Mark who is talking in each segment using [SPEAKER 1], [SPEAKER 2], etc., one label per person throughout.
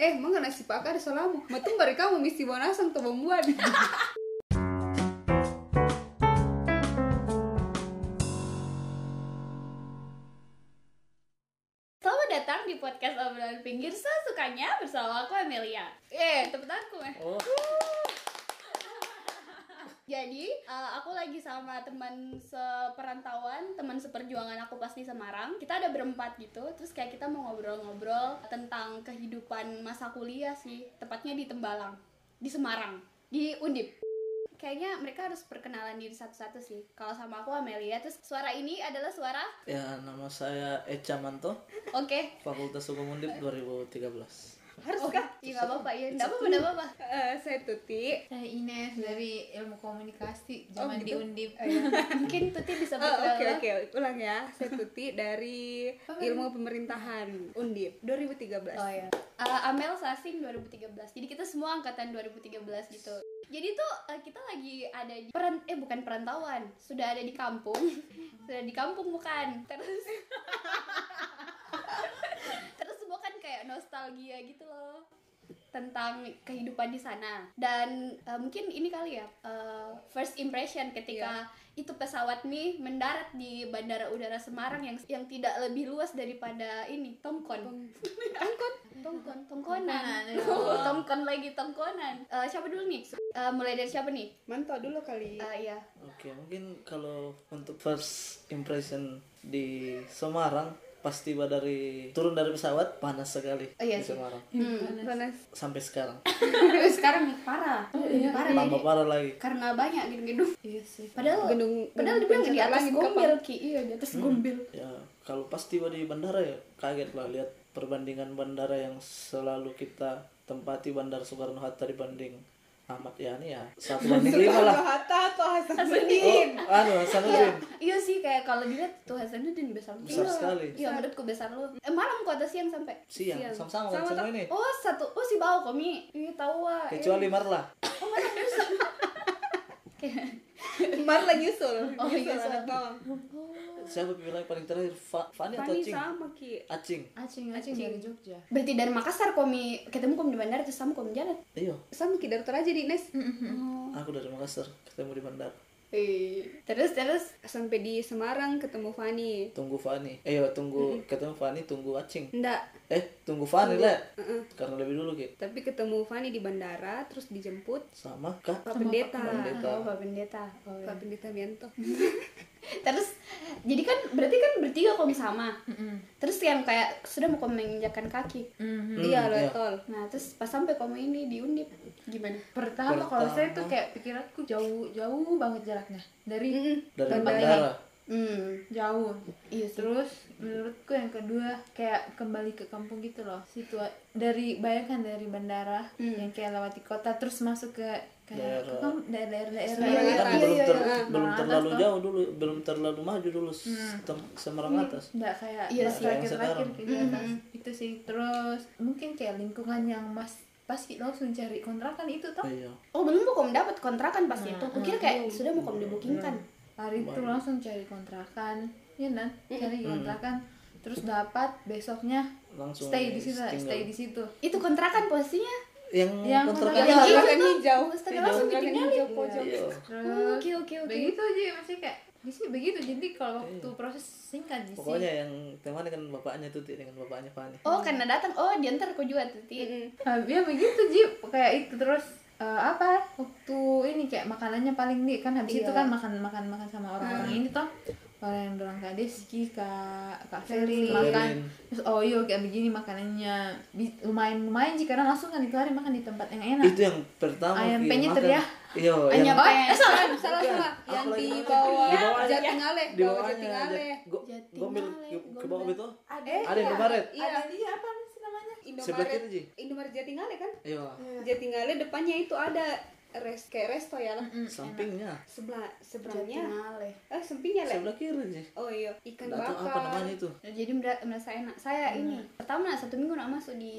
[SPEAKER 1] Eh, manga nasi pakar salamu. Matumbari kamu misi bonasang to bombuan.
[SPEAKER 2] Selamat datang di podcast obrolan pinggir sesukanya bersama aku Amelia. Eh, tepuk tangan eh.
[SPEAKER 3] Oh,
[SPEAKER 2] Jadi, eh, aku lagi sama teman seperantauan, teman seperjuangan aku pas di Semarang. Kita ada berempat gitu, terus kayak kita mau ngobrol-ngobrol tentang kehidupan masa kuliah sih, tepatnya di Tembalang, di Semarang, di Undip. Kayaknya mereka harus perkenalan diri satu-satu sih. Kalau sama aku Amelia, terus suara ini adalah suara
[SPEAKER 3] ya nama saya Eca Manto,
[SPEAKER 2] Oke,
[SPEAKER 3] Fakultas Hukum Undip 2013.
[SPEAKER 1] Haruskah?
[SPEAKER 2] iya nggak apa-apa, iya nggak apa-apa, nggak apa-apa.
[SPEAKER 1] Eh, saya Tuti.
[SPEAKER 4] Saya Ines dari ilmu komunikasi zaman
[SPEAKER 1] gitu?
[SPEAKER 4] diundip.
[SPEAKER 2] Mungkin Tuti bisa
[SPEAKER 1] Oh,
[SPEAKER 2] berkenalan.
[SPEAKER 1] Oke oke ulang ya. Saya Tuti dari Ilmu Pemerintahan Undip 2013.
[SPEAKER 2] Oh ya. Amel Sasing 2013. Jadi kita semua angkatan 2013 gitu. Jadi tuh eh, kita lagi ada di peran eh bukan perantauan, sudah ada di kampung. sudah di kampung bukan. Terus Terus semua kan kayak nostalgia gitu loh tentang kehidupan di sana dan eh, mungkin ini kali ya eh, first impression ketika itu pesawat nih mendarat di bandara udara Semarang yang yang tidak lebih luas daripada ini Tomkon Tongkon, tongkon, tongkonan.
[SPEAKER 4] Tongkonan, ya.
[SPEAKER 2] Oh, tongkon lagi tongkonan. Eh, siapa dulu nih? Eh, mulai dari siapa nih?
[SPEAKER 1] Mantau dulu kali.
[SPEAKER 2] Eh, iya.
[SPEAKER 3] Oke, mungkin kalau untuk first impression di Semarang pasti tiba dari turun dari pesawat panas sekali
[SPEAKER 2] Oh, iya
[SPEAKER 3] di
[SPEAKER 2] sih.
[SPEAKER 3] Semarang
[SPEAKER 2] Hmm.
[SPEAKER 1] Panas.
[SPEAKER 3] sampai sekarang.
[SPEAKER 2] Sekarang parah. Parah
[SPEAKER 3] Tambah
[SPEAKER 2] jadi
[SPEAKER 3] parah lagi.
[SPEAKER 2] karena banyak gedung-gedung.
[SPEAKER 4] Iya sih.
[SPEAKER 2] Padahal
[SPEAKER 1] Gedung-
[SPEAKER 2] padahal
[SPEAKER 1] gedung
[SPEAKER 2] dibilang di
[SPEAKER 1] pencakar
[SPEAKER 2] atas
[SPEAKER 1] langit
[SPEAKER 2] gombil ki. Iya, di atas gombil.
[SPEAKER 3] Ya, kalau pas tiba di bandara ya kaget lah lihat perbandingan bandara yang selalu kita tempati Bandara Soekarno Hatta dibanding Ahmad Yani ya satu banding lima lah.
[SPEAKER 1] Hatta atau
[SPEAKER 3] Oh, anu Hasanuddin.
[SPEAKER 2] Iya sih kayak kalau dilihat tuh Hasanuddin besar
[SPEAKER 3] Besar
[SPEAKER 2] Iya.
[SPEAKER 3] sekali.
[SPEAKER 2] Iya, menurutku besar lu. Eh, malam kok atau siang sampai?
[SPEAKER 3] Siang, sama-sama
[SPEAKER 1] Sama,
[SPEAKER 3] sama,
[SPEAKER 1] tak?
[SPEAKER 3] ini.
[SPEAKER 2] Oh, satu. Oh, si bau komi. Iya, tahu ah. Eh.
[SPEAKER 3] Kecuali Marla.
[SPEAKER 1] Marla nyusul.
[SPEAKER 2] Oh,
[SPEAKER 1] nyusul
[SPEAKER 2] nyusul.
[SPEAKER 1] anak bawang.
[SPEAKER 3] Siapa pilihan paling terakhir? Fa Fani atau
[SPEAKER 1] Fani
[SPEAKER 3] Acing?
[SPEAKER 1] sama Ki.
[SPEAKER 3] Acing.
[SPEAKER 4] Acing, Acing dari Jogja.
[SPEAKER 2] Berarti dari Makassar komi ketemu komi di bandara terus sama komi jalan.
[SPEAKER 3] Iya,
[SPEAKER 1] Sama Ki Darto aja di Nes.
[SPEAKER 2] Mm.
[SPEAKER 3] aku dari Makassar, ketemu di bandara.
[SPEAKER 2] Eh. Terus terus
[SPEAKER 1] Sampai di Semarang ketemu Fani.
[SPEAKER 3] Tunggu Fani. Eh, iya, tunggu ketemu Fani, tunggu Acing.
[SPEAKER 1] Enggak,
[SPEAKER 3] Eh, tunggu Fani lah.
[SPEAKER 1] Heeh.
[SPEAKER 3] Karena lebih dulu Ki.
[SPEAKER 1] tapi ketemu Fani di bandara terus dijemput
[SPEAKER 3] Sama Kak.
[SPEAKER 4] Ah,
[SPEAKER 1] Pak Pendeta.
[SPEAKER 3] Pendeta.
[SPEAKER 2] Oh, Pak Pendeta. Mm. Oh, iya.
[SPEAKER 1] Pak Pendeta Mianto.
[SPEAKER 2] Terus jadi kan berarti kan bertiga komi sama. Terus yang kayak sudah mau komi menginjakan kaki.
[SPEAKER 4] Mm-hmm.
[SPEAKER 3] Hmm,
[SPEAKER 1] Iya,
[SPEAKER 3] iya.
[SPEAKER 1] Lotol.
[SPEAKER 2] Nah, terus pas sampai komi ini diundip gimana?
[SPEAKER 4] Pertama kalau
[SPEAKER 3] Pertama.
[SPEAKER 4] saya tuh kayak pikiranku jauh jauh banget jaraknya dari
[SPEAKER 1] Mm-mm.
[SPEAKER 3] Dari
[SPEAKER 4] Bandara.
[SPEAKER 3] bandara.
[SPEAKER 2] Hmm.
[SPEAKER 4] jauh.
[SPEAKER 2] Iya sih.
[SPEAKER 4] Terus menurutku yang kedua kayak kembali ke kampung gitu loh. Situa dari bayangkan dari bandara
[SPEAKER 2] Hmm.
[SPEAKER 4] yang kayak lewati kota terus masuk ke
[SPEAKER 3] Daerah.
[SPEAKER 4] kayak ke kam- daerah-daerah
[SPEAKER 1] Semarang
[SPEAKER 4] Iya,
[SPEAKER 3] Kan
[SPEAKER 1] atas.
[SPEAKER 4] iya,
[SPEAKER 3] belum,
[SPEAKER 4] iya,
[SPEAKER 3] ter-
[SPEAKER 4] iya.
[SPEAKER 3] belum terlalu
[SPEAKER 4] Semarang atas, Hmm. toh.
[SPEAKER 3] jauh dulu, belum terlalu maju dulu Sem- Semarang atas.
[SPEAKER 4] Nggak kayak
[SPEAKER 2] Iya
[SPEAKER 4] pas
[SPEAKER 2] sih. Mm-hmm.
[SPEAKER 4] terakhir-terakhir
[SPEAKER 3] Yang
[SPEAKER 4] kayak di atas. Itu sih Terus mungkin kayak lingkungan yang mas Pasti langsung cari kontrakan itu toh
[SPEAKER 3] Iya.
[SPEAKER 2] Oh, belum mau komi dapat kontrakan pas itu. Kukira kayak sudah mau komi dibookingkan.
[SPEAKER 4] Hari itu langsung cari kontrakan Ya kan Cari kontrakan Terus dapat besoknya
[SPEAKER 3] Langsung
[SPEAKER 4] Stay di situ lah,
[SPEAKER 3] tinggal.
[SPEAKER 4] stay di situ
[SPEAKER 2] Itu kontrakan posisinya.
[SPEAKER 3] Yang,
[SPEAKER 4] Yang
[SPEAKER 3] kontrakan itu.
[SPEAKER 4] kontrakan
[SPEAKER 2] hijau
[SPEAKER 1] Kan
[SPEAKER 2] tuh.
[SPEAKER 1] hijau.
[SPEAKER 2] Astaga, langsung ditinggalin.
[SPEAKER 3] Iya.
[SPEAKER 2] Oh,
[SPEAKER 4] Terus
[SPEAKER 2] Oke, oke, oke.
[SPEAKER 4] Begitu aja masih kayak Bisa begitu Jadi kalau waktu proses singkat sih
[SPEAKER 3] Iya. Pokoknya yang teman dengan bapaknya tuh Ti, dengan bapaknya Fani.
[SPEAKER 2] Oh, karena datang. Oh, diantar aku juga tuh. Ti.
[SPEAKER 1] Mm-mm.
[SPEAKER 4] Ah, ya begitu Ji kayak itu terus eh, apa waktu ini kayak makanannya paling nih kan
[SPEAKER 2] Iya.
[SPEAKER 4] habis itu kan makan makan makan sama orang-orang ini toh orang yang bilang kak Deski kak kak
[SPEAKER 3] Ferry.
[SPEAKER 4] Ferry makan terus oh iya kayak begini makanannya Bi- lumayan lumayan sih karena langsung kan itu hari makan di tempat yang enak
[SPEAKER 3] Itu yang pertama
[SPEAKER 4] Nah, Ayam
[SPEAKER 3] Ki,
[SPEAKER 4] penyet,
[SPEAKER 3] makan.
[SPEAKER 4] ya?
[SPEAKER 3] Iya, yang
[SPEAKER 2] Ayam
[SPEAKER 4] Oh,
[SPEAKER 2] Apa ya?
[SPEAKER 4] eh, salah
[SPEAKER 1] Salah salah,
[SPEAKER 3] Bukan.
[SPEAKER 1] yang
[SPEAKER 3] Apa Iya. lagi
[SPEAKER 1] di
[SPEAKER 3] namanya?
[SPEAKER 1] bawah
[SPEAKER 3] Di bawahnya.
[SPEAKER 1] Jatingaleh,
[SPEAKER 3] di
[SPEAKER 1] bawah
[SPEAKER 3] bawahnya
[SPEAKER 1] Jatingaleh.
[SPEAKER 3] Go,
[SPEAKER 2] Jatingaleh,
[SPEAKER 3] gombil ke- ke bawah
[SPEAKER 2] Gombil.
[SPEAKER 3] itu
[SPEAKER 4] ada
[SPEAKER 3] ada yang kemarin
[SPEAKER 1] Iya.
[SPEAKER 4] ada dia apa sih namanya
[SPEAKER 3] Sebelah kiri, Ji.
[SPEAKER 1] Indomaret. Indomaret Jatingaleh kan?
[SPEAKER 3] iya
[SPEAKER 1] Jatingaleh depannya itu ada res kayak resto ya lah.
[SPEAKER 3] sampingnya
[SPEAKER 1] Sebelah seberangnya.
[SPEAKER 2] Jatinale.
[SPEAKER 1] Eh, sampingnya lah.
[SPEAKER 3] sebelah kiri sih
[SPEAKER 1] Oh iya, ikan
[SPEAKER 3] nggak tahu apa namanya
[SPEAKER 1] bakar.
[SPEAKER 3] itu
[SPEAKER 2] Ya, Jadi mer- merasa enak. Saya
[SPEAKER 4] Iya.
[SPEAKER 2] ini pertama satu minggu nak masuk di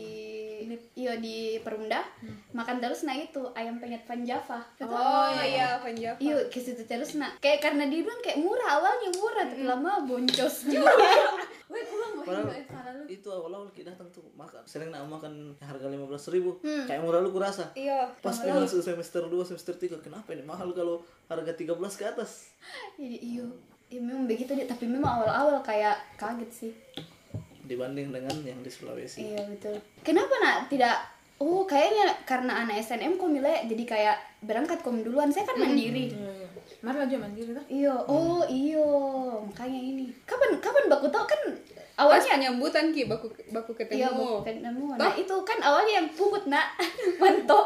[SPEAKER 2] iya di Perumda
[SPEAKER 4] Hmm.
[SPEAKER 2] makan terus nah itu ayam penyet Van Java.
[SPEAKER 1] Oh iya, Panjava.
[SPEAKER 2] Iya, ke situ terus nak. Kayak karena dia bilang kayak murah awalnya murah, tapi lama boncos.
[SPEAKER 4] Hmm. Iya. Weh, pulang, weh,
[SPEAKER 3] Padahal-
[SPEAKER 4] weh, salah lu.
[SPEAKER 3] itu awal-awal kita datang tuh makan sering nak makan harga lima belas ribu kayak murah lu kurasa
[SPEAKER 1] Iya.
[SPEAKER 3] pas gue masuk semester 2, semester 3 kenapa ini mahal kalau harga 13 ke atas
[SPEAKER 2] jadi iyo ya memang begitu deh tapi memang awal-awal kayak kaget sih
[SPEAKER 3] dibanding dengan yang di Sulawesi
[SPEAKER 2] iya betul kenapa nak tidak oh kayaknya karena anak SNM kok milih jadi kayak berangkat kom duluan saya kan
[SPEAKER 4] Hmm.
[SPEAKER 2] mandiri
[SPEAKER 4] Iya, Mana aja mandiri lah.
[SPEAKER 2] Iya, oh iyo, makanya ini. Kapan kapan baku tau kan
[SPEAKER 1] Pas
[SPEAKER 2] awalnya
[SPEAKER 1] penyambutan Ki baku baku ketemu.
[SPEAKER 2] iya baku ketemu. Nah itu kan awalnya yang pungut nak manto.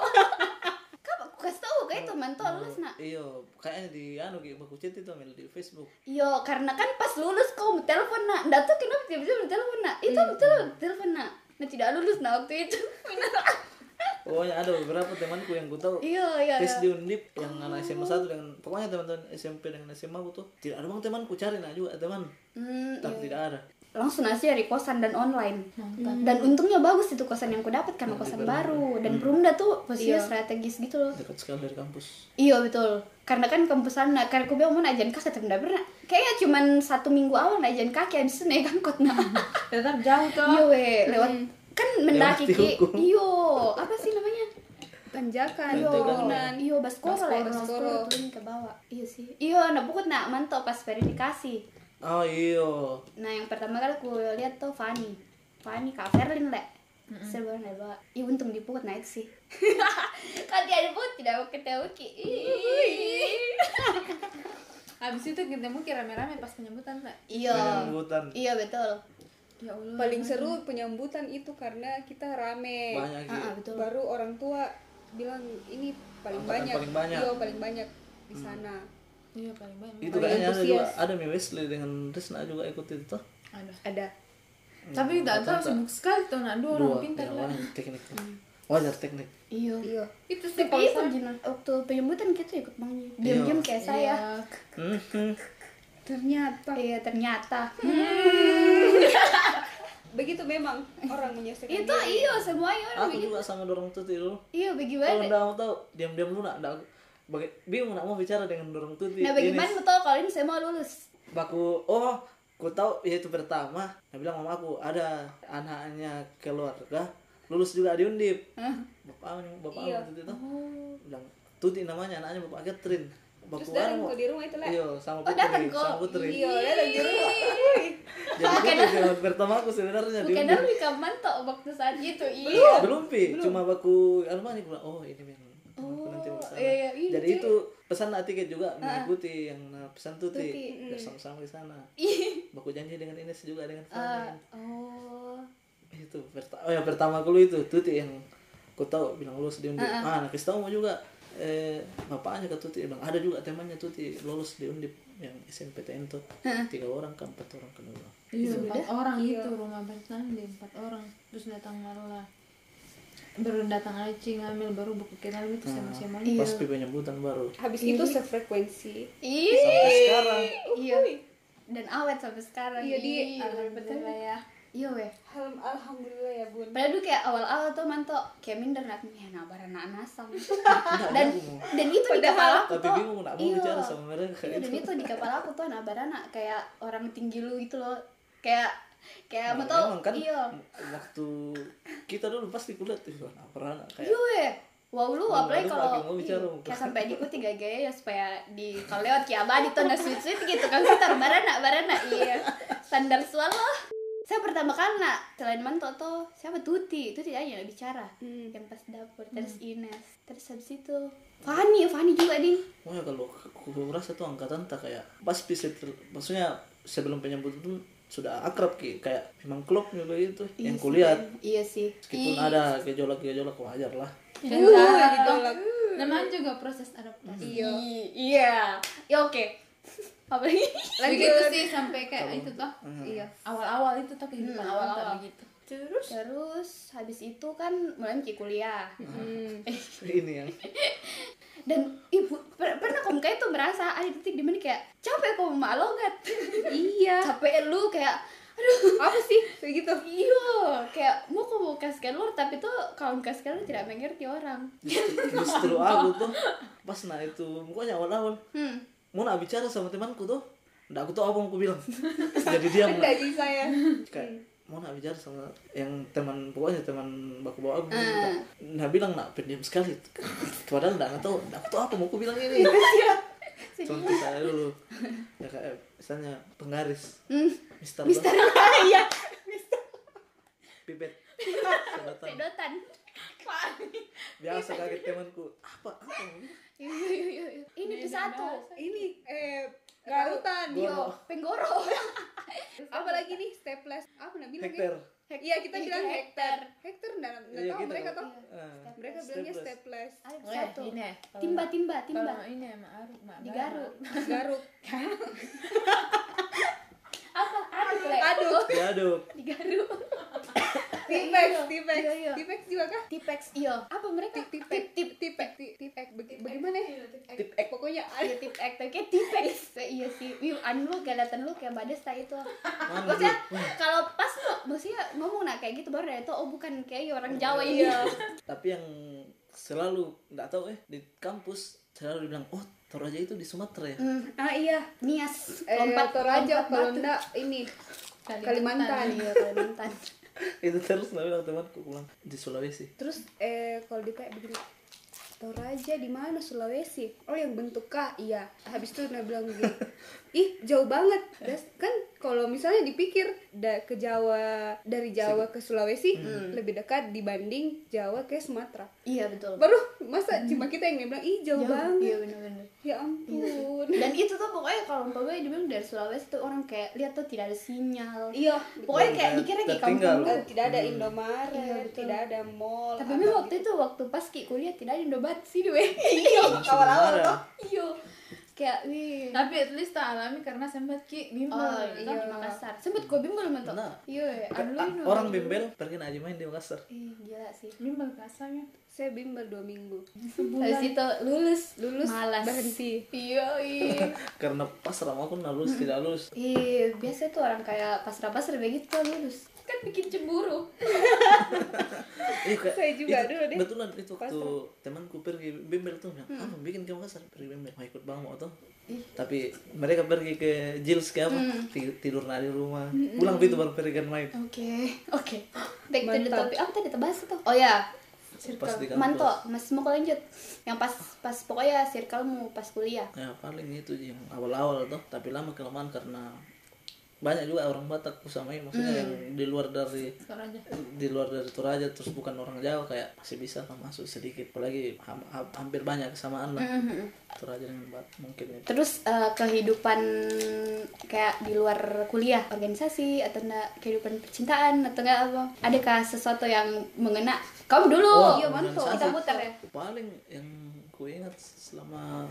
[SPEAKER 2] kapan aku kasih tau kayak itu manto
[SPEAKER 3] Hmm.
[SPEAKER 2] lulus nak.
[SPEAKER 3] iyo Iya, kayaknya di anu gitu baku chat itu ambil di Facebook
[SPEAKER 2] Iya, karena kan pas lulus kau telepon nak. Nggak tahu kenapa tiba-tiba telepon nak. Itu betul telepon nak. Nah tidak lulus nak waktu itu.
[SPEAKER 3] pokoknya ada beberapa temanku yang gue tahu
[SPEAKER 2] Iya iya.
[SPEAKER 3] tes
[SPEAKER 2] iya.
[SPEAKER 3] di Undip yang anak SMA 1 dengan pokoknya teman-teman SMP dengan SMA aku tuh tidak ada bang temanku cari nah juga teman
[SPEAKER 2] Hmm,
[SPEAKER 3] tapi tidak ada
[SPEAKER 2] langsung aja dari kosan dan online dan untungnya bagus itu kosan yang ku dapat karena kosan baru dan perumda tuh posisinya strategis gitu loh
[SPEAKER 3] dekat sekali dari kampus
[SPEAKER 2] Iya betul. Karena kan kampus anak, karena aku bilang mau najan kakek tapi nggak pernah. Kayaknya cuman satu minggu awal najan kakek habis itu naik angkot nah.
[SPEAKER 4] Tetap jauh tuh.
[SPEAKER 2] Iya weh, lewat kan mendaki
[SPEAKER 3] Lewat
[SPEAKER 2] ki.
[SPEAKER 3] dihukum.
[SPEAKER 2] Iyo, apa sih namanya?
[SPEAKER 1] tanjakan
[SPEAKER 2] Iyo,
[SPEAKER 1] turunan.
[SPEAKER 2] iyo baskoro lah,
[SPEAKER 1] Baskoro.
[SPEAKER 2] baskoro turun ke bawah. Iya sih. Iyo, nah pokoknya nak mantap pas verifikasi.
[SPEAKER 3] oh iyo
[SPEAKER 2] Nah yang pertama kali aku lihat tuh Fanny, Fanny kak Ferlin lek. Serba naik bawah. Iya untung dipukul naik sih. Kalau tidak dipukul tidak mau ketemu ki. Ih.
[SPEAKER 4] Habis itu ketemu ki rame-rame pas penyambutan tak?
[SPEAKER 2] Iya.
[SPEAKER 3] Penyambutan.
[SPEAKER 2] Iya betul.
[SPEAKER 4] Ya
[SPEAKER 3] Iya.
[SPEAKER 4] Allah.
[SPEAKER 1] Paling seru penyambutan itu karena kita rame.
[SPEAKER 3] banyak
[SPEAKER 2] Ah, ah,
[SPEAKER 3] gitu
[SPEAKER 2] betul.
[SPEAKER 1] Baru orang tua bilang ini paling
[SPEAKER 3] Angkatan
[SPEAKER 1] banyak.
[SPEAKER 3] paling banyak. Hmm.
[SPEAKER 1] Iya, paling banyak di sana.
[SPEAKER 4] Iya paling banyak.
[SPEAKER 3] itu
[SPEAKER 1] Paling
[SPEAKER 3] kayaknya ada juga
[SPEAKER 1] antusias.
[SPEAKER 3] ada Mi Wesley dengan Risna juga ikut itu tuh
[SPEAKER 4] Ada.
[SPEAKER 1] Ada.
[SPEAKER 4] Tapi tak tahu
[SPEAKER 3] tak-
[SPEAKER 4] sibuk sekali tuh nak dua orang
[SPEAKER 3] dua
[SPEAKER 4] pintar
[SPEAKER 3] ya,
[SPEAKER 4] lah.
[SPEAKER 3] wah, teknik wajar teknik
[SPEAKER 2] Iya.
[SPEAKER 1] Iya.
[SPEAKER 4] Itu sih
[SPEAKER 2] Tapi
[SPEAKER 4] kalau
[SPEAKER 2] ikut
[SPEAKER 4] saya-
[SPEAKER 2] Jina. waktu penyambutan kita ikut
[SPEAKER 3] Iya.
[SPEAKER 2] bangnya. Diam-diam kayak saya.
[SPEAKER 4] Iya.
[SPEAKER 3] Mhm.
[SPEAKER 1] Ternyata
[SPEAKER 2] Iya ternyata.
[SPEAKER 1] begitu memang orang menyelesaikan
[SPEAKER 2] Itu iya, iyo semuanya orang
[SPEAKER 3] aku
[SPEAKER 2] begitu.
[SPEAKER 3] juga sama dorong tuh dulu
[SPEAKER 2] Iyo bagaimana?
[SPEAKER 3] kalau ndak mau tahu diam-diam lu nak ndak- baga- bingung nak mau bicara dengan dorong tuh
[SPEAKER 2] Nah bagaimana betul kalau ini saya mau lulus?
[SPEAKER 3] baku oh ku tahu ya itu pertama dia bilang mama aku ada anaknya keluarga lulus juga di undip bapak bapak
[SPEAKER 1] Iya.
[SPEAKER 3] waktu itu bilang tuti namanya anaknya bapak Catherine
[SPEAKER 1] Terus
[SPEAKER 3] baku
[SPEAKER 1] datang
[SPEAKER 3] anu,
[SPEAKER 1] ke di rumah itu lah.
[SPEAKER 3] iya sama
[SPEAKER 2] Oh,
[SPEAKER 3] putri
[SPEAKER 2] datang kok.
[SPEAKER 3] sama putri
[SPEAKER 1] Iya, datang di rumah.
[SPEAKER 3] jadi itu pengalaman pertama aku sebenarnya di
[SPEAKER 2] Bukan
[SPEAKER 3] undip
[SPEAKER 2] dari kapan tok waktu saat itu iya. iyo.
[SPEAKER 3] belum pi cuma baku anu mana aku bilang, oh ini memang aku nanti mau kesana.
[SPEAKER 2] iya, iya, iya,
[SPEAKER 3] jadi itu pesan lah tiket juga mengikuti yang nah, pesan tuti, Biar sama-sama ke sana baku janji dengan Ines juga dengan Fanny
[SPEAKER 2] Oh.
[SPEAKER 3] itu pertama oh ya pertama aku lu itu tuti yang ku tahu bilang lulus di undip ah anak tahu mau juga eh bapaknya ke tuti bilang ada juga temannya tuti lulus di undip yang SNPTN tuh tiga orang ke empat orang ke dua
[SPEAKER 4] Iya, empat orang gitu rumah bertanding empat orang terus datang malah baru datang Aci ngambil baru buku kenal itu
[SPEAKER 3] Hmm.
[SPEAKER 4] sama sama
[SPEAKER 3] Ah, pas pi penyambutan baru
[SPEAKER 1] Habis itu sefrekuensi.
[SPEAKER 2] Ih.
[SPEAKER 3] sampai sekarang
[SPEAKER 2] Iya. Dan awet sampai sekarang.
[SPEAKER 1] Iya, di-
[SPEAKER 2] Ih, alhamdulillah ya. Iya weh.
[SPEAKER 1] Alham- Alhamdulillah ya bun.
[SPEAKER 2] Padahal dulu kayak awal-awal tuh manto kayak minder nak ya nabaran nak nasam.
[SPEAKER 3] Nggak,
[SPEAKER 2] dan
[SPEAKER 3] aku mau.
[SPEAKER 2] dan itu di kepala aku
[SPEAKER 3] Iya, tapi
[SPEAKER 2] tuh.
[SPEAKER 3] bingung nak mau
[SPEAKER 2] Iya.
[SPEAKER 3] bicara sama mereka gitu.
[SPEAKER 2] Iya, dan itu di kepala aku tuh nabaran nak kayak orang tinggi lu gitu loh. Kayak kayak
[SPEAKER 3] Nah,
[SPEAKER 2] mau tau
[SPEAKER 3] memang kan
[SPEAKER 2] iya.
[SPEAKER 3] waktu kita dulu pasti kulihat itu nah, pernah nak kayak
[SPEAKER 2] Iya weh. Wow lu
[SPEAKER 3] Belum
[SPEAKER 2] apalagi
[SPEAKER 3] ada
[SPEAKER 2] kalau
[SPEAKER 3] lagi mau
[SPEAKER 2] iya,
[SPEAKER 3] bicara, mau
[SPEAKER 2] kayak sampai diikuti gak gaya ya supaya di kalau lewat kayak abadi tuh nggak sweet sweet gitu kan kita barana barana iya standar suara loh. Saya pertama kali nak selain manto tuh siapa Tuti Tuti aja nggak bicara
[SPEAKER 1] Hmm.
[SPEAKER 2] yang pas dapur terus
[SPEAKER 3] Hmm.
[SPEAKER 2] Ines terus habis itu Fani Fani juga nih
[SPEAKER 3] wah kalau aku rasa tuh angkatan tak kayak pas bisa maksudnya sebelum penyambutan tuh sudah akrab ki kayak memang klop juga gitu yang kulihat
[SPEAKER 2] iya sih
[SPEAKER 3] meskipun ada gejolak gejolak wajar lah
[SPEAKER 1] Iya.
[SPEAKER 4] dan
[SPEAKER 1] Uhuh,
[SPEAKER 4] cara gitu namanya juga proses adaptasi
[SPEAKER 2] iya iya ya oke apa lagi
[SPEAKER 4] lagi itu sih sampai kayak itu toh
[SPEAKER 3] Hmm.
[SPEAKER 4] iya awal-awal itu tuh kehidupan
[SPEAKER 2] Hmm,
[SPEAKER 4] awal
[SPEAKER 2] awal-awal.
[SPEAKER 4] awal gitu terus
[SPEAKER 2] terus habis itu kan mulai ki kuliah
[SPEAKER 1] Hmm.
[SPEAKER 3] ini yang
[SPEAKER 2] dan ibu per- pernah kom kayak tuh merasa ada titik di mana kayak capek kok mak logat
[SPEAKER 1] iya.
[SPEAKER 2] capek lu kayak aduh
[SPEAKER 1] Apa sih begitu?
[SPEAKER 2] Iya, kayak mau kok mau kasih keluar tapi tuh kalau kasih keluar tidak mengerti orang.
[SPEAKER 3] justru aku tuh pas nah itu pokoknya awal awal
[SPEAKER 2] Hmm.
[SPEAKER 3] mau nak bicara sama temanku tuh ndak aku tahu apa yang aku bilang jadi diam lah
[SPEAKER 1] Dari saya.
[SPEAKER 3] kayak mau nak bicara sama yang teman pokoknya teman baku bawa
[SPEAKER 1] Ah.
[SPEAKER 3] aku nah bilang nak pendiam sekali padahal nggak tahu nggak tahu apa mau aku bilang ini contoh saya dulu ya kayak misalnya penggaris
[SPEAKER 1] Hmm.
[SPEAKER 3] mister
[SPEAKER 2] Mister
[SPEAKER 3] Bas-
[SPEAKER 2] iya
[SPEAKER 3] pipet sedotan.
[SPEAKER 2] sedotan
[SPEAKER 3] biasa kaget temanku apa apa ini?
[SPEAKER 2] ini tuh satu Iya.
[SPEAKER 1] ini eh rautan
[SPEAKER 2] Yo, penggoro
[SPEAKER 1] apa lagi nih staples apa namanya
[SPEAKER 3] hektar
[SPEAKER 1] iya kita bilang
[SPEAKER 2] Iya,
[SPEAKER 1] hektar hektar nggak nggak
[SPEAKER 3] Iya,
[SPEAKER 1] tahu
[SPEAKER 3] gitu.
[SPEAKER 1] mereka tahu
[SPEAKER 3] Eh,
[SPEAKER 1] mereka bilangnya
[SPEAKER 3] Staples.
[SPEAKER 1] staples
[SPEAKER 2] Ada
[SPEAKER 4] Oh ya,
[SPEAKER 2] satu
[SPEAKER 4] ini ya. Kalau-
[SPEAKER 2] timba timba timba
[SPEAKER 4] Kalau ini ya, emak Aruk, emak
[SPEAKER 2] digaruk
[SPEAKER 1] garuk
[SPEAKER 2] apa aduk le
[SPEAKER 1] aduk
[SPEAKER 3] diaduk
[SPEAKER 2] digaruk
[SPEAKER 1] tipex
[SPEAKER 2] Iya,
[SPEAKER 1] tipex
[SPEAKER 2] iya, iya.
[SPEAKER 1] tipex juga kah
[SPEAKER 2] tipex iya. iyo apa mereka
[SPEAKER 1] Tip- tipex tip tipex Ti- tipex Beg- bagaimana ya
[SPEAKER 3] Tipex.
[SPEAKER 1] pokoknya ada
[SPEAKER 2] Iya tip act, oke tipex iya sih, Wih, anu lu kelihatan lu kayak badas tak itu
[SPEAKER 3] mana
[SPEAKER 2] Maksudnya
[SPEAKER 3] dulu?
[SPEAKER 2] kalau pas tuh, maksudnya ngomong nah kayak gitu baru dari itu oh bukan kayak orang Jawa
[SPEAKER 1] Iya.
[SPEAKER 2] ini
[SPEAKER 3] tapi yang selalu nggak tahu eh di kampus selalu dibilang oh taruh aja itu di Sumatera ya
[SPEAKER 1] ah iya
[SPEAKER 2] Hmm. Nias,
[SPEAKER 1] Eh,
[SPEAKER 2] lompat
[SPEAKER 1] Toraja
[SPEAKER 2] lompat
[SPEAKER 1] kalau
[SPEAKER 2] batu.
[SPEAKER 1] enggak ini
[SPEAKER 4] Kalimantan.
[SPEAKER 1] Kalimantan.
[SPEAKER 2] Iya, Kalimantan
[SPEAKER 3] itu terus nggak bilang temanku pulang di Sulawesi
[SPEAKER 1] Terus eh kalau ditanya begini, Toraja di mana Sulawesi? Oh yang bentuk K, iya. Habis itu dia bilang begini, ih jauh banget. Das, kan kalau misalnya dipikir da- ke Jawa dari Jawa ke Sulawesi lebih dekat dibanding Jawa ke Sumatera.
[SPEAKER 2] Iya betul
[SPEAKER 1] Baru masa cuma kita yang bilang ih jauh, banget.
[SPEAKER 2] Hmm. Iya bener-bener
[SPEAKER 1] Ya ampun.
[SPEAKER 2] dan itu tuh pokoknya kalau umpamanya dibilang dari Sulawesi tuh orang kayak lihat tuh tidak ada sinyal
[SPEAKER 1] Iya.
[SPEAKER 2] pokoknya kayak
[SPEAKER 3] Ter-
[SPEAKER 2] dikira kayak
[SPEAKER 3] tertinggal.
[SPEAKER 2] kampung lu.
[SPEAKER 1] Eh, tidak ada Indomaret,
[SPEAKER 2] Iya, betul.
[SPEAKER 1] tidak ada mall.
[SPEAKER 2] tapi
[SPEAKER 1] apa
[SPEAKER 2] memang
[SPEAKER 1] gitu.
[SPEAKER 2] waktu itu waktu pas ki kuliah tidak ada Indomaret sih dewe iya
[SPEAKER 3] awal-awal tuh.
[SPEAKER 2] iya kayak wih
[SPEAKER 4] Tapi at least tak alami karena sempat ki bimbel.
[SPEAKER 2] oh
[SPEAKER 4] kan?
[SPEAKER 2] iya di Makassar sempet gue bimbel mentok
[SPEAKER 3] Nah.
[SPEAKER 2] iya anu lu
[SPEAKER 3] Ah,
[SPEAKER 2] ini
[SPEAKER 3] orang bimbel pergi aja main di Makassar
[SPEAKER 2] Ih, gila sih
[SPEAKER 4] Bimbel kasar ya.
[SPEAKER 1] saya bimbel dua minggu.
[SPEAKER 2] habis
[SPEAKER 4] Sebulan.
[SPEAKER 2] itu lulus
[SPEAKER 1] Lulus
[SPEAKER 2] malas
[SPEAKER 1] berhenti.
[SPEAKER 2] iya iya
[SPEAKER 3] karena pasrah mau aku nggak lulus tidak lulus
[SPEAKER 2] Ih, Iya, biasa tuh orang kayak pasrah-pasrah begitu lulus kan bikin cemburu
[SPEAKER 3] Iya, kayak-
[SPEAKER 1] Saya juga
[SPEAKER 3] itu-
[SPEAKER 1] dulu deh. Hmm.
[SPEAKER 3] Betulan itu waktu temanku pergi bimbel tuh bilang, "Ah, mau bikin ke Makassar, pergi bimbel, mau ikut bang mau tuh." Tapi mereka pergi ke Jils ke apa?
[SPEAKER 1] Hmm.
[SPEAKER 3] ti- Tidur nah di rumah. Pulang itu baru pergi kan main.
[SPEAKER 2] Oke, oke. Back to the
[SPEAKER 1] Mantap.
[SPEAKER 2] topic. Apa tadi bahas itu? Oh ya,
[SPEAKER 3] Pas di kampus.
[SPEAKER 2] manto. Mas mau lanjut. Yang pas pas pokoknya circle mu pas kuliah.
[SPEAKER 3] Ya paling itu yang awal-awal tuh, tapi lama kelamaan karena banyak juga orang Batak ku samai maksudnya
[SPEAKER 2] Hmm.
[SPEAKER 3] yang di luar dari
[SPEAKER 4] Toraja.
[SPEAKER 3] di luar dari Toraja terus bukan orang Jawa kayak masih bisa lah masuk sedikit apalagi ham- ha- hampir banyak kesamaan lah
[SPEAKER 2] Hmm.
[SPEAKER 3] Toraja dengan Batak mungkin itu.
[SPEAKER 2] Mm-hmm. Terus eh, kehidupan kayak di luar kuliah, organisasi atau enggak kehidupan percintaan atau enggak apa? Adakah sesuatu yang mengena kamu dulu?
[SPEAKER 3] Oh,
[SPEAKER 2] Iya, manto.
[SPEAKER 3] organisasi.
[SPEAKER 2] Kita putar ya.
[SPEAKER 3] paling yang ku ingat selama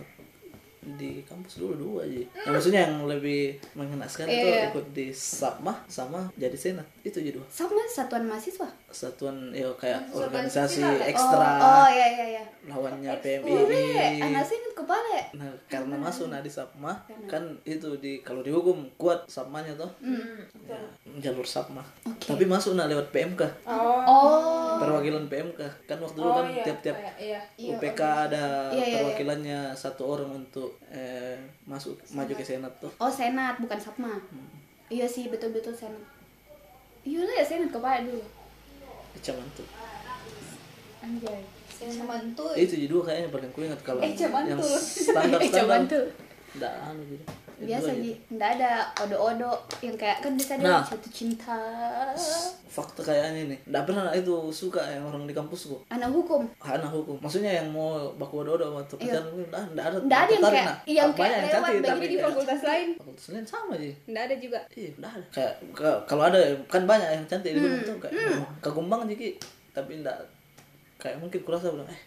[SPEAKER 3] di kampus dulu dua aja Nah, maksudnya yang lebih mengenaskan
[SPEAKER 2] Iya,
[SPEAKER 3] itu
[SPEAKER 2] iya.
[SPEAKER 3] ikut di Sapma sama jadi senat itu aja dua
[SPEAKER 2] Sama satuan mahasiswa.
[SPEAKER 3] satuan ya kayak
[SPEAKER 4] Organisasi
[SPEAKER 3] organisasi
[SPEAKER 4] lah, kayak-
[SPEAKER 3] ekstra
[SPEAKER 2] Oh, oh iya iya iya.
[SPEAKER 3] lawannya
[SPEAKER 2] Ure,
[SPEAKER 3] PMI
[SPEAKER 2] anak sini kepala. ya?
[SPEAKER 3] nah karena masuk nah di Sapma kan itu di kalau dihukum kuat Sapmanya toh
[SPEAKER 4] Hmm.
[SPEAKER 3] Ya, jalur Sapma tapi masuk nah lewat PMK
[SPEAKER 2] Oh,
[SPEAKER 3] perwakilan PMK kan waktu dulu kan tiap-tiap
[SPEAKER 4] Iya.
[SPEAKER 3] UPK ada
[SPEAKER 2] Iya, iya,
[SPEAKER 3] perwakilannya satu orang untuk eh, masuk maju ke senat tuh.
[SPEAKER 2] Oh senat bukan sapma. Iya sih betul-betul senat. Iya lah ya senat kepala dulu.
[SPEAKER 3] Cuman tuh.
[SPEAKER 2] Anjay. Oh,
[SPEAKER 3] Eh, Itu jadi dua kayaknya paling ku ingat kalau yang
[SPEAKER 2] iya.
[SPEAKER 3] standar
[SPEAKER 2] Eh, cuman
[SPEAKER 3] standar.
[SPEAKER 2] tuh.
[SPEAKER 3] Enggak anu gitu. Itu
[SPEAKER 2] Biasa
[SPEAKER 3] aja.
[SPEAKER 2] sih, nggak ada odo-odo yang kayak kan bisa ada
[SPEAKER 3] Nah.
[SPEAKER 2] satu cinta.
[SPEAKER 3] Fakta kayaknya nih, enggak pernah itu suka yang orang di kampusku.
[SPEAKER 2] Anak hukum.
[SPEAKER 3] Anak hukum. Maksudnya yang mau baku dodo sama tuh
[SPEAKER 2] Iya.
[SPEAKER 3] pacaran gue enggak enggak ada.
[SPEAKER 2] Nggak ada yang
[SPEAKER 3] tertarik,
[SPEAKER 2] kayak- iya,
[SPEAKER 3] nah.
[SPEAKER 2] yang
[SPEAKER 3] Banyak
[SPEAKER 2] kayak lewat
[SPEAKER 3] cantik,
[SPEAKER 2] begini
[SPEAKER 3] tapi
[SPEAKER 2] di
[SPEAKER 3] kayak-
[SPEAKER 1] Fakultas lain
[SPEAKER 3] Fakultas lain sama aja.
[SPEAKER 1] enggak ada juga.
[SPEAKER 3] Iya, udah ada. Kayak ka- kalau ada kan banyak yang cantik
[SPEAKER 2] Hmm,
[SPEAKER 3] di gunung tuh kayak "Wah, kagum banget jadi tapi enggak kayak mungkin kurasa bilang eh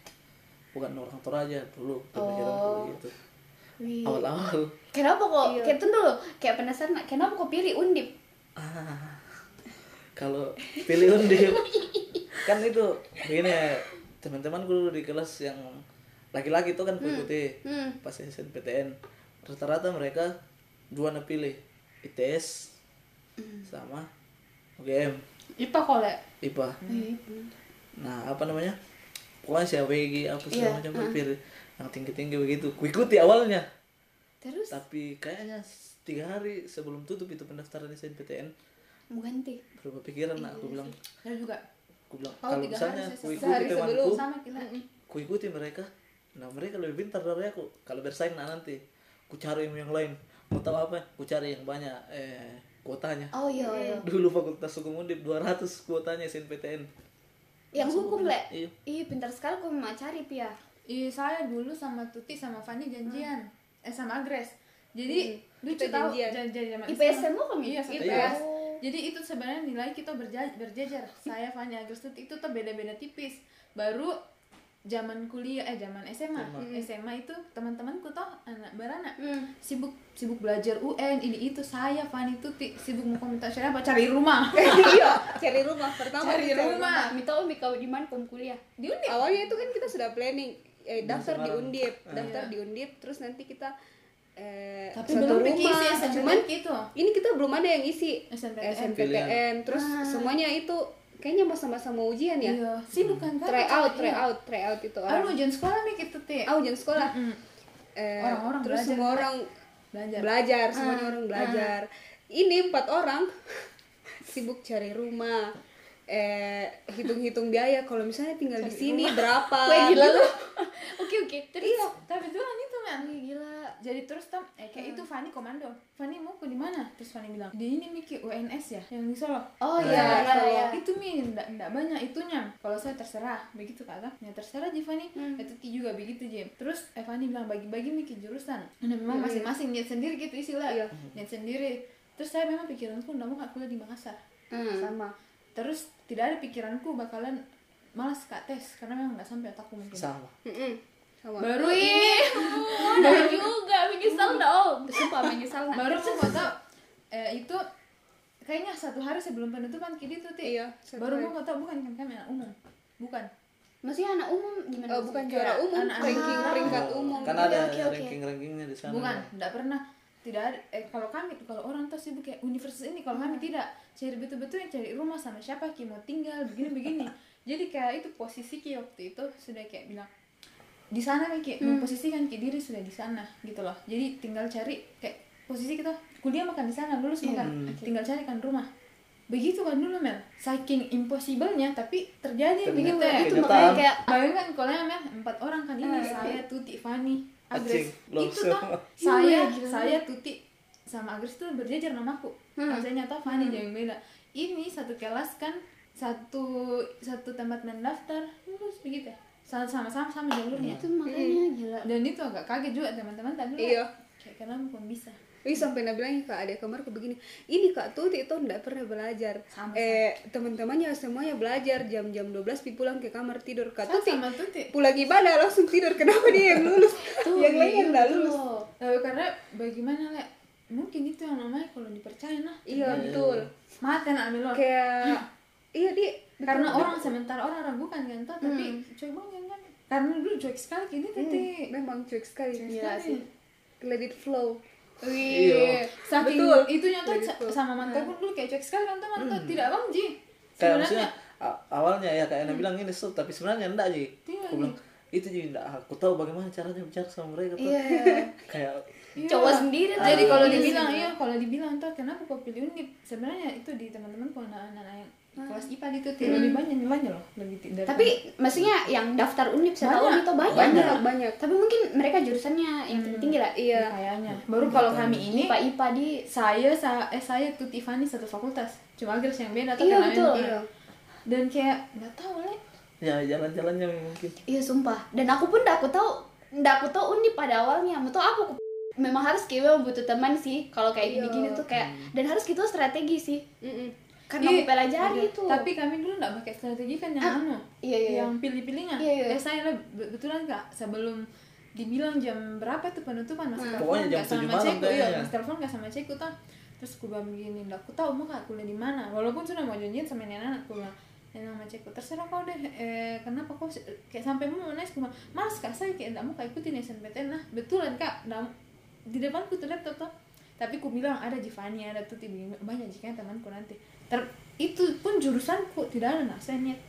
[SPEAKER 3] bukan orang Toraja
[SPEAKER 2] Oh.
[SPEAKER 3] dulu pemikiranku gitu.
[SPEAKER 2] Wih.
[SPEAKER 3] Awal-awal
[SPEAKER 2] Kenapa kok? Kayak tuh dulu, kayak penasaran. nggak, Kenapa kok pilih undip?
[SPEAKER 3] ah, kalau pilih undip kan itu begini ya, teman-temanku dulu di kelas yang laki-laki itu kan putih pas SNPTN rata-rata mereka dua nak pilih ITS sama UGM
[SPEAKER 4] IPA kok le.
[SPEAKER 3] IPA. Nah, apa namanya? Pokoknya si AWG apa segala macam gua pilih yang tinggi-tinggi begitu. Kuikuti awalnya.
[SPEAKER 2] Terus?
[SPEAKER 3] Tapi kayaknya s- tiga hari sebelum tutup itu pendaftaran SNPTN
[SPEAKER 2] mau ganti
[SPEAKER 3] berubah pikiran nah aku bilang
[SPEAKER 4] saya juga
[SPEAKER 3] aku bilang
[SPEAKER 4] Kalau
[SPEAKER 3] kalau
[SPEAKER 4] tiga
[SPEAKER 3] misalnya
[SPEAKER 4] hari saya
[SPEAKER 3] ku ikuti
[SPEAKER 1] sehari
[SPEAKER 3] temanku
[SPEAKER 1] sebelum.
[SPEAKER 4] sama kita
[SPEAKER 3] ku ikuti mereka nah mereka lebih pintar dari aku kalau bersaing nah nanti ku cari yang lain mau tahu apa ku cari yang banyak eh kuotanya
[SPEAKER 2] oh iya iya
[SPEAKER 3] dulu fakultas hukum undip 200 kuotanya SNPTN
[SPEAKER 2] yang hukum le
[SPEAKER 3] Iya.
[SPEAKER 2] ih pintar sekali kok mau cari pia
[SPEAKER 4] Iya, saya dulu sama Tuti sama Fani janjian. Eh sama Agres. Jadi
[SPEAKER 1] Hmm,
[SPEAKER 4] lucu
[SPEAKER 1] kita
[SPEAKER 4] tahu
[SPEAKER 1] janjian.
[SPEAKER 4] janjian sama
[SPEAKER 2] IPS semua kami?
[SPEAKER 1] gitu?
[SPEAKER 4] Iya, sama
[SPEAKER 3] Iya.
[SPEAKER 4] IPS.
[SPEAKER 2] Oh.
[SPEAKER 4] Jadi itu sebenarnya nilai kita berja- berjajar. Saya Fani Agres Tuti itu tuh beda-beda tipis. Baru zaman kuliah eh zaman SMA.
[SPEAKER 1] Hmm.
[SPEAKER 4] SMA itu teman-temanku toh anak beranak
[SPEAKER 2] Hmm.
[SPEAKER 4] sibuk sibuk belajar UN ini itu saya Fani Tuti sibuk mau komentar siapa cari rumah
[SPEAKER 1] iya cari rumah pertama
[SPEAKER 4] cari
[SPEAKER 2] Nah,
[SPEAKER 4] rumah
[SPEAKER 2] Mita Umi kau di mana kom kuliah?
[SPEAKER 1] di Undip awalnya itu kan kita sudah planning eh, daftar di
[SPEAKER 3] Semarang.
[SPEAKER 1] Undip daftar di Undip terus nanti kita eh,
[SPEAKER 4] tapi
[SPEAKER 1] satu
[SPEAKER 4] belum pikir
[SPEAKER 1] rumah.
[SPEAKER 4] sih
[SPEAKER 1] cuman
[SPEAKER 4] SNMPTN gitu
[SPEAKER 1] ini kita belum ada yang isi
[SPEAKER 4] SNPTN.
[SPEAKER 1] SNPTN. terus semuanya itu kayaknya masa-masa mau ujian ya
[SPEAKER 4] iya sibuk kan
[SPEAKER 1] try out try out try out itu
[SPEAKER 4] Aduh
[SPEAKER 1] orang
[SPEAKER 4] ujian sekolah nih gitu teh
[SPEAKER 1] ah ujian sekolah
[SPEAKER 4] Mm-mm.
[SPEAKER 1] Eh,
[SPEAKER 4] Orang-orang
[SPEAKER 1] terus
[SPEAKER 4] belajar.
[SPEAKER 1] semua orang
[SPEAKER 4] belajar Ah,
[SPEAKER 1] belajar semuanya orang belajar ini empat orang sibuk cari rumah eh hitung-hitung biaya kalau misalnya tinggal di sini berapa
[SPEAKER 2] Wah, gila
[SPEAKER 1] gitu.
[SPEAKER 2] lu. Oke oke. Terus
[SPEAKER 4] iya tapi jualan itu kan
[SPEAKER 2] Ih, gila.
[SPEAKER 4] jadi terus tam eh, kayak itu Fani komando Fani mau ke di mana terus Fani bilang di ini Miki UNS ya yang di Solo
[SPEAKER 2] Oh
[SPEAKER 1] iya,
[SPEAKER 2] iya,
[SPEAKER 1] iya, iya.
[SPEAKER 4] itu mi ndak ndak banyak itunya kalau saya terserah begitu kata ya terserah di Fani itu Ti juga begitu Jim terus eh, Fani bilang bagi-bagi Miki jurusan nah memang masing-masing niat sendiri gitu istilah
[SPEAKER 1] Iya.
[SPEAKER 4] niat sendiri terus saya memang pikiranku ndak mau nggak kuliah di Makassar
[SPEAKER 1] sama
[SPEAKER 4] terus tidak ada pikiranku bakalan malas kak tes karena memang nggak sampai otakku mungkin
[SPEAKER 3] sama
[SPEAKER 1] Mm-mm. sama
[SPEAKER 4] baru ini
[SPEAKER 2] Udah juga menyesal dah. Oh, sumpah menyesal nah.
[SPEAKER 4] baru aku mau tau eh, itu kayaknya satu hari sebelum penutupan kini tuh Ti.
[SPEAKER 1] Iya, satu
[SPEAKER 4] baru
[SPEAKER 1] hari.
[SPEAKER 4] mau tau bukan kan kami anak umum bukan
[SPEAKER 2] Maksudnya anak umum gimana?
[SPEAKER 1] Oh, bukan juara umum
[SPEAKER 4] anak-anak.
[SPEAKER 1] ranking
[SPEAKER 2] Ah.
[SPEAKER 1] peringkat umum
[SPEAKER 3] kan ada
[SPEAKER 2] Oke, oke, oke.
[SPEAKER 3] ranking rankingnya di sana
[SPEAKER 4] bukan tidak pernah tidak ada eh, kalau kami tuh, kalau orang tuh sibuk kayak universitas ini kalau kami tidak cari betul-betul yang cari rumah sama siapa ki mau tinggal begini begini jadi kayak itu posisi ki waktu itu sudah kayak bilang di sana nih ki memposisikan ki diri sudah di sana gitu loh jadi tinggal cari kayak posisi kita kuliah makan di sana lulus makan tinggal cari kan rumah begitu kan dulu mel saking impossible-nya tapi terjadi
[SPEAKER 3] Ternyata
[SPEAKER 4] begitu ya
[SPEAKER 2] Itu
[SPEAKER 3] Kenyata-
[SPEAKER 2] makanya kayak "Ah,
[SPEAKER 4] bayangkan kalau emang empat orang kan ini saya Tuti Fani Agres
[SPEAKER 3] Acing,
[SPEAKER 4] itu
[SPEAKER 3] langsung.
[SPEAKER 4] toh saya saya Tuti sama Agres itu berjajar namaku hmm. saya nyata Fani yang beda ini satu kelas kan satu satu tempat mendaftar lulus begitu ya sama sama sama, sama jalurnya
[SPEAKER 2] itu makanya gila.
[SPEAKER 4] dan itu agak kaget juga teman-teman tapi
[SPEAKER 1] Iya.
[SPEAKER 4] kayak kenapa pun bisa
[SPEAKER 1] Ih sampai Nabi bilangnya ke adik kamar aku begini, ini Kak Tuti itu nggak pernah belajar. eh teman-temannya semuanya belajar jam-jam 12 pi pulang ke kamar tidur Kak Tuti.
[SPEAKER 4] sama Tuti
[SPEAKER 1] Pulang ibadah langsung tidur. Kenapa dia yang lulus? yang lain yang nggak lulus.
[SPEAKER 4] Eh, karena bagaimana le mungkin itu yang namanya kalau dipercaya nah
[SPEAKER 1] Iya betul.
[SPEAKER 4] mati nak ambil orang.
[SPEAKER 1] Kayak iya di
[SPEAKER 4] karena orang sementara orang ragukan kan toh tapi cuek banget kan karena dulu cuek sekali gini tadi
[SPEAKER 1] memang cuek sekali.
[SPEAKER 4] Gila
[SPEAKER 1] Sekali. Let it flow. Iya.
[SPEAKER 3] Iya.
[SPEAKER 4] Wih, saking
[SPEAKER 1] Betul.
[SPEAKER 4] itunya tuh
[SPEAKER 1] Begitu.
[SPEAKER 4] sama mantan pun dulu kayak cuek sekali kan teman tuh tidak bang Ji
[SPEAKER 3] kayak
[SPEAKER 4] sebenarnya
[SPEAKER 3] maksudnya a- awalnya ya kayak Ena bilang ini stop tapi sebenarnya enggak sih
[SPEAKER 4] Iya,
[SPEAKER 3] aku bilang itu juga enggak aku tahu bagaimana caranya bicara sama mereka tuh kayak
[SPEAKER 4] Iya.
[SPEAKER 2] Cowok sendiri tuh.
[SPEAKER 4] jadi kalau
[SPEAKER 2] Iya
[SPEAKER 4] dibilang
[SPEAKER 2] sih.
[SPEAKER 4] iya kalau dibilang tuh kenapa kok pilih unip sebenarnya itu di teman-teman kalau anak-anak yang kelas IPA itu gitu, tidak lebih banyak nilainya loh lebih ti- dari
[SPEAKER 2] iya. Tapi maksudnya yang daftar unip saya tahu
[SPEAKER 4] Banyak.
[SPEAKER 2] itu banyak.
[SPEAKER 1] Banyak banyak.
[SPEAKER 2] Tapi mungkin mereka jurusannya yang tinggi lah.
[SPEAKER 1] Iya.
[SPEAKER 4] kayaknya Gitu. baru kalau kami ini
[SPEAKER 2] IPA IPA di
[SPEAKER 4] saya sa- eh saya tuh Tiffany satu fakultas cuma Grace yang
[SPEAKER 2] Iya,
[SPEAKER 4] beda tapi namanya
[SPEAKER 2] betul.
[SPEAKER 4] bukan.
[SPEAKER 1] Iya.
[SPEAKER 4] dan kayak nggak tahu le
[SPEAKER 3] ya jalan-jalannya mungkin
[SPEAKER 2] Iya sumpah. Dan aku pun dah aku tahu, dah aku tahu undi pada awalnya. Mau tahu apa aku memang harus kita butuh teman sih kalau
[SPEAKER 1] Iya.
[SPEAKER 2] kayak gini-gini tuh kayak dan harus kita strategi sih Iya,
[SPEAKER 1] Mm-mm.
[SPEAKER 2] karena
[SPEAKER 4] Ih,
[SPEAKER 2] mau Kan pelajari
[SPEAKER 4] ada.
[SPEAKER 2] itu
[SPEAKER 4] Iya, tapi kami dulu nggak pakai strategi kan yang anu
[SPEAKER 2] iya, iya,
[SPEAKER 4] yang pilih-pilihnya
[SPEAKER 2] Iya, iya.
[SPEAKER 4] eh saya lah be- betulan kak sebelum dibilang jam berapa tuh penutupan masih telepon
[SPEAKER 3] Pokoknya jam
[SPEAKER 4] nggak sama
[SPEAKER 3] 7 malam
[SPEAKER 4] ceku iya
[SPEAKER 3] kayaknya.
[SPEAKER 4] masih telepon nggak sama ceku tuh terus aku bilang begini nggak aku tahu mau kak kuliah di mana walaupun sudah mau janjian sama nenek anak aku bilang nenek sama ceku terserah kau deh eh, kenapa kau se- kayak sampai mau nanya aku bilang mas kak saya kayak nggak mau kak ikutin SNPTN nah betulan kak nggak mau." di depanku tuh laptop tuh tapi ku bilang ada Jivani ada tuh tiba banyak jika temanku nanti Ter itu pun jurusanku tidak ada nah saya niat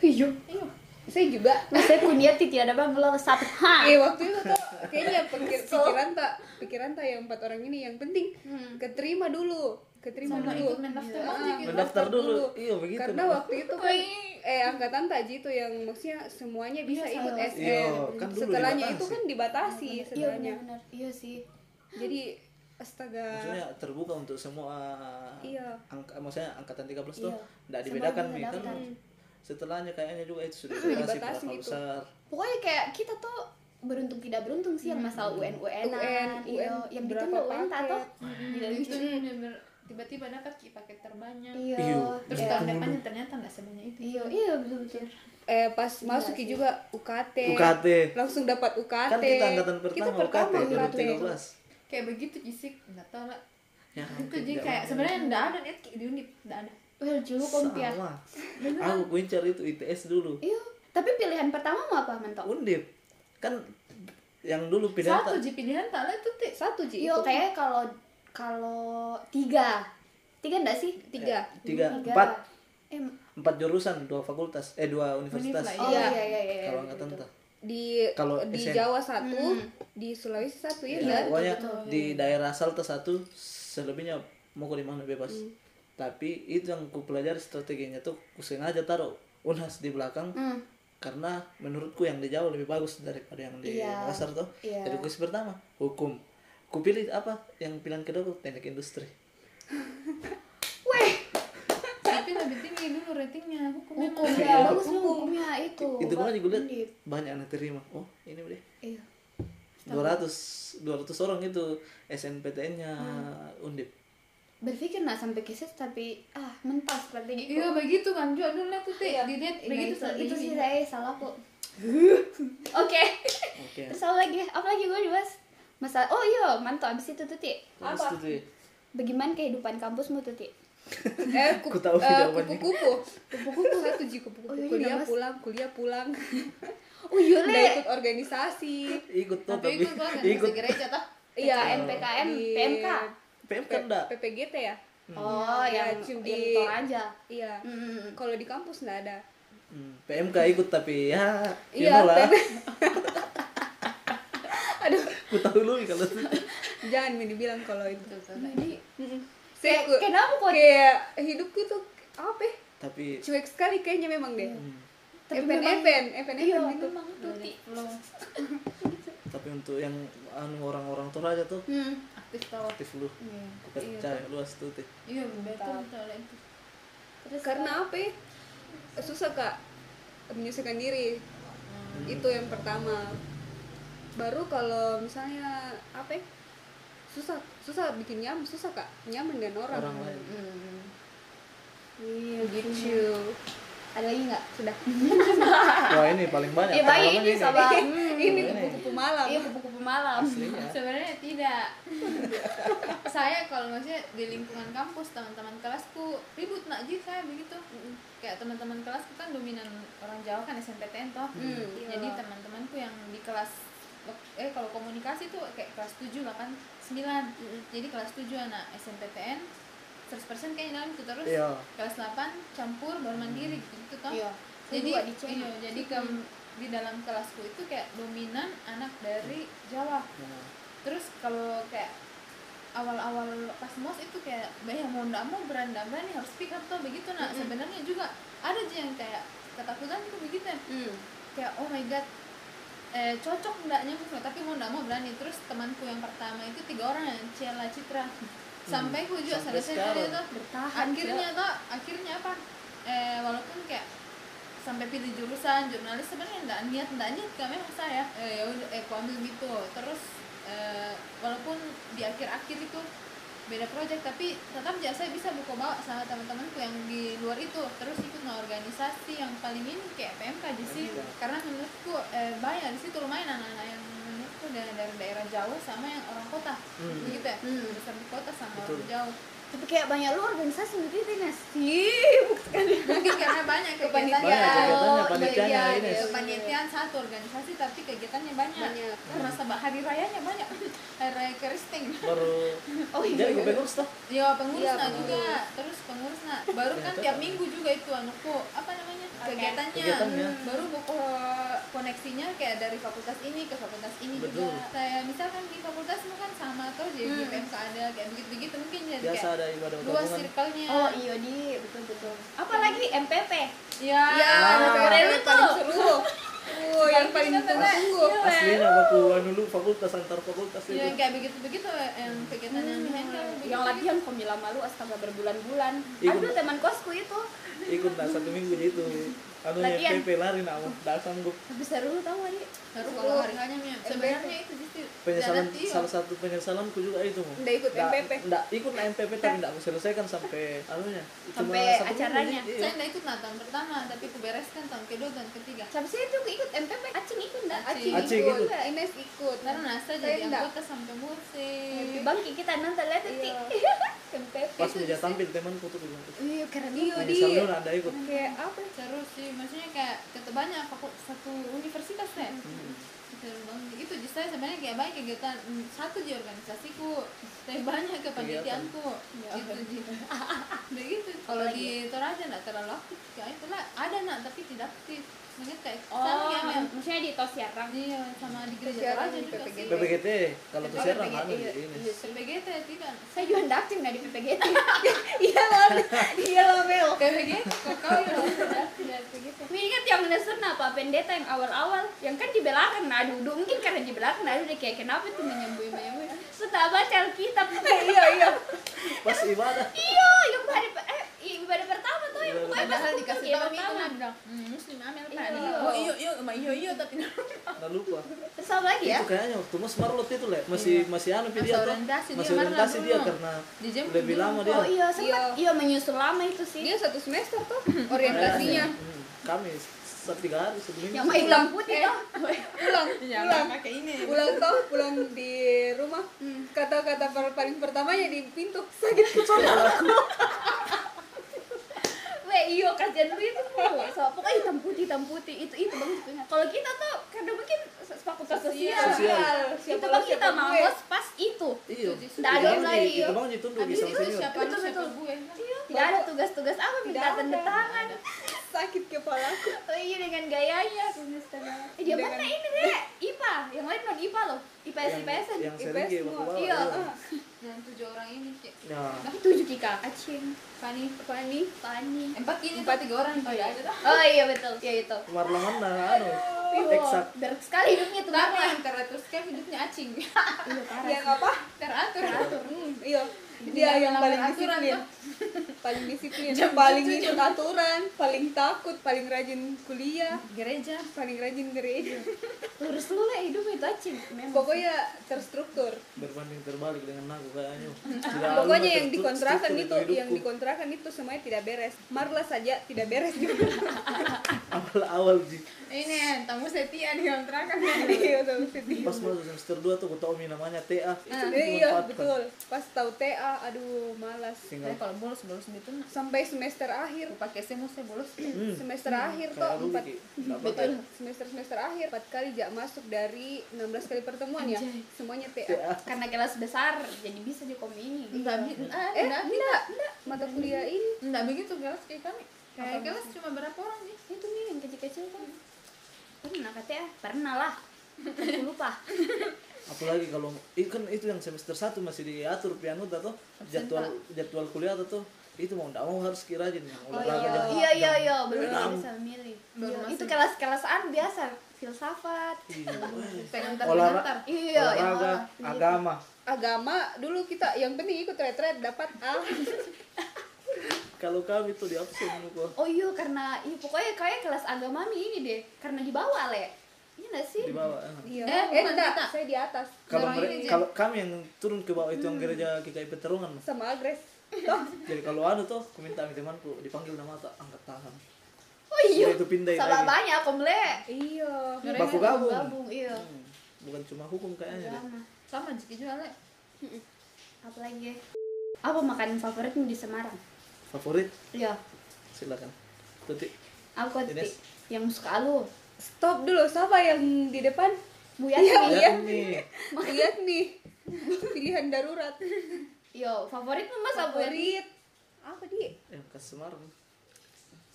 [SPEAKER 2] iya
[SPEAKER 4] iya
[SPEAKER 1] Saya juga
[SPEAKER 2] saya punya tidak ada bang lo satu ha
[SPEAKER 1] Iya waktu itu tuh kayaknya pikir, pikiran tak pikiran tak yang empat orang ini yang penting keterima dulu keterima
[SPEAKER 4] Sama
[SPEAKER 1] dulu
[SPEAKER 4] ikut mendaftar
[SPEAKER 1] Iya,
[SPEAKER 4] aja gitu.
[SPEAKER 3] Mendaftar dulu. Iya, begitu
[SPEAKER 1] karena
[SPEAKER 3] dong.
[SPEAKER 1] waktu itu kan eh angkatan Taji itu yang maksudnya semuanya bisa
[SPEAKER 4] Iya,
[SPEAKER 1] ikut
[SPEAKER 4] salah.
[SPEAKER 1] SN
[SPEAKER 3] Iya, kan dulu
[SPEAKER 1] setelahnya
[SPEAKER 3] dibatasi.
[SPEAKER 1] itu kan dibatasi
[SPEAKER 2] iya
[SPEAKER 1] setelahnya
[SPEAKER 2] benar iya sih
[SPEAKER 1] jadi astaga
[SPEAKER 3] maksudnya terbuka untuk semua
[SPEAKER 1] Iya.
[SPEAKER 3] angka, maksudnya angkatan 13 tuh
[SPEAKER 2] Iya.
[SPEAKER 3] tidak
[SPEAKER 2] Semua
[SPEAKER 3] dibedakan
[SPEAKER 2] bisa
[SPEAKER 3] nih kan
[SPEAKER 2] daftar.
[SPEAKER 3] setelahnya kayaknya juga itu sudah dibatasi
[SPEAKER 1] Dibatasi
[SPEAKER 3] berapa
[SPEAKER 1] gitu.
[SPEAKER 3] besar
[SPEAKER 2] pokoknya kayak kita tuh beruntung tidak beruntung sih yang masalah UN UN
[SPEAKER 1] Hmm. UN,
[SPEAKER 2] iya
[SPEAKER 1] UN,
[SPEAKER 2] yang
[SPEAKER 1] berapa
[SPEAKER 2] ditunda UN tak
[SPEAKER 1] paket.
[SPEAKER 2] tuh
[SPEAKER 4] Iya, itu bener-bener tiba-tiba dapat ki paket terbanyak.
[SPEAKER 2] iya
[SPEAKER 3] Iya.
[SPEAKER 4] Terus
[SPEAKER 2] iya.
[SPEAKER 4] tahun depannya ternyata nggak sebanyak itu.
[SPEAKER 2] iya iya betul betul
[SPEAKER 1] eh pas masuk Ki juga UKT
[SPEAKER 3] UKT.
[SPEAKER 1] langsung dapat UKT
[SPEAKER 3] kan kita angkatan pertama,
[SPEAKER 1] kita pertama
[SPEAKER 3] UKT baru
[SPEAKER 1] UKT.
[SPEAKER 3] 13
[SPEAKER 4] Kayak begitu cisik nggak tahu lah.
[SPEAKER 3] ya
[SPEAKER 4] Itu jadi kayak sebenarnya nggak ada niat Ki, di unip nggak ada.
[SPEAKER 2] well julu kompia
[SPEAKER 3] sama aku wincar itu ITS dulu
[SPEAKER 2] iya tapi pilihan pertama mau apa mentok
[SPEAKER 3] undip kan yang dulu pindah
[SPEAKER 4] Satu ji pilihan tak lah itu ti.
[SPEAKER 1] satu ji
[SPEAKER 2] iya
[SPEAKER 1] itu
[SPEAKER 2] kayak kalau kalau tiga tiga enggak sih
[SPEAKER 1] tiga
[SPEAKER 3] tiga empat
[SPEAKER 2] eh,
[SPEAKER 3] empat jurusan dua fakultas eh dua universitas
[SPEAKER 4] lah,
[SPEAKER 2] oh
[SPEAKER 1] Iya.
[SPEAKER 2] iya iya iya, iya.
[SPEAKER 3] kalau angkatan tuh
[SPEAKER 1] di
[SPEAKER 3] Kalau
[SPEAKER 1] di
[SPEAKER 3] SN.
[SPEAKER 1] Jawa satu
[SPEAKER 2] Hmm.
[SPEAKER 1] di Sulawesi satu
[SPEAKER 2] iya,
[SPEAKER 1] ya,
[SPEAKER 3] Ya,
[SPEAKER 1] kan?
[SPEAKER 3] pokoknya di daerah asal tuh satu selebihnya mau ke di mana bebas
[SPEAKER 2] Hmm.
[SPEAKER 3] tapi itu yang ku pelajari strateginya tuh ku sengaja taruh unhas di belakang
[SPEAKER 2] Hmm.
[SPEAKER 3] karena menurutku yang di Jawa lebih bagus daripada yang di
[SPEAKER 2] Iya.
[SPEAKER 3] Makassar tuh
[SPEAKER 2] Iya.
[SPEAKER 3] jadi kursi pertama hukum ku pilih apa yang pilihan kedua ku teknik industri
[SPEAKER 4] Tapi lebih tinggi dulu ratingnya hukum.
[SPEAKER 2] hukum
[SPEAKER 4] memang.
[SPEAKER 2] ya bagus lu hukumnya itu
[SPEAKER 3] itu
[SPEAKER 2] Bang.
[SPEAKER 3] kan juga lihat
[SPEAKER 2] Oh, Undip.
[SPEAKER 3] banyak yang terima oh ini deh
[SPEAKER 2] iya
[SPEAKER 3] 200 200 orang itu SNPTN-nya Undip.
[SPEAKER 2] berpikir nggak sampai keset tapi ah mentas strategi
[SPEAKER 4] Iya begitu kan juga dulu lah tuh ti. Dilihat
[SPEAKER 2] Nah,
[SPEAKER 4] begitu Iya.
[SPEAKER 2] itu, itu sih
[SPEAKER 4] strateginya.
[SPEAKER 2] saya salah kok oke
[SPEAKER 3] Oke.
[SPEAKER 2] terus apa lagi apa lagi gue dibahas masalah oh iya mantap abis itu tuh Ti.
[SPEAKER 3] Terus
[SPEAKER 1] Apa?
[SPEAKER 3] itu tuh,
[SPEAKER 2] bagaimana kehidupan kampusmu tuh Ti?
[SPEAKER 1] eh ku-
[SPEAKER 3] Aku tahu
[SPEAKER 1] eh,
[SPEAKER 3] jawabannya.
[SPEAKER 1] kupu-kupu kupu-kupu satu ji kupu-kupu
[SPEAKER 2] Oh, iya,
[SPEAKER 1] kuliah
[SPEAKER 2] iya, Mas.
[SPEAKER 1] pulang kuliah pulang
[SPEAKER 2] oh iya
[SPEAKER 1] udah
[SPEAKER 2] le
[SPEAKER 1] ikut organisasi
[SPEAKER 3] ikut tuh tapi,
[SPEAKER 4] Tapi ikut kan
[SPEAKER 3] ikut
[SPEAKER 4] ikut gereja tah.
[SPEAKER 1] iya
[SPEAKER 2] NPKM
[SPEAKER 1] Di-
[SPEAKER 2] PMK
[SPEAKER 3] PMK
[SPEAKER 1] P-
[SPEAKER 3] enggak?
[SPEAKER 1] PPGT ya
[SPEAKER 2] oh
[SPEAKER 1] Ya,
[SPEAKER 2] yang Hmm,
[SPEAKER 1] cuma
[SPEAKER 2] yang
[SPEAKER 1] di-
[SPEAKER 2] di aja
[SPEAKER 1] iya
[SPEAKER 2] Mm-mm.
[SPEAKER 1] kalau di kampus nggak ada
[SPEAKER 3] Hmm, PMK ikut tapi ya you
[SPEAKER 1] Iya,
[SPEAKER 3] know lah.
[SPEAKER 1] PMK. aduh
[SPEAKER 3] Ku tahu lu kalau tuh.
[SPEAKER 1] jangan mini bilang kalau itu
[SPEAKER 2] jadi
[SPEAKER 1] Mm-mm.
[SPEAKER 2] Eh, kayak
[SPEAKER 1] Saya-
[SPEAKER 2] kenapa kok
[SPEAKER 1] kayak hidupku tuh apa ya?
[SPEAKER 3] tapi hmm.
[SPEAKER 1] cuek sekali kayaknya memang deh
[SPEAKER 2] Tapi
[SPEAKER 1] Epen
[SPEAKER 2] memang-
[SPEAKER 1] Epen Epen
[SPEAKER 2] iya
[SPEAKER 1] Epen gitu
[SPEAKER 2] memang tuh Ti.
[SPEAKER 3] tapi untuk yang anu orang-orang Toraja tuh
[SPEAKER 2] hmm.
[SPEAKER 4] Aktif tahu.
[SPEAKER 3] aktif lu. Ku percaya luas tuh teh.
[SPEAKER 4] Iya betul betul lah itu.
[SPEAKER 2] terus
[SPEAKER 1] karena apa ya? susah kak menyusahkan diri itu yang pertama baru kalau misalnya apa ya? susah susah bikin nyaman susah kak nyaman dengan orang,
[SPEAKER 3] Orang lain.
[SPEAKER 2] Hmm.
[SPEAKER 1] iya gitu
[SPEAKER 2] ada lagi nggak
[SPEAKER 1] sudah
[SPEAKER 3] Wah, ini paling banyak.
[SPEAKER 2] Iya, baik,
[SPEAKER 3] Pengalamannya
[SPEAKER 2] ini sabar.
[SPEAKER 1] Hmm. ini kupu-kupu malam
[SPEAKER 2] iya buku-buku malam
[SPEAKER 3] Aslinya.
[SPEAKER 4] Sebenarnya tidak. saya kalau maksudnya di lingkungan kampus teman-teman kelasku ribut nak ji saya begitu. Kayak teman-teman kelasku kan dominan orang Jawa kan SNPTN toh.
[SPEAKER 1] Hmm. Iya.
[SPEAKER 4] Jadi teman-temanku yang di kelas eh kalau komunikasi tuh kayak kelas 7 8 9. Jadi kelas 7 anak SNPTN 100% kayaknya dalam itu gitu, terus.
[SPEAKER 3] Iya.
[SPEAKER 4] Kelas 8 campur baru mandiri gitu, gitu toh.
[SPEAKER 2] Iya. Saya
[SPEAKER 4] Jadi
[SPEAKER 2] juga di Cina.
[SPEAKER 4] iya, jadi ke di dalam kelasku itu kayak dominan anak dari Jawa
[SPEAKER 3] Nah,
[SPEAKER 4] terus kalau kayak awal-awal pas mos itu kayak bah ya mau ndak mau berani ndak berani harus pick up tuh begitu nah sebenarnya juga ada aja yang kayak ketakutan tuh begitu ya.
[SPEAKER 2] Hmm.
[SPEAKER 4] kayak oh my god eh, cocok ndaknya gitu tapi mau ndak mau berani terus temanku yang pertama itu tiga orang yang Ciela Citra sampai ku juga
[SPEAKER 3] Hmm, sampai
[SPEAKER 4] selesai kali
[SPEAKER 3] sekarang.
[SPEAKER 4] itu
[SPEAKER 2] Bertahan,
[SPEAKER 4] akhirnya tuh akhirnya apa eh, walaupun kayak sampai pilih jurusan jurnalis sebenarnya nggak niat nggak niat gak memang saya eh, ya udah eh ku ambil gitu terus eh, walaupun di akhir-akhir itu beda proyek tapi tetap aja saya bisa buku bawa sama teman-temanku yang di luar itu terus ikut nge- organisasi yang paling ini kayak PMK aja sih
[SPEAKER 3] Iya.
[SPEAKER 4] karena menurutku eh, banyak di situ lumayan anak-anak yang menurutku dari, dari daerah Jawa sama yang orang kota
[SPEAKER 3] Hmm.
[SPEAKER 4] begitu ya
[SPEAKER 2] Hmm.
[SPEAKER 4] besar di kota sama
[SPEAKER 3] Betul.
[SPEAKER 4] orang Jawa
[SPEAKER 2] tapi kayak banyak lu organisasi gitu Nes
[SPEAKER 4] mungkin karena banyak kegiatan
[SPEAKER 3] Banyak kegiatannya, panitianya
[SPEAKER 4] iya,
[SPEAKER 3] ini.
[SPEAKER 4] iya, kepanitiaan satu organisasi tapi kegiatannya banyak,
[SPEAKER 1] Banyak.
[SPEAKER 4] karena sebab hari rayanya banyak hari raya Iya, keristing
[SPEAKER 3] Baru
[SPEAKER 2] oh
[SPEAKER 3] jadi gubernur tuh.
[SPEAKER 4] ya pengurus
[SPEAKER 1] Iya,
[SPEAKER 4] nah
[SPEAKER 1] pengurus.
[SPEAKER 4] juga terus pengurus nah baru kan
[SPEAKER 3] Ternyata. ya.
[SPEAKER 4] tiap minggu juga itu anuku apa namanya kegiatannya
[SPEAKER 3] Kegiatannya.
[SPEAKER 4] Hmm, baru buku koneksinya kayak dari fakultas ini ke fakultas ini
[SPEAKER 3] Betul.
[SPEAKER 4] juga kayak misalkan di fakultas kan sama tuh jadi di PMK ada kayak begitu-begitu mungkin jadi
[SPEAKER 3] Biasa
[SPEAKER 4] kayak
[SPEAKER 3] ada ibadah
[SPEAKER 4] luas
[SPEAKER 3] gabungan.
[SPEAKER 4] circle-nya
[SPEAKER 2] Oh iya di betul betul. Apalagi MPP.
[SPEAKER 4] ya,
[SPEAKER 1] Ya,
[SPEAKER 2] Ah.
[SPEAKER 1] anak
[SPEAKER 2] Keren
[SPEAKER 1] yang
[SPEAKER 2] lu
[SPEAKER 1] paling
[SPEAKER 2] tuh.
[SPEAKER 1] seru. Oh, yang paling ditunggu-tunggu.
[SPEAKER 3] Aslinya waktu dulu fakultas antar fakultas
[SPEAKER 1] Iya,
[SPEAKER 4] Ya,
[SPEAKER 3] itu.
[SPEAKER 4] yang kayak begitu-begitu yang kegiatan yang handle
[SPEAKER 2] Yang latihan pemila malu astaga berbulan-bulan.
[SPEAKER 3] Iya,
[SPEAKER 2] Aduh
[SPEAKER 3] bener.
[SPEAKER 2] teman kosku itu.
[SPEAKER 3] Ikut nah satu minggu itu. Anu
[SPEAKER 2] Latihan.
[SPEAKER 3] PP lari nama dah sanggup.
[SPEAKER 2] Tapi seru tau gak nih?
[SPEAKER 4] harus kalau harganya Mia. sebenarnya itu justru
[SPEAKER 3] Penyesalan
[SPEAKER 4] Darat, iya.
[SPEAKER 3] salah satu penyesalanku juga itu. Mo.
[SPEAKER 1] Nggak ikut
[SPEAKER 3] Nggak-
[SPEAKER 1] MPP.
[SPEAKER 3] Nggak ikut nah MPP tapi enggak aku selesaikan sampai anunya. Cuma
[SPEAKER 2] Sampai
[SPEAKER 3] satu minggu,
[SPEAKER 2] acaranya.
[SPEAKER 3] jadi, iya.
[SPEAKER 4] saya nggak ikut nah tahun pertama tapi aku bereskan tahun kedua tahun ketiga
[SPEAKER 2] Siapa sih itu ikut MPP? Acing ikut enggak?
[SPEAKER 1] Aci
[SPEAKER 3] Acing
[SPEAKER 1] ikut,
[SPEAKER 3] ikut.
[SPEAKER 1] Ines ikut.
[SPEAKER 4] karena NASA
[SPEAKER 1] Saya
[SPEAKER 4] jadi
[SPEAKER 1] nggak.
[SPEAKER 4] anggota sampai musik
[SPEAKER 2] Bang kita nanti lihat nanti. MPP.
[SPEAKER 3] Pas meja tampil temanku tuh bilang.
[SPEAKER 2] Iya keren
[SPEAKER 1] Iya,
[SPEAKER 2] banget.
[SPEAKER 1] di.
[SPEAKER 3] Penyesalan ada ikut.
[SPEAKER 1] Kayak apa?
[SPEAKER 4] seru sih maksudnya kayak ketemu banyak aku satu universitas ya
[SPEAKER 1] Hmm.
[SPEAKER 4] seru banget itu justru saya sebenarnya kayak banyak kegiatan Hmm, satu di organisasiku tapi banyak ke panitiaanku
[SPEAKER 1] Iya,
[SPEAKER 4] gitu gitu udah gitu kalau di Toraja nggak terlalu aktif kayak itu lah ada nak tapi tidak aktif Maksudnya kayak sama
[SPEAKER 2] Oh,
[SPEAKER 1] iya.
[SPEAKER 4] kayak Mel.
[SPEAKER 2] maksudnya di tos Yarang.
[SPEAKER 4] Iya, sama di gereja
[SPEAKER 1] Siaran
[SPEAKER 4] Toraja
[SPEAKER 1] di
[SPEAKER 4] juga sih
[SPEAKER 1] PPGT.
[SPEAKER 3] PPGT kalau tuh serang
[SPEAKER 1] PPGT,
[SPEAKER 3] anu
[SPEAKER 1] iya,
[SPEAKER 3] ini.
[SPEAKER 4] PPGT ya, tidak
[SPEAKER 2] Saya juga enggak aktif enggak di PPGT. Iya loh. Iya loh Mel.
[SPEAKER 4] PPGT kok kau ya? yang tidak tidak PPGT
[SPEAKER 2] Tapi ingat yang nesen apa pendeta yang awal-awal yang kan dibelakang nah duduk mungkin karena di belakang nah udah kayak kenapa tuh menyembui menyembui setelah baca Alkitab iya iya
[SPEAKER 3] Pas ibadah.
[SPEAKER 2] iya yang hari eh ibadah pertama tuh yang pokoknya pas
[SPEAKER 4] padahal
[SPEAKER 2] kumpul,
[SPEAKER 4] dikasih
[SPEAKER 2] iya,
[SPEAKER 4] tahu itu
[SPEAKER 2] pertama
[SPEAKER 4] nah bilang hmm, muslim amel
[SPEAKER 2] Iya.
[SPEAKER 4] tadi oh iyo iyo sama iyo iyo tapi
[SPEAKER 3] Nggak lupa.
[SPEAKER 2] terus apa lagi ya
[SPEAKER 3] Itu kan kayaknya waktu mas Marlot itu lah masih masih anu
[SPEAKER 4] Masih
[SPEAKER 3] dia tuh.
[SPEAKER 4] orientasi dia,
[SPEAKER 3] Masih
[SPEAKER 4] Marlot
[SPEAKER 3] orientasi
[SPEAKER 4] dulu.
[SPEAKER 3] dia karena
[SPEAKER 4] Dijemput
[SPEAKER 3] lebih
[SPEAKER 4] dulu.
[SPEAKER 3] lama dia.
[SPEAKER 2] oh iya sempat iya menyusul lama itu sih
[SPEAKER 1] Dia satu semester tuh
[SPEAKER 3] Kayaknya.
[SPEAKER 1] orientasinya.
[SPEAKER 3] Hmm, Kami setiap tiga hari sebelum
[SPEAKER 2] yang main hitam putih tuh
[SPEAKER 1] Pulang, pulang.
[SPEAKER 4] pakai ini
[SPEAKER 1] Pulang tuh, pulang di rumah.
[SPEAKER 2] Hmm.
[SPEAKER 1] Kata-kata per- paling pertamanya di pintu. Sakit
[SPEAKER 2] Iya.
[SPEAKER 1] kepala.
[SPEAKER 2] Weh, iyo kasihan lu itu Wah, so, pokoknya hitam putih hitam putih itu itu banget punya. Kalau kita tuh kadang mungkin se- fakultas sosial.
[SPEAKER 3] Sosial.
[SPEAKER 2] Itu
[SPEAKER 1] Siapa
[SPEAKER 2] bang
[SPEAKER 1] lu, siapa
[SPEAKER 2] kita
[SPEAKER 1] ya. gue?
[SPEAKER 2] mampus pas itu.
[SPEAKER 3] Iya.
[SPEAKER 2] Nggak ada yang lain, iya.
[SPEAKER 3] Itu bang ditunduk
[SPEAKER 4] habis
[SPEAKER 3] bisa
[SPEAKER 4] itu
[SPEAKER 3] senior.
[SPEAKER 4] siapa lu siapa gue
[SPEAKER 2] Iya, tidak ada tugas-tugas apa minta
[SPEAKER 1] Tidak
[SPEAKER 2] tanda
[SPEAKER 1] ada.
[SPEAKER 2] tangan.
[SPEAKER 1] Sakit kepala.
[SPEAKER 2] Oh iya dengan gayanya semester. Eh dia
[SPEAKER 1] Dengan-
[SPEAKER 2] mana ini deh? IPA, yang lain non IPA loh. IPS IPS
[SPEAKER 3] Yang- Yang
[SPEAKER 1] IPS
[SPEAKER 3] sering dia
[SPEAKER 1] semua.
[SPEAKER 3] bawa.
[SPEAKER 2] Iya.
[SPEAKER 4] yang tujuh orang ini kayak
[SPEAKER 3] Ya.
[SPEAKER 2] Tujuh kika, Acing,
[SPEAKER 4] Fani
[SPEAKER 1] Fani.
[SPEAKER 2] Fani.
[SPEAKER 4] empat ini empat tiga orang oh iya ada
[SPEAKER 2] Oh iya betul, ya itu.
[SPEAKER 3] Marlon nah anu. Eksak.
[SPEAKER 2] Dark sekali hidupnya tuh.
[SPEAKER 4] tapi yang teratur sekali hidupnya acing
[SPEAKER 2] Iya, parah.
[SPEAKER 1] Yang apa?
[SPEAKER 4] teratur teratur
[SPEAKER 1] Hmm, iya. Dia yang paling
[SPEAKER 4] aturan
[SPEAKER 1] disiplin.
[SPEAKER 4] tuh.
[SPEAKER 1] Paling disiplin. Paling ikut aturan. Paling takut. Paling rajin kuliah.
[SPEAKER 4] gereja
[SPEAKER 1] Paling rajin gereja.
[SPEAKER 2] Lurus lu lah hidup itu Acing. Memang.
[SPEAKER 1] Pokoknya terstruktur.
[SPEAKER 3] Berbanding terbalik dengan aku kayaknya. Tidak anu, ada
[SPEAKER 1] Pokoknya yang
[SPEAKER 3] Iya, terstruktur-
[SPEAKER 1] dikontrakan
[SPEAKER 3] struktur
[SPEAKER 1] itu,
[SPEAKER 3] dalam
[SPEAKER 1] yang
[SPEAKER 3] hidupku.
[SPEAKER 1] dikontrakan itu semuanya tidak beres. Marla saja tidak beres juga.
[SPEAKER 3] awal-awal di
[SPEAKER 4] ini tamu setia di yang terakhir
[SPEAKER 1] Iya, tahu sedih.
[SPEAKER 3] pas masuk semester 2 tuh Tommy namanya TA. Itu
[SPEAKER 1] Eh, Iya,
[SPEAKER 3] dimanfaatkan.
[SPEAKER 1] betul. Pas tahu TA, aduh malas.
[SPEAKER 3] Tinggal
[SPEAKER 4] Saya kalau bolos bolos gitu nah.
[SPEAKER 1] Sampai semester akhir, Hmm.
[SPEAKER 4] aku pakai semu saya bolos
[SPEAKER 1] semester akhir
[SPEAKER 3] Hmm. kayak gitu.
[SPEAKER 1] toh
[SPEAKER 3] rugi.
[SPEAKER 1] empat
[SPEAKER 3] Nggak
[SPEAKER 1] betul
[SPEAKER 3] pakai.
[SPEAKER 1] semester semester akhir empat kali jak masuk dari 16 kali pertemuan ya semuanya TA
[SPEAKER 3] TA.
[SPEAKER 2] Karena kelas besar, jadi bisa di kom ini.
[SPEAKER 4] enggak bi- ah,
[SPEAKER 1] eh
[SPEAKER 4] enggak
[SPEAKER 1] enggak enggak mata kuliah ini
[SPEAKER 4] enggak begitu kelas kayak kami gitu? kayak kelas cuma berapa orang sih
[SPEAKER 2] itu nih yang kecil-kecil kan pernah katanya pernah lah aku lupa
[SPEAKER 3] apalagi kalau itu kan itu yang semester 1 masih diatur piano atau jadwal jadwal kuliah atau itu mau nggak mau harus kirajin yang olahraga jam-
[SPEAKER 2] iya iya
[SPEAKER 3] jam-
[SPEAKER 2] iya belum
[SPEAKER 3] enam.
[SPEAKER 2] bisa milih
[SPEAKER 4] Baru
[SPEAKER 2] Iya,
[SPEAKER 4] masuk.
[SPEAKER 2] itu kelas-kelasan biasa filsafat
[SPEAKER 3] Iya, weh.
[SPEAKER 4] pengantar
[SPEAKER 3] Olahra-
[SPEAKER 4] pengantar
[SPEAKER 2] iya yang
[SPEAKER 3] olahraga
[SPEAKER 2] olah. Iya.
[SPEAKER 3] agama
[SPEAKER 1] agama dulu kita yang penting ikut retret dapat A
[SPEAKER 4] Eh,
[SPEAKER 3] kalau kami tuh di absen kok
[SPEAKER 2] oh iya karena iya pokoknya kayak kelas agama Mi ini deh karena di bawah le iya nggak sih
[SPEAKER 3] di bawah eh.
[SPEAKER 1] iya
[SPEAKER 4] Eh,
[SPEAKER 1] eh
[SPEAKER 4] bukan
[SPEAKER 1] enggak
[SPEAKER 4] kita.
[SPEAKER 1] saya di atas
[SPEAKER 3] kalau
[SPEAKER 4] Orang
[SPEAKER 3] mere-
[SPEAKER 4] ini, Jen.
[SPEAKER 3] kalau kami yang turun ke bawah itu
[SPEAKER 2] Hmm.
[SPEAKER 3] yang gereja KKI Peterungan
[SPEAKER 1] sama agres toh
[SPEAKER 3] jadi kalau anu tuh aku minta sama temanku dipanggil nama tak angkat tangan
[SPEAKER 2] oh iya
[SPEAKER 3] Sudah itu pindahin
[SPEAKER 2] salah
[SPEAKER 3] lagi.
[SPEAKER 2] banyak kom le
[SPEAKER 1] iya
[SPEAKER 4] Mereka
[SPEAKER 3] baku
[SPEAKER 2] Gabung,
[SPEAKER 3] gabung Iya.
[SPEAKER 2] gabung iya
[SPEAKER 3] Hmm, bukan cuma hukum kayaknya deh.
[SPEAKER 2] Agama.
[SPEAKER 4] sama jeki juga le
[SPEAKER 2] apa lagi ya? apa makanan favoritmu di Semarang
[SPEAKER 3] favorit
[SPEAKER 2] iya
[SPEAKER 3] silakan tuti
[SPEAKER 2] aku
[SPEAKER 3] Ines.
[SPEAKER 2] titik yang suka lu
[SPEAKER 1] stop dulu siapa yang di depan
[SPEAKER 2] Bu Yasmin
[SPEAKER 1] Iya.
[SPEAKER 3] lihat nih
[SPEAKER 1] lihat nih pilihan darurat
[SPEAKER 2] Yo, Iya, favorit mama favorit.
[SPEAKER 1] favorit apa di
[SPEAKER 3] yang khas Semarang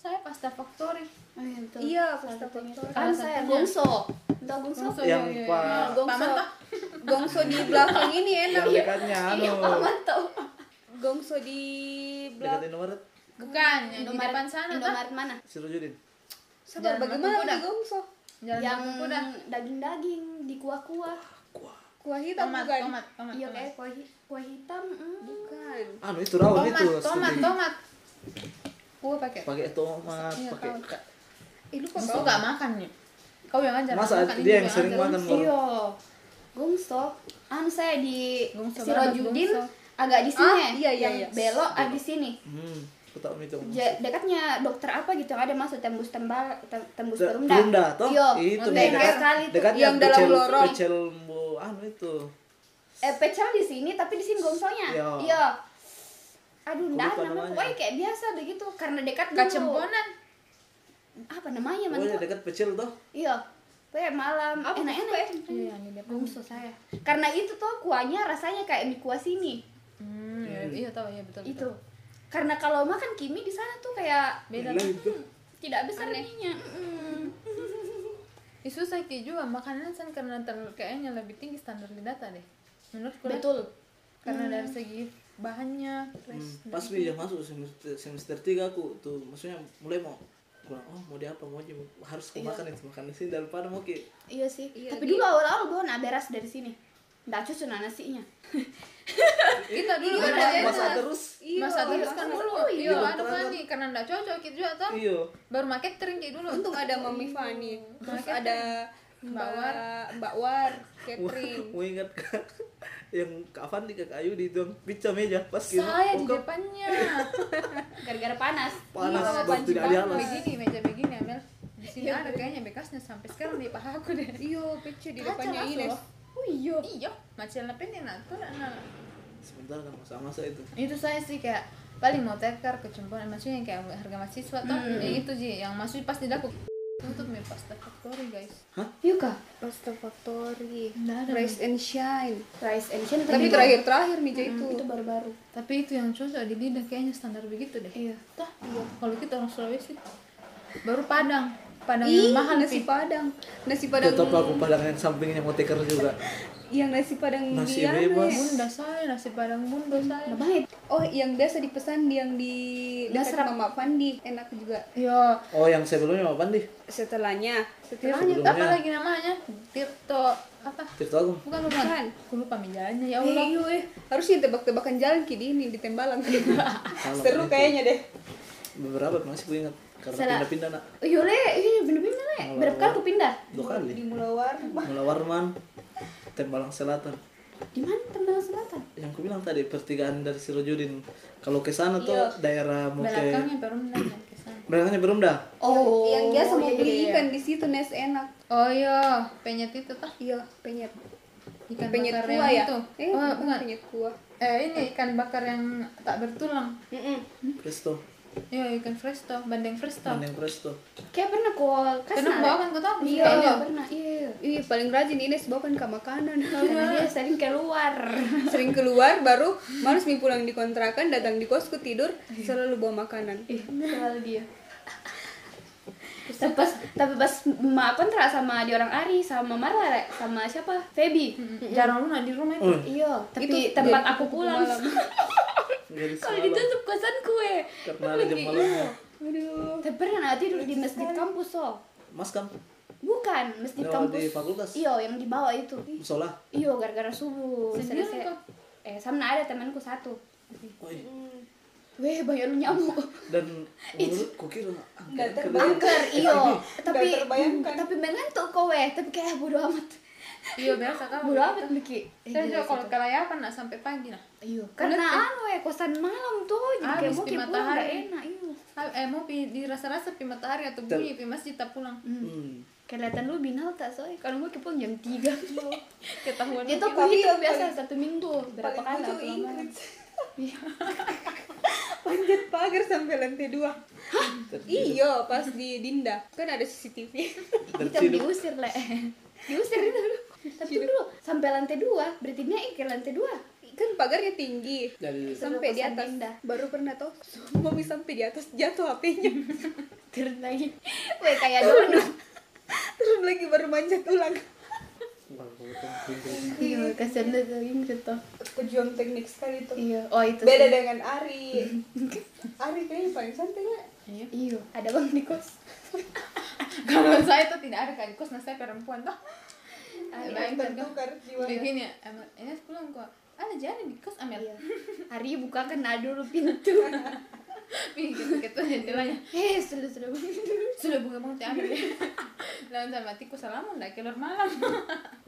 [SPEAKER 4] saya pasta factory
[SPEAKER 2] Oh, iya, betul.
[SPEAKER 1] Iya,
[SPEAKER 2] Salah
[SPEAKER 1] pasta
[SPEAKER 2] satunya.
[SPEAKER 1] factory.
[SPEAKER 2] Kan saya
[SPEAKER 4] Salah satunya.
[SPEAKER 2] gongso. Entah gongso.
[SPEAKER 4] Gongso,
[SPEAKER 3] Yang
[SPEAKER 4] iya, iya,
[SPEAKER 3] Pak-
[SPEAKER 4] iya.
[SPEAKER 1] Nah, gongso
[SPEAKER 4] Paman, Pak.
[SPEAKER 1] gongso di belakang ini enak
[SPEAKER 3] yang
[SPEAKER 1] ya
[SPEAKER 3] dekatnya
[SPEAKER 2] Iya,
[SPEAKER 3] anu
[SPEAKER 2] Pak Mantau.
[SPEAKER 1] gongso di
[SPEAKER 3] dekat
[SPEAKER 1] belakang
[SPEAKER 3] Indomaret
[SPEAKER 4] bukan yang Hmm, di
[SPEAKER 2] Indomaret-
[SPEAKER 4] depan sana Pak.
[SPEAKER 2] Indomaret mana?
[SPEAKER 3] Sirujudin
[SPEAKER 1] sabar
[SPEAKER 4] Jalan
[SPEAKER 1] bagaimana
[SPEAKER 4] Mangkukuda.
[SPEAKER 1] di gongso
[SPEAKER 4] jalan
[SPEAKER 2] yang
[SPEAKER 4] Batu kuda
[SPEAKER 2] daging-daging di kuah-kuah.
[SPEAKER 1] kuah hitam
[SPEAKER 4] tomat
[SPEAKER 1] bukan
[SPEAKER 4] tomat tomat
[SPEAKER 2] Iya
[SPEAKER 4] tomat.
[SPEAKER 2] kayak kuah, hi- kuah hitam. mm.
[SPEAKER 1] bukan
[SPEAKER 3] anu itu rawon itu
[SPEAKER 4] tomat tomat
[SPEAKER 3] studi.
[SPEAKER 4] tomat gua pakai
[SPEAKER 3] pakai tomat
[SPEAKER 4] Iya,
[SPEAKER 3] pakai
[SPEAKER 4] tahu.
[SPEAKER 1] eh lupa
[SPEAKER 4] Mas,
[SPEAKER 1] kau
[SPEAKER 4] gua gak makan nih kau yang ajar
[SPEAKER 3] Masa dia
[SPEAKER 4] makan, ini
[SPEAKER 3] yang
[SPEAKER 4] gua
[SPEAKER 3] sering
[SPEAKER 4] ajar.
[SPEAKER 3] makan, Bang?
[SPEAKER 4] iya
[SPEAKER 2] Gongso. Anu saya di
[SPEAKER 4] Gongso
[SPEAKER 2] Sirojudin
[SPEAKER 4] banget,
[SPEAKER 2] agak di sini
[SPEAKER 1] Ah,
[SPEAKER 2] ya,
[SPEAKER 1] iya, iya,
[SPEAKER 2] yang
[SPEAKER 1] iya.
[SPEAKER 2] belok abis sini.
[SPEAKER 3] hmm aku tahu itu
[SPEAKER 2] Ja- dekatnya dokter apa gitu yang ada masuk tembus tembal tem- tembus
[SPEAKER 3] Da-
[SPEAKER 2] perumda.
[SPEAKER 3] Perumda, toh?
[SPEAKER 2] Iya,
[SPEAKER 3] Itu,
[SPEAKER 2] benar
[SPEAKER 3] dekat-
[SPEAKER 2] sekali tuh.
[SPEAKER 3] dekatnya
[SPEAKER 1] yang dalam
[SPEAKER 3] pecel-
[SPEAKER 1] lorong.
[SPEAKER 3] pecel bu anu itu
[SPEAKER 2] Eh pecel di sini tapi di sini gongsonya.
[SPEAKER 3] Iya.
[SPEAKER 2] Iya. Aduh,
[SPEAKER 3] Aku
[SPEAKER 2] enggak
[SPEAKER 3] lupa
[SPEAKER 2] namanya.
[SPEAKER 3] namanya.
[SPEAKER 2] Pokoknya kayak biasa begitu karena dekat dulu.
[SPEAKER 4] kacemponan
[SPEAKER 2] Apa namanya,
[SPEAKER 3] oh ya
[SPEAKER 2] mantu?
[SPEAKER 3] dekat pecel tuh
[SPEAKER 2] Iya. Kayak malam
[SPEAKER 1] Apa
[SPEAKER 2] enak-enak.
[SPEAKER 1] itu,
[SPEAKER 2] itu.
[SPEAKER 4] iya yang di depan
[SPEAKER 2] Gongso saya. Karena itu tuh kuahnya rasanya kayak mie kuah sini.
[SPEAKER 4] Hmm, iya, iya tahu ya betul
[SPEAKER 2] Itu.
[SPEAKER 4] betul.
[SPEAKER 2] Karena kalau makan kimi di sana tuh kayak
[SPEAKER 4] beda
[SPEAKER 3] Gila
[SPEAKER 4] kan?
[SPEAKER 3] itu
[SPEAKER 2] tidak besar mie-nya. Mm-mm.
[SPEAKER 4] Ih, susah ki juga makanan kan karena ter kayaknya lebih tinggi standar di data deh menurutku lah.
[SPEAKER 2] Betul.
[SPEAKER 4] karena dari segi bahannya terus
[SPEAKER 3] Hmm, pas dia masuk semester semester tiga aku tuh maksudnya mulai mau kurang oh mau dia apa mau aja mau- harus
[SPEAKER 4] Iya.
[SPEAKER 3] aku makan itu makan di sini daripada mau ke
[SPEAKER 2] Iya sih.
[SPEAKER 1] Iya,
[SPEAKER 2] Tapi
[SPEAKER 1] dia-
[SPEAKER 2] dulu awal-awal bawa beras dari sini. Nggak cucu nah nasinya.
[SPEAKER 4] kita dulu
[SPEAKER 1] Iya,
[SPEAKER 4] ada
[SPEAKER 1] iya,
[SPEAKER 4] masa
[SPEAKER 3] masa terus
[SPEAKER 1] Iya,
[SPEAKER 4] masa terus
[SPEAKER 1] iya,
[SPEAKER 4] kan
[SPEAKER 1] masa
[SPEAKER 4] dulu
[SPEAKER 1] terus.
[SPEAKER 4] iya
[SPEAKER 3] Iya,
[SPEAKER 4] ada
[SPEAKER 3] terus.
[SPEAKER 4] kan Iya. nih karena nggak cocok itu juga tuh
[SPEAKER 3] iyo
[SPEAKER 4] baru make catering kayak dulu
[SPEAKER 1] untung ada mami Fani terus ada
[SPEAKER 4] Mbak
[SPEAKER 1] Mbak
[SPEAKER 4] War.
[SPEAKER 1] Mbak War catering
[SPEAKER 3] mau ingat kak yang kak Fandi kak Ayu di tuang pizza meja pas gitu
[SPEAKER 4] saya di
[SPEAKER 3] buka,
[SPEAKER 4] depannya
[SPEAKER 2] Gara-gara panas.
[SPEAKER 3] panas
[SPEAKER 4] Iya,
[SPEAKER 3] baru tidak ada alas
[SPEAKER 4] begini meja begini Amel di sini ada kayaknya bekasnya sampai sekarang di paha aku deh
[SPEAKER 1] iyo pece di
[SPEAKER 4] Kaca
[SPEAKER 1] depannya
[SPEAKER 4] langsung,
[SPEAKER 1] Ines
[SPEAKER 4] loh. oh iya iya macam apa nih natur anak
[SPEAKER 3] sebentar kan masa-masa itu
[SPEAKER 4] itu saya sih kayak paling mau tekar kecemplungan maksudnya yang kayak harga mahasiswa tuh ya itu sih yang maksudnya pasti daku tutup mie pasta factory guys
[SPEAKER 2] Yuka.
[SPEAKER 1] Pasta Factory
[SPEAKER 4] Nggak ada.
[SPEAKER 1] Rise and Shine
[SPEAKER 2] Rice and chicken.
[SPEAKER 1] Hmm. tapi terakhir-terakhir nih jadi itu
[SPEAKER 2] itu baru-baru.
[SPEAKER 4] tapi itu yang cocok di lidah kayaknya standar begitu deh
[SPEAKER 1] Iya.
[SPEAKER 4] Tah, kalau kita orang Sulawesi baru Padang Padang
[SPEAKER 1] Ih,
[SPEAKER 4] yang mahal
[SPEAKER 1] nasi
[SPEAKER 4] Pi.
[SPEAKER 1] padang nasi padang
[SPEAKER 3] tetap aku padangan sampingnya mau teker juga
[SPEAKER 1] yang nasi padang
[SPEAKER 3] Nasi
[SPEAKER 1] Indiana
[SPEAKER 3] bebas.
[SPEAKER 1] ya?
[SPEAKER 4] bunda saya nasi Padang bunda saya
[SPEAKER 2] Banget.
[SPEAKER 1] oh yang biasa dipesan yang di dekat
[SPEAKER 2] Dasar.
[SPEAKER 1] Mama Fandi enak juga
[SPEAKER 4] yo
[SPEAKER 3] oh yang sebelumnya apa Fandi
[SPEAKER 1] setelahnya setelahnya
[SPEAKER 3] Sebelumnya.
[SPEAKER 4] apa lagi namanya Tirto apa
[SPEAKER 3] Tirta Agung
[SPEAKER 4] bukan bukan
[SPEAKER 1] Bukan.
[SPEAKER 4] aku lupa mejanya ya
[SPEAKER 1] Eh,
[SPEAKER 4] Allah
[SPEAKER 1] iyo, eh. harusnya tebak-tebakan jalan kini ini di tembalang seru
[SPEAKER 3] itu.
[SPEAKER 1] kayaknya deh
[SPEAKER 3] beberapa masih gue ingat karena
[SPEAKER 2] Salah.
[SPEAKER 3] pindah-pindah nak
[SPEAKER 2] Iya le, iya bener-bener le.
[SPEAKER 3] Malah-
[SPEAKER 2] Berapa kali aku pindah?
[SPEAKER 3] dua kali
[SPEAKER 1] di Mulawar
[SPEAKER 3] Mula Warman Tembalang Selatan
[SPEAKER 2] Di mana Tembalang Selatan?
[SPEAKER 3] yang aku bilang tadi pertigaan dari Sirojudin kalau ke sana tuh
[SPEAKER 2] Iya.
[SPEAKER 3] daerah mau ke
[SPEAKER 4] belakangnya baru menanya ke sana
[SPEAKER 3] belakangnya belum dah
[SPEAKER 2] Oh,
[SPEAKER 1] yang biasa mau
[SPEAKER 2] iya,
[SPEAKER 1] beli
[SPEAKER 2] iya, iya.
[SPEAKER 1] ikan di situ nes enak
[SPEAKER 4] oh iya penyet itu tah
[SPEAKER 1] iya penyet
[SPEAKER 4] ikan
[SPEAKER 1] penyet
[SPEAKER 4] bakar
[SPEAKER 1] kuah
[SPEAKER 4] yang
[SPEAKER 1] ya
[SPEAKER 4] itu
[SPEAKER 1] eh
[SPEAKER 4] oh,
[SPEAKER 1] bukan,
[SPEAKER 4] bukan
[SPEAKER 1] penyet kuah
[SPEAKER 4] eh ini ikan bakar yang tak bertulang
[SPEAKER 1] Mm-mm.
[SPEAKER 2] Hmm?
[SPEAKER 3] Presto
[SPEAKER 4] ya ikan fresh toh bandeng Kan fresh toh
[SPEAKER 3] Bandeng Presto
[SPEAKER 2] Kayak pernah kok
[SPEAKER 4] karena bawakan kau tahu
[SPEAKER 2] eh? Iya,
[SPEAKER 4] iya
[SPEAKER 2] iya, pernah. Iya. iya.
[SPEAKER 1] Iya paling rajin Ines bawakan ke makanan
[SPEAKER 2] Karena dia sering keluar.
[SPEAKER 1] sering keluar baru males nih pulang di kontrakan datang di kosku tidur selalu bawa makanan
[SPEAKER 2] Ih, selalu dia. tapi pas tapi pas emak kontra sama di orang Ari sama Marla Le, sama siapa Feby
[SPEAKER 4] jarang lunak di rumah itu
[SPEAKER 3] oh
[SPEAKER 2] iya tapi
[SPEAKER 1] Itu
[SPEAKER 2] tempat
[SPEAKER 1] dari
[SPEAKER 2] aku pulang
[SPEAKER 3] jadi
[SPEAKER 2] kalau
[SPEAKER 3] salah
[SPEAKER 2] ditutup kosan kue
[SPEAKER 3] karena ada jam malamnya
[SPEAKER 1] aduh
[SPEAKER 2] tapi pernah nanti tidur di masjid kampus so
[SPEAKER 3] Mas kan
[SPEAKER 2] bukan masjid
[SPEAKER 3] Yang
[SPEAKER 2] kampus
[SPEAKER 3] di fakultas?
[SPEAKER 2] iya yang di bawah itu
[SPEAKER 3] musola
[SPEAKER 2] iya gara-gara subuh
[SPEAKER 4] Sendiri
[SPEAKER 2] Selesai-
[SPEAKER 4] kok?
[SPEAKER 2] eh sama ada temanku satu
[SPEAKER 3] oh, iya.
[SPEAKER 2] weh banyak lu nyamuk
[SPEAKER 3] dan menurut kukira
[SPEAKER 1] nggak
[SPEAKER 3] angker
[SPEAKER 1] terbayangkan
[SPEAKER 2] angker iya tapi
[SPEAKER 1] terbayangkan.
[SPEAKER 2] tapi mengantuk kok weh tapi kayak bodo amat
[SPEAKER 4] iya biasa kan
[SPEAKER 2] bodo amat Miki
[SPEAKER 4] saya juga kalau kelayapan nah sampai pagi nah
[SPEAKER 2] Iya, karena anu ya kosan malam tuh jadi kayak
[SPEAKER 4] Habis
[SPEAKER 2] bokeh
[SPEAKER 4] di
[SPEAKER 2] pulang
[SPEAKER 4] Ah, matahari.
[SPEAKER 2] nggak enak iya.
[SPEAKER 4] Ah, eh mau pi, dirasa-rasa pi matahari atau bunyi pi masjid tak pulang
[SPEAKER 3] hmm.
[SPEAKER 2] Kelihatan lu binal tak soalnya kalau gue pulang jam 3
[SPEAKER 4] Iya. ketahuan
[SPEAKER 2] Itu aku
[SPEAKER 1] Tapi
[SPEAKER 2] hitung
[SPEAKER 1] yang
[SPEAKER 2] biasa satu minggu berapa
[SPEAKER 1] paling
[SPEAKER 2] kali
[SPEAKER 1] lucu
[SPEAKER 2] aku lamaran.
[SPEAKER 1] Ingrid panjat pagar sampai lantai dua iyo pas di Dinda kan ada CCTV
[SPEAKER 2] Kita diusir le Diusir itu dulu Tapi dulu sampai lantai 2 berarti naik eh, ke lantai 2
[SPEAKER 1] kan pagarnya tinggi
[SPEAKER 3] Jadi
[SPEAKER 1] sampai di
[SPEAKER 2] kosan
[SPEAKER 1] atas
[SPEAKER 2] Dinda.
[SPEAKER 1] baru pernah tau suami sampai di atas jatuh HP-nya
[SPEAKER 2] turun lagi Weh, kayak donat
[SPEAKER 1] terus lagi baru manjat ulang
[SPEAKER 2] iya kasihan deh tuh Ingrid tuh
[SPEAKER 1] pejuang teknik sekali tuh
[SPEAKER 2] iya oh itu
[SPEAKER 1] beda
[SPEAKER 2] sih.
[SPEAKER 1] dengan Ari Ari kayaknya paling santai ya. nggak
[SPEAKER 2] iya ada bang di kos
[SPEAKER 4] Kalau saya tuh tidak ada kan kos, nah saya perempuan toh. Bayangkan tuh.
[SPEAKER 1] bertukar jiwanya
[SPEAKER 4] Begini Iya, ya, Amel, Enes pulang kok. Ada jalan di kos Amel.
[SPEAKER 2] iya hari buka kena dulu pintu Eh,
[SPEAKER 4] Begitu gitu jendelanya.
[SPEAKER 2] heh sudah sudah
[SPEAKER 4] Sudah bunga bangun ya?" teh Amel. Lawan sama tikus salamun lah kelor malam.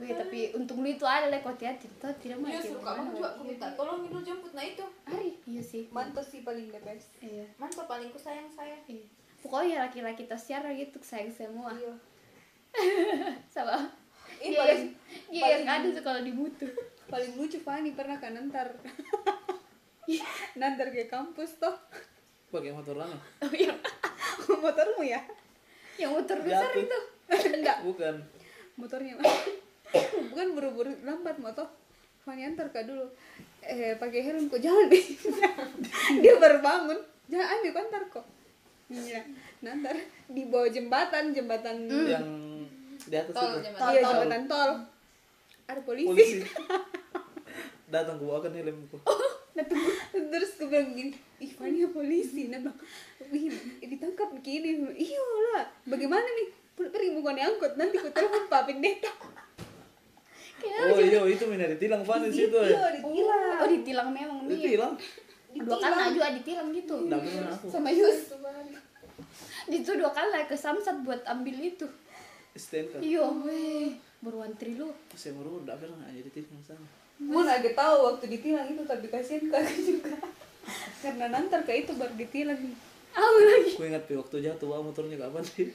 [SPEAKER 2] Wih, tapi untung lu itu ada lah kok tidak tidak tidak mati.
[SPEAKER 4] Iya, suka banget juga aku minta tolong itu jemput nah itu.
[SPEAKER 2] Hari, iya sih.
[SPEAKER 1] mantos sih paling the best
[SPEAKER 2] Iya.
[SPEAKER 4] Mantap paling ku sayang saya.
[SPEAKER 2] iya. Pokoknya ya laki-laki tersiar gitu sayang semua.
[SPEAKER 1] iya
[SPEAKER 2] Sama.
[SPEAKER 1] Ih,
[SPEAKER 2] Iya, yang,
[SPEAKER 1] paling-
[SPEAKER 2] iya yang ada
[SPEAKER 1] paling-
[SPEAKER 2] tuh kalau dibutuh.
[SPEAKER 1] paling lucu Fani pernah kan nantar
[SPEAKER 2] Iya.
[SPEAKER 1] nantar ke kampus toh
[SPEAKER 3] pakai motor lama
[SPEAKER 2] Oh iya.
[SPEAKER 1] motormu ya
[SPEAKER 2] Yang motor besar
[SPEAKER 3] Jatuh.
[SPEAKER 2] itu.
[SPEAKER 1] enggak
[SPEAKER 3] bukan
[SPEAKER 1] motornya bukan buru-buru lambat motor Fani antar kak dulu eh pakai helm kok jangan deh dia baru bangun jangan ambil kok antar kok iya nantar di bawah jembatan jembatan
[SPEAKER 2] Hmm.
[SPEAKER 3] yang di atas
[SPEAKER 4] Tol,
[SPEAKER 3] itu
[SPEAKER 4] jembatan.
[SPEAKER 1] iya
[SPEAKER 4] Tol.
[SPEAKER 1] jembatan tol ada polisi
[SPEAKER 3] polisi datang kan gua akan helmku
[SPEAKER 1] Nah, tunggu. terus gue bilang gini ih Fania polisi nah bilang wih ditangkap begini iya lah bagaimana nih Pul- pergi bukan angkut nanti ku telepon Pak Pendeta
[SPEAKER 3] oh iya itu minta ditilang Van di situ ya
[SPEAKER 1] iya ditilang
[SPEAKER 2] Oh ditilang memang nih.
[SPEAKER 3] ditilang
[SPEAKER 2] Dua kali juga ditilang gitu.
[SPEAKER 3] nggak bener aku
[SPEAKER 2] Sama Yus. Itu dua kali ke Samsat buat ambil itu.
[SPEAKER 3] STNK
[SPEAKER 2] Iya, weh. Baru antri lu.
[SPEAKER 3] kan. saya merubah nggak pernah jadi ditilang sana
[SPEAKER 1] mau agak tahu waktu ditilang itu tapi kasihan kakak juga karena nanti ke itu baru ditilang
[SPEAKER 2] Aku lagi.
[SPEAKER 3] aku ingat pi waktu jatuh bawa motornya kapan sih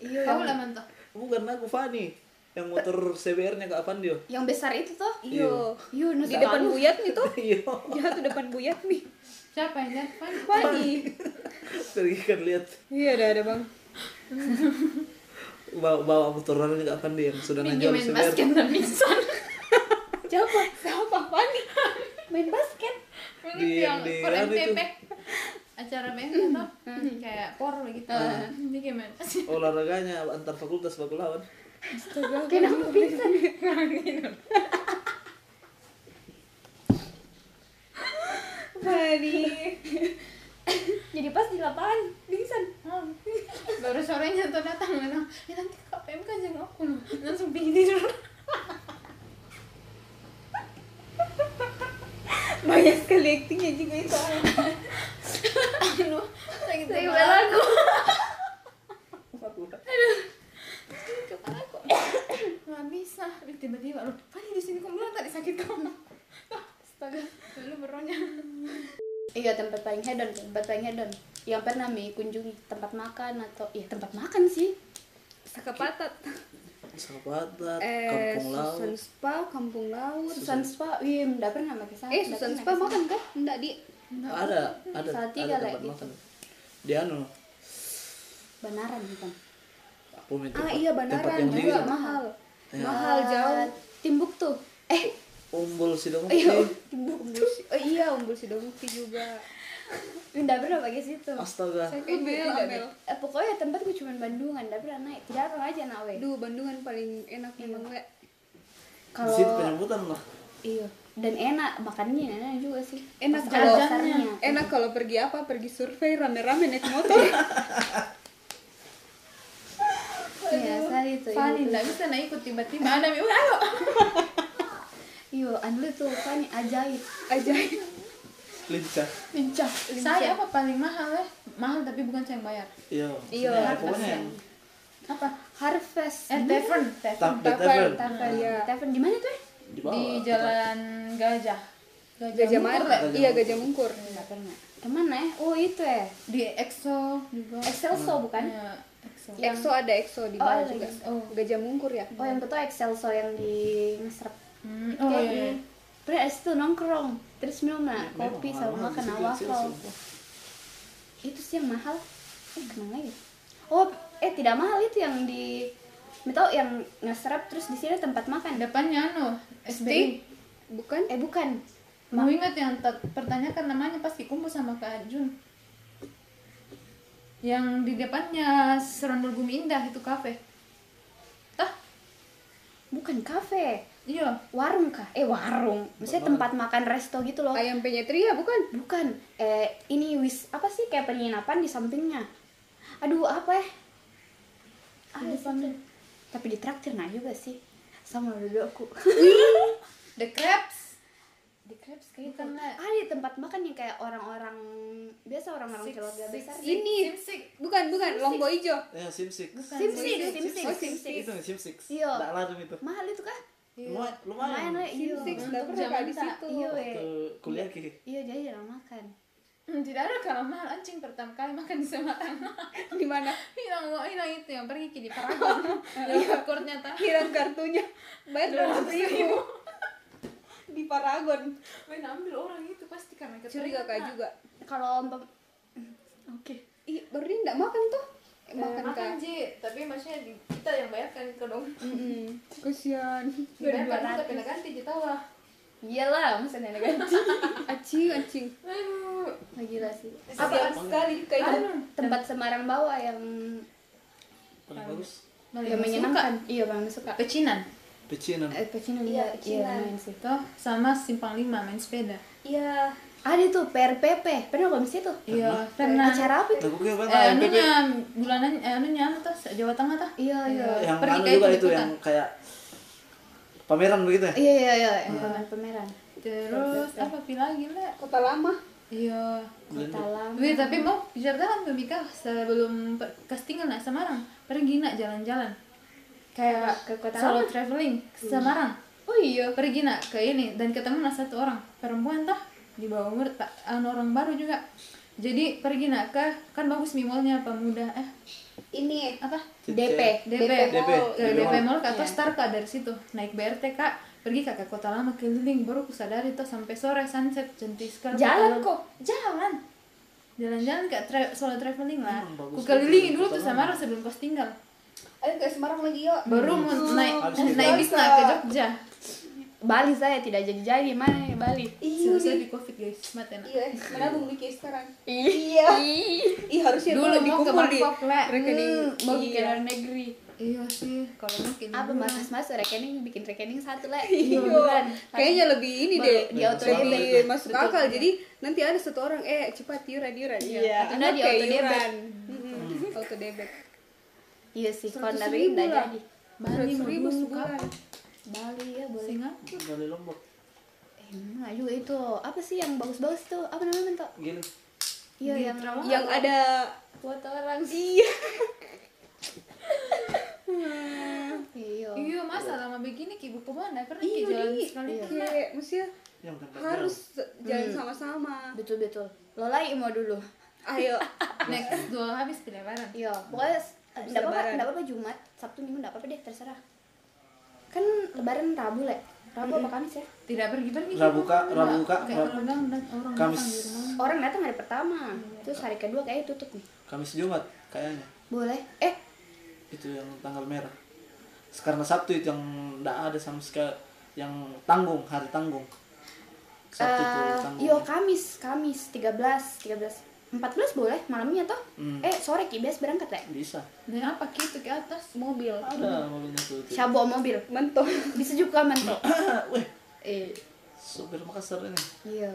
[SPEAKER 2] Iya.
[SPEAKER 4] Kamu lah
[SPEAKER 2] yang-
[SPEAKER 4] mantap.
[SPEAKER 3] bukan aku Fani yang motor CBR-nya kapan dia
[SPEAKER 2] Yang besar itu tuh.
[SPEAKER 1] iyo
[SPEAKER 2] Iya,
[SPEAKER 1] di depan buyat nih tuh
[SPEAKER 3] iya
[SPEAKER 1] jatuh depan buyat nih
[SPEAKER 4] Siapa yang lihat? Pan?
[SPEAKER 1] Fani
[SPEAKER 3] pergi kan lihat
[SPEAKER 1] iya ada ada bang
[SPEAKER 3] bawa, bawa motor orangnya kapan dia yang sudah nanjol
[SPEAKER 4] Pinjamin
[SPEAKER 3] CBR
[SPEAKER 4] basket dan pingsan.
[SPEAKER 1] siapa siapa Fani main basket
[SPEAKER 4] Ini yang
[SPEAKER 3] di- anu
[SPEAKER 4] per
[SPEAKER 3] yang itu.
[SPEAKER 4] MTP. Acara BN toh.
[SPEAKER 2] Hmm.
[SPEAKER 4] Kayak por gitu.
[SPEAKER 3] Ah.
[SPEAKER 4] Ini gimana sih?
[SPEAKER 3] olahraganya antar fakultas bakulawan
[SPEAKER 1] Astaga,
[SPEAKER 2] Kenapa bisa?
[SPEAKER 1] Fani
[SPEAKER 2] Jadi pas di lapangan pingsan.
[SPEAKER 4] Baru sorenya tuh datang bilang, "Ya nanti Kak PMK jangan aku loh." Langsung pingin tidur.
[SPEAKER 1] banyak sekali actingnya juga itu Anu.
[SPEAKER 4] Aduh, sakit
[SPEAKER 2] Saya
[SPEAKER 4] kepala.
[SPEAKER 2] bilang aku.
[SPEAKER 4] kepala aku nggak bisa tiba-tiba lu Fani di sini kamu bilang tadi sakit kamu astaga lu beronya
[SPEAKER 2] Iya tempat paling hedon, tempat paling hedon yang pernah Mi kunjungi tempat makan atau ya tempat makan sih.
[SPEAKER 1] Sakapatat
[SPEAKER 3] sahabat
[SPEAKER 1] eh
[SPEAKER 3] kampung
[SPEAKER 1] Susan
[SPEAKER 3] laut
[SPEAKER 1] Spa Kampung Laut
[SPEAKER 2] Susan Spa, iya enggak pernah pakai sana.
[SPEAKER 1] eh Susan Spa makan kan enggak di
[SPEAKER 3] ada ada ada
[SPEAKER 2] Salatiga lah
[SPEAKER 3] tempat
[SPEAKER 2] gitu.
[SPEAKER 3] makan dia anu
[SPEAKER 2] Benaran bukan?
[SPEAKER 3] aku minta
[SPEAKER 1] ah
[SPEAKER 3] tempat-
[SPEAKER 1] iya
[SPEAKER 3] tempat
[SPEAKER 1] Banaran
[SPEAKER 3] yang tinggi
[SPEAKER 1] juga mahal
[SPEAKER 3] Ya.
[SPEAKER 1] mahal jauh
[SPEAKER 2] Ah, Timbuktu. Eh,
[SPEAKER 3] umbul sidong
[SPEAKER 2] iya,
[SPEAKER 1] Umbul Si- oh, iya Umbul Sidomukti juga
[SPEAKER 2] enggak pernah pakai situ.
[SPEAKER 1] Oh,
[SPEAKER 3] astaga
[SPEAKER 1] Amel Amel
[SPEAKER 2] Eh, pokoknya tempat gue cuma Bandungan, enggak pernah naik. Tidak pernah aja nawe.
[SPEAKER 1] Duh Bandungan paling enak memang Le.
[SPEAKER 3] di situ
[SPEAKER 2] Kalau
[SPEAKER 3] penyambutan lah
[SPEAKER 2] iya dan enak makannya enak juga sih.
[SPEAKER 1] enak
[SPEAKER 2] Pas
[SPEAKER 1] kalau
[SPEAKER 2] dasarnya.
[SPEAKER 1] enak kalau pergi apa pergi survei rame-rame naik motor
[SPEAKER 2] Iya, sekali itu.
[SPEAKER 4] Fani nggak bisa nah ikut tiba-tiba ada Mi, "Wah, ayo
[SPEAKER 2] Iya, anu tuh Fani ajaib.
[SPEAKER 1] ajaib
[SPEAKER 3] lincah
[SPEAKER 4] lincah saya apa paling mahal ya mahal tapi bukan saya yang bayar
[SPEAKER 3] iya
[SPEAKER 1] Iya,
[SPEAKER 3] Ya, pokoknya yang
[SPEAKER 4] apa
[SPEAKER 2] Harvest.
[SPEAKER 4] eh
[SPEAKER 2] Gimana?
[SPEAKER 4] tavern tavern
[SPEAKER 3] tap the
[SPEAKER 1] Tavern.
[SPEAKER 3] tavern
[SPEAKER 2] Tavern.
[SPEAKER 1] Iya.
[SPEAKER 2] Tavern di mana tuh? eh?
[SPEAKER 3] di
[SPEAKER 4] di
[SPEAKER 3] bawah
[SPEAKER 4] jalan gajah
[SPEAKER 1] Gajah
[SPEAKER 4] Mungkur,
[SPEAKER 1] Mada
[SPEAKER 4] Le.
[SPEAKER 1] iya Gajah Mungkur
[SPEAKER 2] Enggak
[SPEAKER 4] Iya.
[SPEAKER 2] pernah. Kemana ya? Oh itu ya.
[SPEAKER 4] di EXO juga
[SPEAKER 2] Excelso bukan?
[SPEAKER 4] Ya, EXO
[SPEAKER 2] Yang-
[SPEAKER 1] EXO ada EXO di
[SPEAKER 2] Oh,
[SPEAKER 1] bawah
[SPEAKER 2] ada
[SPEAKER 1] juga
[SPEAKER 2] EXO.
[SPEAKER 1] oh. Gajah Mungkur ya
[SPEAKER 2] Oh yang betul Excelso yang di Ngesrep.
[SPEAKER 4] Hmm, oh iya, iya.
[SPEAKER 2] Terus itu nongkrong, terus minum lah
[SPEAKER 3] Memang
[SPEAKER 2] kopi
[SPEAKER 3] mahal-mahal
[SPEAKER 2] sama
[SPEAKER 3] di
[SPEAKER 2] makan
[SPEAKER 3] situ,
[SPEAKER 2] waffle.
[SPEAKER 3] Excelso.
[SPEAKER 2] Itu sih yang mahal. Eh kenapa ya? Oh eh tidak mahal itu yang di Tahu yang ngeserap terus di sini ada tempat makan.
[SPEAKER 4] depannya anu SBI
[SPEAKER 1] bukan
[SPEAKER 2] Eh bukan.
[SPEAKER 4] mau ingat yang tet- pertanyakan namanya pas dikumpul sama Kak Jun yang di depannya Serondol Bumi Indah itu kafe tah
[SPEAKER 2] Bukan kafe,
[SPEAKER 4] iya
[SPEAKER 2] warung kah? Eh warung, maksudnya tempat makan resto gitu
[SPEAKER 4] Ah, iya,
[SPEAKER 1] Ayam
[SPEAKER 2] loh.
[SPEAKER 1] penyetria bukan?
[SPEAKER 2] Bukan, eh ini wis apa sih kayak penginapan di sampingnya? Aduh apa ya? Ah, tapi ditraktir nggak juga sih sama dulu aku
[SPEAKER 4] The Crabs
[SPEAKER 2] di crepes kayak
[SPEAKER 4] Bukan,
[SPEAKER 2] itu.
[SPEAKER 4] Nek.
[SPEAKER 2] ah di tempat makan yang kayak orang-orang biasa orang-orang
[SPEAKER 4] Six,
[SPEAKER 2] keluarga
[SPEAKER 4] six,
[SPEAKER 2] besar
[SPEAKER 4] six.
[SPEAKER 1] Ini
[SPEAKER 4] Simsik.
[SPEAKER 1] bukan bukan lombo ijo.
[SPEAKER 3] ya sim six
[SPEAKER 4] Bukan,
[SPEAKER 2] sim
[SPEAKER 4] sorry.
[SPEAKER 2] six sim six
[SPEAKER 1] Oh,
[SPEAKER 2] sim
[SPEAKER 1] Sim
[SPEAKER 2] six
[SPEAKER 1] Six.
[SPEAKER 3] itu sim six
[SPEAKER 2] Iya.
[SPEAKER 3] tak larang itu
[SPEAKER 2] mahal itu kah
[SPEAKER 3] lumayan lumayan
[SPEAKER 2] lumayan lah
[SPEAKER 1] Sim
[SPEAKER 2] iya
[SPEAKER 1] Six nggak
[SPEAKER 4] Untuk
[SPEAKER 1] pernah
[SPEAKER 4] zaman
[SPEAKER 1] Kak, di
[SPEAKER 4] tak,
[SPEAKER 1] situ.
[SPEAKER 2] iya weh.
[SPEAKER 3] waktu kuliah ki
[SPEAKER 2] iya jadi jarang makan
[SPEAKER 4] Hmm, tidak ada kalau mahal anjing pertama kali makan di Semarang
[SPEAKER 1] Di mana?
[SPEAKER 4] hilang uang hilang itu yang pergi ke di Paragon yang food courtnya tah
[SPEAKER 1] Hilang kartunya. Bayar 200 ribu. Di Paragon.
[SPEAKER 4] Weh, ambil orang itu pasti karena
[SPEAKER 1] Curiga
[SPEAKER 4] keringetan.
[SPEAKER 1] Kak juga.
[SPEAKER 2] kalau mbak oke
[SPEAKER 1] Ih, baru ini nggak makan tuh. Eh, makan Kak.
[SPEAKER 4] Ji, tapi maksudnya di- kita yang bayarkan ke dong.
[SPEAKER 1] Mm-mm. Kasihan.
[SPEAKER 4] Bayarkan kita pindah ganti kita lah.
[SPEAKER 2] iyalah masa nenek ganti
[SPEAKER 1] Acing, acing.
[SPEAKER 4] Aduh,
[SPEAKER 2] oh, gila sih
[SPEAKER 1] Apa sekali kayaknya.
[SPEAKER 4] aduh.
[SPEAKER 2] tempat Semarang bawah yang
[SPEAKER 3] paling bagus
[SPEAKER 2] yang menyenangkan iya bang suka
[SPEAKER 4] Pecinan.
[SPEAKER 3] pecinan
[SPEAKER 2] eh
[SPEAKER 1] Iya,
[SPEAKER 2] pecinan iya iya
[SPEAKER 1] pecinan.
[SPEAKER 2] main sih
[SPEAKER 4] Toh Gitu. sama simpang lima main sepeda.
[SPEAKER 1] Iya.
[SPEAKER 2] ada Ah, tuh PRPP pernah belum sih tuh
[SPEAKER 4] Iya, pernah.
[SPEAKER 2] acara apa itu
[SPEAKER 3] Lagu gue
[SPEAKER 4] Eh,
[SPEAKER 2] anu
[SPEAKER 3] apa? MPP.
[SPEAKER 4] anunya bulanan eh anunya anu tuh Jawa Tengah tuh. Eh,
[SPEAKER 2] iya iya
[SPEAKER 3] Yang
[SPEAKER 4] pergi
[SPEAKER 3] anu
[SPEAKER 4] kayak gitu
[SPEAKER 3] juga
[SPEAKER 4] itu
[SPEAKER 3] itu
[SPEAKER 4] juga.
[SPEAKER 3] yang kayak pameran begitu ya?
[SPEAKER 2] Iya iya iya,
[SPEAKER 1] Hmm.
[SPEAKER 2] yang pameran pameran.
[SPEAKER 4] Terus apa pi lagi, Le?
[SPEAKER 1] Kota lama.
[SPEAKER 4] Iya.
[SPEAKER 2] Kota lama.
[SPEAKER 4] Wih, tapi mau bicara dalam ke Mika sebelum per- kastingan nak Semarang, pergi nak jalan-jalan. Kayak
[SPEAKER 2] Ke kota
[SPEAKER 4] solo traveling ke Semarang.
[SPEAKER 2] Oh iya.
[SPEAKER 4] pergi nak ke ini dan ketemu nah satu orang perempuan tah di bawah umur tak anu orang baru juga jadi pergi nak ke kan bagus mimolnya pemuda eh
[SPEAKER 1] Ini
[SPEAKER 4] apa
[SPEAKER 2] DP.
[SPEAKER 4] DP
[SPEAKER 3] DP.
[SPEAKER 4] ke
[SPEAKER 3] DP
[SPEAKER 4] DP
[SPEAKER 3] Mall.
[SPEAKER 4] Mall atau
[SPEAKER 2] Iya.
[SPEAKER 4] Star Kak, dari situ naik BRT kak pergi kak ke kota lama keliling baru ku sadari tuh sampai sore sunset cantik sekali Kota
[SPEAKER 2] Jalan
[SPEAKER 4] Lama.
[SPEAKER 2] kok.
[SPEAKER 4] jalan jalan-jalan kak tra- solo traveling lah
[SPEAKER 3] Emang bagus
[SPEAKER 4] ku
[SPEAKER 3] juga
[SPEAKER 4] kelilingi
[SPEAKER 3] tuh
[SPEAKER 4] dulu
[SPEAKER 3] Kota
[SPEAKER 4] tuh Semarang sebelum kos tinggal
[SPEAKER 1] Ayo ke Semarang lagi yuk.
[SPEAKER 4] baru mau naik
[SPEAKER 3] Habis itu.
[SPEAKER 4] naik bis nak ke Jogja
[SPEAKER 2] Bali saya tidak jadi-jadi mana ya Bali.
[SPEAKER 4] selesai di covid guys mati nak.
[SPEAKER 1] Iya, eh, mana Bung Miki sekarang?
[SPEAKER 2] Iya.
[SPEAKER 1] Ih, harusnya
[SPEAKER 4] dulu
[SPEAKER 1] lebih
[SPEAKER 4] mau ke
[SPEAKER 1] kumpul di
[SPEAKER 4] Bangkok le
[SPEAKER 1] rekening.
[SPEAKER 2] Mau bikin
[SPEAKER 1] Iya. Hmm.
[SPEAKER 2] luar negeri.
[SPEAKER 4] iya sih kalau mungkin
[SPEAKER 2] Apa
[SPEAKER 4] dulu.
[SPEAKER 2] mas mas rekening bikin rekening satu lah.
[SPEAKER 1] Iya. Kayaknya lebih ini
[SPEAKER 2] Baru
[SPEAKER 1] deh.
[SPEAKER 2] di auto
[SPEAKER 1] lebih
[SPEAKER 2] debit.
[SPEAKER 1] masuk
[SPEAKER 2] Betul.
[SPEAKER 1] akal. Jadi nanti ada satu orang eh cepat yuran yuran.
[SPEAKER 2] Iya. Atau nggak di
[SPEAKER 1] Anaknya
[SPEAKER 2] auto debit.
[SPEAKER 1] yuran. Mm-mm, Auto debit.
[SPEAKER 2] Iya sih kalau
[SPEAKER 1] 100.000
[SPEAKER 2] tapi tidak
[SPEAKER 1] lah.
[SPEAKER 2] jadi.
[SPEAKER 4] Bali
[SPEAKER 1] Seratus ribu
[SPEAKER 4] ribu
[SPEAKER 1] sebulan.
[SPEAKER 2] Bali ya boleh.
[SPEAKER 4] Singapura
[SPEAKER 3] Dari Lombok.
[SPEAKER 2] Eh, Enggak juga itu. Apa sih yang bagus-bagus tuh? Apa namanya mentok?
[SPEAKER 3] Gini.
[SPEAKER 2] Iya yang ramah.
[SPEAKER 1] Yang ada
[SPEAKER 2] buat orang.
[SPEAKER 1] iya.
[SPEAKER 2] Iya.
[SPEAKER 4] iya masa lama begini ki buku mana pernah ki
[SPEAKER 1] Iya,
[SPEAKER 4] jalan
[SPEAKER 1] Di.
[SPEAKER 4] sekali
[SPEAKER 1] Iya. Hmm.
[SPEAKER 4] kan, nak?
[SPEAKER 1] Kayak mestinya
[SPEAKER 3] Yang tempat
[SPEAKER 1] harus
[SPEAKER 3] jauh.
[SPEAKER 1] jalan sama-sama.
[SPEAKER 2] Betul betul. Lolai mau dulu.
[SPEAKER 1] Ayo.
[SPEAKER 4] next dua habis di lebaran
[SPEAKER 2] Iya, pokoknya s- nggak apa-apa,
[SPEAKER 1] Lebaran.
[SPEAKER 2] nggak apa-apa Jumat, Sabtu Minggu nggak apa-apa deh, terserah. Kan Lebaran Rabu lah, Rabu apa Kamis ya?
[SPEAKER 4] tidak pergi pergi
[SPEAKER 3] Rabu, Kak. Rabu, Kak.
[SPEAKER 4] kayak
[SPEAKER 3] Rabu.
[SPEAKER 4] orang dan orang
[SPEAKER 3] Kamis.
[SPEAKER 4] makan di rumah
[SPEAKER 2] Orang datang hari pertama, terus hari kedua kayaknya tutup nih.
[SPEAKER 3] Kamis Jumat kayaknya.
[SPEAKER 2] Boleh? Eh,
[SPEAKER 3] Itu yang tanggal merah. Karena Sabtu itu yang enggak ada sama sekali yang tanggung, hari tanggung. Sabtu ya? itu
[SPEAKER 2] eh,
[SPEAKER 3] tanggung.
[SPEAKER 2] yo Kamis, Kamis 13, 13, 14 boleh malamnya toh?
[SPEAKER 3] Hmm.
[SPEAKER 2] Eh sore kibes berangkat lah.
[SPEAKER 3] Bisa.
[SPEAKER 4] dan apa ki itu ke atas
[SPEAKER 1] Mobil.
[SPEAKER 3] Ada mobilnya tuh. tuh. Ah,
[SPEAKER 2] Sabo mobil,
[SPEAKER 1] Mentok.
[SPEAKER 2] bisa juga mentok.
[SPEAKER 3] Weh,
[SPEAKER 2] eh,
[SPEAKER 3] sopir Makassar ini.
[SPEAKER 2] iya.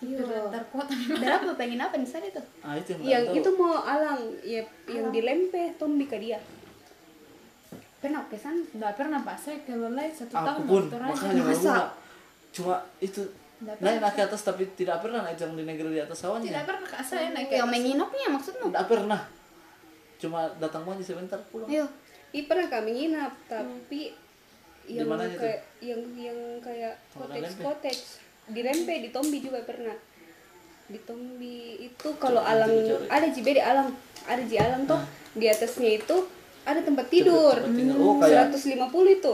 [SPEAKER 2] Iya.
[SPEAKER 4] terlantar kuat
[SPEAKER 2] Berapa pengen apa nih sana itu?
[SPEAKER 3] Ah, itu yang,
[SPEAKER 1] Yang
[SPEAKER 3] nggak tahu.
[SPEAKER 1] itu mau alang, ya, yang dilempe Tombi ke dia.
[SPEAKER 2] Pernah ke sana?
[SPEAKER 4] nggak pernah pak saya ke lelai satu
[SPEAKER 3] aku
[SPEAKER 4] tahun
[SPEAKER 3] pun
[SPEAKER 4] dokter aja.
[SPEAKER 3] makanya baru
[SPEAKER 1] Masa?
[SPEAKER 3] gua. cuma itu
[SPEAKER 4] Nggak
[SPEAKER 3] naik naik ke atas tapi tidak pernah naik yang di negeri di atas awannya
[SPEAKER 4] tidak pernah kak saya naik ke
[SPEAKER 2] Yang menginapnya maksudmu?
[SPEAKER 3] Nggak pernah cuma datang aja sebentar pulang
[SPEAKER 2] Iya.
[SPEAKER 1] Ih pernah kami nginap tapi yang
[SPEAKER 3] mananya tuh?
[SPEAKER 1] kayak yang yang kayak
[SPEAKER 3] Kalau di
[SPEAKER 1] koteks
[SPEAKER 3] Lempe?
[SPEAKER 1] koteks di Lempe di Tombi juga pernah di Tombi itu kalau
[SPEAKER 3] Coba,
[SPEAKER 1] alang
[SPEAKER 3] coba cari.
[SPEAKER 1] ada jibe di alang ada ji alang toh di atasnya itu ada tempat tidur
[SPEAKER 3] Tempat tidur. Oh, kayak-
[SPEAKER 1] 150 itu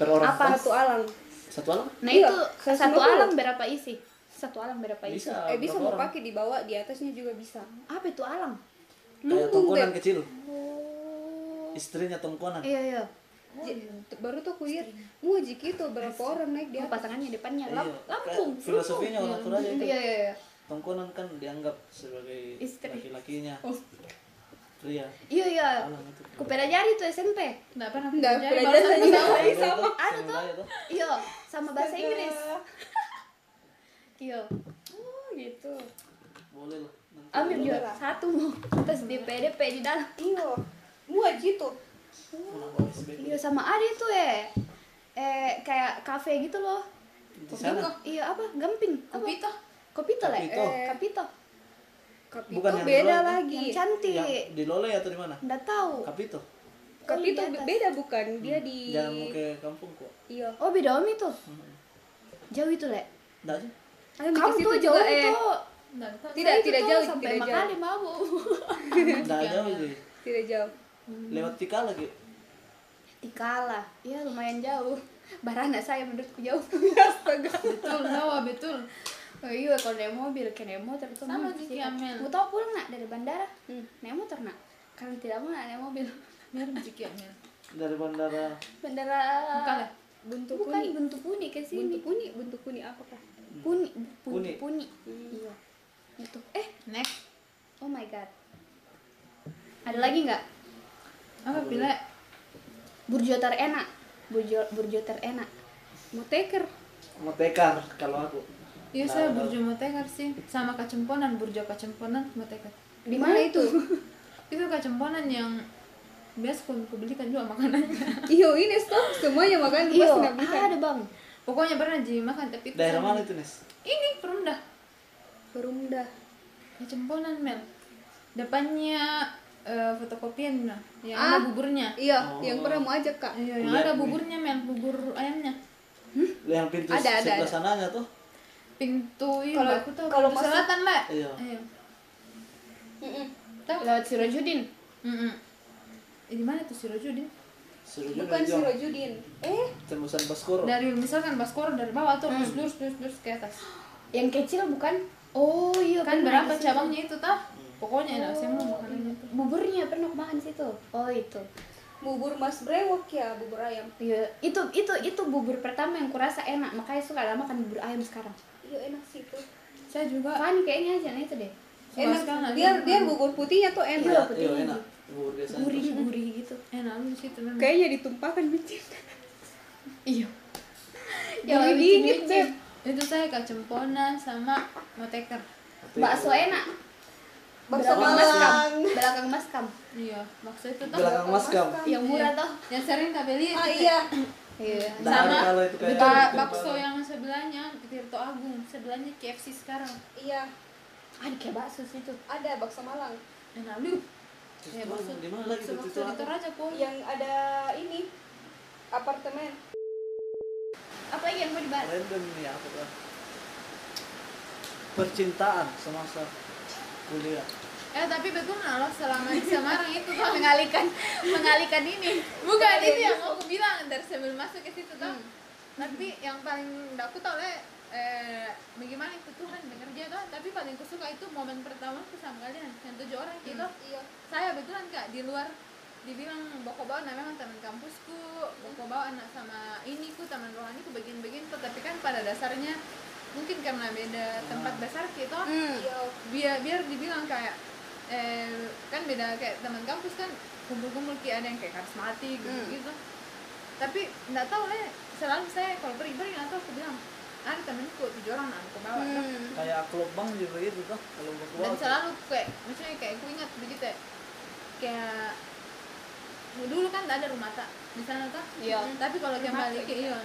[SPEAKER 3] per orang
[SPEAKER 2] Apa?
[SPEAKER 1] satu alang
[SPEAKER 3] satu alam
[SPEAKER 2] Nah
[SPEAKER 1] Iya,
[SPEAKER 2] itu
[SPEAKER 1] 150.
[SPEAKER 2] satu alam berapa isi? Satu alam berapa isi?
[SPEAKER 3] bisa
[SPEAKER 1] eh bisa
[SPEAKER 3] berapa
[SPEAKER 1] mau
[SPEAKER 3] orang?
[SPEAKER 1] pakai di bawah di atasnya juga bisa
[SPEAKER 2] Apa itu alam?
[SPEAKER 3] kayak
[SPEAKER 1] Lumbung,
[SPEAKER 3] tongkonan gitu.
[SPEAKER 1] Beb.
[SPEAKER 3] kecil
[SPEAKER 2] Oh.
[SPEAKER 3] istrinya tongkonan
[SPEAKER 2] Iya iya.
[SPEAKER 1] J- baru tuh kuliah nguji gitu berapa orang naik dia
[SPEAKER 2] Dia pasangannya depannya
[SPEAKER 3] Iya,
[SPEAKER 2] Lam- Lampung.
[SPEAKER 3] kayak filosofinya orang Toraja itu.
[SPEAKER 2] Iya, iya, iya.
[SPEAKER 3] Tongkonan kan dianggap sebagai
[SPEAKER 2] Istri.
[SPEAKER 3] laki-lakinya.
[SPEAKER 2] Oh.
[SPEAKER 3] Pria.
[SPEAKER 2] Iya, iya.
[SPEAKER 3] Alam itu.
[SPEAKER 2] Kupedajari tuh SMP.
[SPEAKER 4] Enggak pernah
[SPEAKER 1] Nggak,
[SPEAKER 4] aku pelajari,
[SPEAKER 1] belajar
[SPEAKER 4] baru
[SPEAKER 1] aja.
[SPEAKER 3] Sama
[SPEAKER 4] tahu.
[SPEAKER 3] itu,
[SPEAKER 2] Ada
[SPEAKER 3] sama
[SPEAKER 2] tuh.
[SPEAKER 3] dia tuh.
[SPEAKER 2] Iya, sama bahasa Inggris. Iya. Oh, gitu.
[SPEAKER 3] Boleh Iya lah. nanti
[SPEAKER 2] Ambil
[SPEAKER 3] boleh.
[SPEAKER 2] juara satu mau tes di PDP di dalam.
[SPEAKER 1] iya nguji tuh
[SPEAKER 3] Menambah SBP.
[SPEAKER 2] Iya, sama ada itu eh eh kayak kafe gitu loh.
[SPEAKER 3] Di sana.
[SPEAKER 2] Iya, apa? Gamping. Apa?
[SPEAKER 4] Kopito.
[SPEAKER 2] Kopito lah.
[SPEAKER 3] Kopito.
[SPEAKER 2] Eh, Kapito.
[SPEAKER 1] kapito
[SPEAKER 3] Bukan yang
[SPEAKER 1] beda
[SPEAKER 3] duluan, kan?
[SPEAKER 1] lagi
[SPEAKER 2] Yang
[SPEAKER 3] Yang
[SPEAKER 2] cantik.
[SPEAKER 3] Iya. di Lole atau di mana?
[SPEAKER 2] Enggak tahu.
[SPEAKER 3] Kapito.
[SPEAKER 1] kapito
[SPEAKER 2] Oh, di atas.
[SPEAKER 1] beda bukan dia di
[SPEAKER 3] Hmm, Jalan mau ke kampung kok.
[SPEAKER 1] iya
[SPEAKER 2] Oh, beda om itu. Jauh itu, Le.
[SPEAKER 3] Enggak sih?
[SPEAKER 1] Ayo, mikir
[SPEAKER 2] Kamu
[SPEAKER 1] situ
[SPEAKER 2] tuh
[SPEAKER 1] juga,
[SPEAKER 2] jauh
[SPEAKER 1] eh.
[SPEAKER 2] itu.
[SPEAKER 4] Enggak tahu.
[SPEAKER 1] Tidak,
[SPEAKER 2] Itu
[SPEAKER 1] tidak
[SPEAKER 2] tuh
[SPEAKER 1] jauh,
[SPEAKER 2] sampai
[SPEAKER 1] tidak
[SPEAKER 2] Makali mau.
[SPEAKER 3] Enggak jauh sih.
[SPEAKER 1] tidak jauh
[SPEAKER 3] Lewat Tikal lagi.
[SPEAKER 2] Tikala. Iya, lumayan jauh. Barana saya menurutku jauh.
[SPEAKER 4] Betul, Jawa betul.
[SPEAKER 2] Oh, iya, kalau naik mobil, kayak naik motor itu
[SPEAKER 4] Sama
[SPEAKER 2] mah.
[SPEAKER 4] sih, kayak Amel.
[SPEAKER 2] Mau tau pulang nak dari bandara? Hmm, naik motor nak. Karena tidak mau nak naik mobil.
[SPEAKER 4] Biar rezeki Amel.
[SPEAKER 3] Dari bandara
[SPEAKER 2] Bandara.
[SPEAKER 4] Bukan ya?
[SPEAKER 1] bentuk
[SPEAKER 2] Bukan
[SPEAKER 1] kuning
[SPEAKER 2] bentuk ya puni ke sini.
[SPEAKER 1] bentuk kuning bentuk kuning apa kah
[SPEAKER 2] Puni, puni,
[SPEAKER 3] Puni.
[SPEAKER 2] puni. Iya. Itu. Eh,
[SPEAKER 4] Next.
[SPEAKER 2] oh my god. Ada lagi nggak?
[SPEAKER 4] Apa pilih?
[SPEAKER 2] Burjo terenak. Burjo, burjo terenak.
[SPEAKER 1] mau teker
[SPEAKER 3] mau tekar kalau aku. Nah,
[SPEAKER 4] Iya saya burjo motekar sih. Sama kacemponan, burjo kacemponan motekar.
[SPEAKER 1] di mana itu
[SPEAKER 4] Itu kacemponan yang biasa aku, aku belikan juga makanannya.
[SPEAKER 1] iyo ini stop semuanya makan
[SPEAKER 2] Iya,
[SPEAKER 1] pas nggak bisa
[SPEAKER 2] ada bang.
[SPEAKER 4] Pokoknya pernah jadi makan tapi itu
[SPEAKER 3] Daerah
[SPEAKER 4] sama-
[SPEAKER 3] mana itu, Nes?
[SPEAKER 4] Ini perumda.
[SPEAKER 1] perumda
[SPEAKER 4] Kacemponan Mel. Depannya eh, fotokopian nah, yang ada
[SPEAKER 1] Ah.
[SPEAKER 4] buburnya.
[SPEAKER 1] iya
[SPEAKER 3] Oh.
[SPEAKER 1] yang pernah mau ajak kak
[SPEAKER 4] Iya, yang
[SPEAKER 3] Lihat
[SPEAKER 4] ada
[SPEAKER 3] nih.
[SPEAKER 4] buburnya Mel, bubur ayamnya.
[SPEAKER 3] Yang pintu
[SPEAKER 1] Ada, ada,
[SPEAKER 3] sebelah
[SPEAKER 1] ada.
[SPEAKER 3] sananya tuh.
[SPEAKER 4] Pintu iya,
[SPEAKER 1] Kalau-
[SPEAKER 4] aku tahu
[SPEAKER 1] kalau
[SPEAKER 4] pintu
[SPEAKER 1] pas-
[SPEAKER 4] selatan, Mbak.
[SPEAKER 3] Iya.
[SPEAKER 4] Iya.
[SPEAKER 2] Tahu lewat Sirojudin.
[SPEAKER 4] Mm-mm. Eh, di mana tuh Sirojudin?
[SPEAKER 3] Seru juga
[SPEAKER 1] bukan
[SPEAKER 3] itu.
[SPEAKER 1] si Rojudin eh
[SPEAKER 3] Tembusan Baskoro.
[SPEAKER 4] Dari misalkan Baskoro dari bawah tuh lurus lurus lurus lurus ke atas.
[SPEAKER 2] Yang kecil bukan? Oh iya.
[SPEAKER 4] Kan
[SPEAKER 2] pernah
[SPEAKER 4] berapa
[SPEAKER 2] di situ.
[SPEAKER 4] cabangnya itu tah? Pokoknya enak saya mau makanannya tuh.
[SPEAKER 2] Buburnya pernah aku makan situ. Oh itu.
[SPEAKER 1] bubur mas brewok ya bubur ayam
[SPEAKER 2] Iya, itu itu itu bubur pertama yang kurasa enak, makanya suka lama makan bubur ayam sekarang.
[SPEAKER 1] iyo enak sih tuh
[SPEAKER 4] Saya juga
[SPEAKER 2] Kan kayaknya aja nah itu deh.
[SPEAKER 1] enak
[SPEAKER 4] Sebastian ada
[SPEAKER 1] biar
[SPEAKER 4] yang
[SPEAKER 1] biar bubur putihnya tuh
[SPEAKER 3] Iya,
[SPEAKER 1] enak
[SPEAKER 3] iya, enak. Bubur biasanya.
[SPEAKER 2] Gurih-gurih gitu.
[SPEAKER 4] enak di situ memang.
[SPEAKER 1] kayaknya gitu. ditumpahkan biji
[SPEAKER 2] Iya.
[SPEAKER 1] Ya,
[SPEAKER 2] ya,
[SPEAKER 1] lebih
[SPEAKER 2] dingin,
[SPEAKER 1] dingin,
[SPEAKER 2] Beb.
[SPEAKER 4] Itu saya kacemponan sama moteker.
[SPEAKER 3] Tapi-
[SPEAKER 2] Bakso enak.
[SPEAKER 1] bakso
[SPEAKER 2] Belakang mas kam.
[SPEAKER 1] malang
[SPEAKER 2] Belakang mas kam.
[SPEAKER 4] Iya, bakso itu tuh
[SPEAKER 3] Belakang Mas Kam.
[SPEAKER 2] Yang murah toh.
[SPEAKER 4] yang sering kabeli beli
[SPEAKER 1] ah
[SPEAKER 4] itu,
[SPEAKER 1] iya
[SPEAKER 2] Iya.
[SPEAKER 3] Nah,
[SPEAKER 4] sama
[SPEAKER 3] kalau itu kayak-
[SPEAKER 4] Ba-
[SPEAKER 3] Betul.
[SPEAKER 4] bakso ya. yang sebelahnya Tirto Agung, sebelahnya KFC sekarang.
[SPEAKER 1] iya
[SPEAKER 2] Ada kayak bakso sih tuh.
[SPEAKER 1] ada bakso malang
[SPEAKER 4] Enak lu.
[SPEAKER 3] Terus
[SPEAKER 4] Ya,
[SPEAKER 3] tuh,
[SPEAKER 4] bakso.
[SPEAKER 3] di mana lagi
[SPEAKER 4] Bakso
[SPEAKER 3] tuh
[SPEAKER 4] bakso
[SPEAKER 3] tuh?
[SPEAKER 4] di Toraja po.
[SPEAKER 1] yang ada ini apartemen
[SPEAKER 2] Apa lagi yang mau dibahas?
[SPEAKER 3] Random nih apa tuh? Percintaan semasa kuliah.
[SPEAKER 4] Eh tapi betul nggak lo selama di Semarang itu tuh
[SPEAKER 2] Mengalihkan mengalihkan ini.
[SPEAKER 4] Bukan itu yang aku bilang dari sebelum masuk ke situ tuh. Tapi yang paling nggak aku tahu lah eh, bagaimana itu Tuhan bekerja tuh. Tapi paling aku suka itu momen pertama aku sama kalian yang tujuh orang gitu.
[SPEAKER 1] iya
[SPEAKER 4] Saya betulan kak di luar dibilang boko bawa namanya teman kampusku, boko bawa anak sama iniku teman rohaniku bagian-bagian tuh. Tapi kan pada dasarnya mungkin karena beda tempat besar gitu
[SPEAKER 2] Hmm.
[SPEAKER 1] iya
[SPEAKER 4] biar biar dibilang kayak eh, kan beda kayak teman kampus kan kumpul-kumpul kayak ada yang kayak karismatik gitu, gitu tapi nggak tahu lah ya, selalu saya kalau pergi pergi nggak tahu aku bilang ada temenku tujuh orang nah, aku bawa tuh."
[SPEAKER 3] Kayak kelobang juga gitu tuh. Kalau mau keluar.
[SPEAKER 4] dan selalu kayak maksudnya kayak aku ingat begitu ya kayak dulu kan nggak ada rumah tak di sana tuh
[SPEAKER 2] Iya.
[SPEAKER 4] tapi kalau
[SPEAKER 2] Rumah
[SPEAKER 4] kembali
[SPEAKER 2] tak,
[SPEAKER 4] ke iya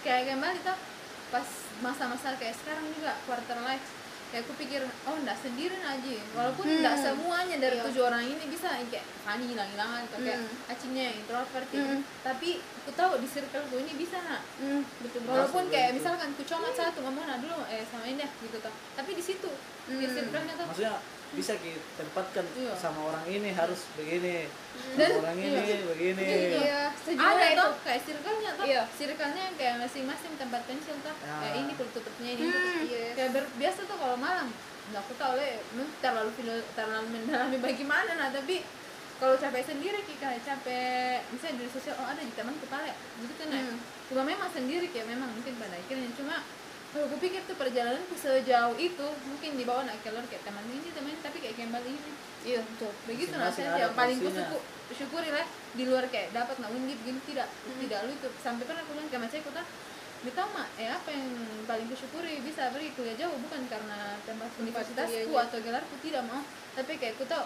[SPEAKER 4] kayak kembali tuh pas masa-masa kayak sekarang juga quarter life kayak aku pikir oh nggak sendiri aja walaupun
[SPEAKER 2] Hmm.
[SPEAKER 4] nggak semuanya
[SPEAKER 2] Iya.
[SPEAKER 4] dari tujuh orang ini bisa kayak Fani hilang-hilangan atau kayak
[SPEAKER 2] Hmm.
[SPEAKER 4] acingnya yang introvert gitu. tapi aku tahu di circle gue ini bisa nak
[SPEAKER 1] Iya.
[SPEAKER 4] Betul. Walaupun
[SPEAKER 3] Masuk
[SPEAKER 4] kayak
[SPEAKER 3] gitu.
[SPEAKER 4] misalkan ku cuma satu ngomong nah dulu eh sama ini deh," gitu toh. Tapi di situ
[SPEAKER 2] Hmm.
[SPEAKER 4] di circle-nya tuh
[SPEAKER 3] Maksudnya bisa ditempatkan
[SPEAKER 4] Iya.
[SPEAKER 3] sama orang ini harus begini.
[SPEAKER 4] Dan-
[SPEAKER 3] Sama orang ini
[SPEAKER 4] iya.
[SPEAKER 3] begini.
[SPEAKER 1] setuju
[SPEAKER 4] ada
[SPEAKER 1] lah itu.
[SPEAKER 4] tuh kayak circle-nya tuh.
[SPEAKER 1] Iya.
[SPEAKER 4] Circle-nya yang kayak masing-masing tempat pensil tuh.
[SPEAKER 3] Ya.
[SPEAKER 4] Kayak ini kutupnya ini. Hmm. Iya, Kayak ber- biasa tuh kalau malam nggak aku tahu lah, ya, mungkin terlalu filo- terlalu mendalami bagaimana nah tapi kalau capek sendiri Ki, kayak capek misalnya dari sosial oh ada di teman kepala ya gitu kan ya
[SPEAKER 2] Hmm.
[SPEAKER 4] cuma memang sendiri ya memang mungkin pada akhirnya cuma kalau gue pikir tuh perjalanan sejauh itu mungkin dibawa nak keluar kayak teman ini teman tapi kayak kembali ini
[SPEAKER 2] iya betul
[SPEAKER 4] Gitu. begitu
[SPEAKER 3] Masing-masing
[SPEAKER 4] rasanya
[SPEAKER 3] ada
[SPEAKER 4] yang paling gue
[SPEAKER 3] porsinya.
[SPEAKER 4] syukur syukuri lah di luar kayak dapat nak undip gitu, gini tidak tidak lu itu sampai pernah aku bilang ke macam aku tuh Mita mah, eh apa yang paling kusyukuri bisa pergi kuliah jauh bukan karena tempat universitasku
[SPEAKER 1] kuliahnya.
[SPEAKER 4] atau gelarku tidak mau tapi kayak aku tahu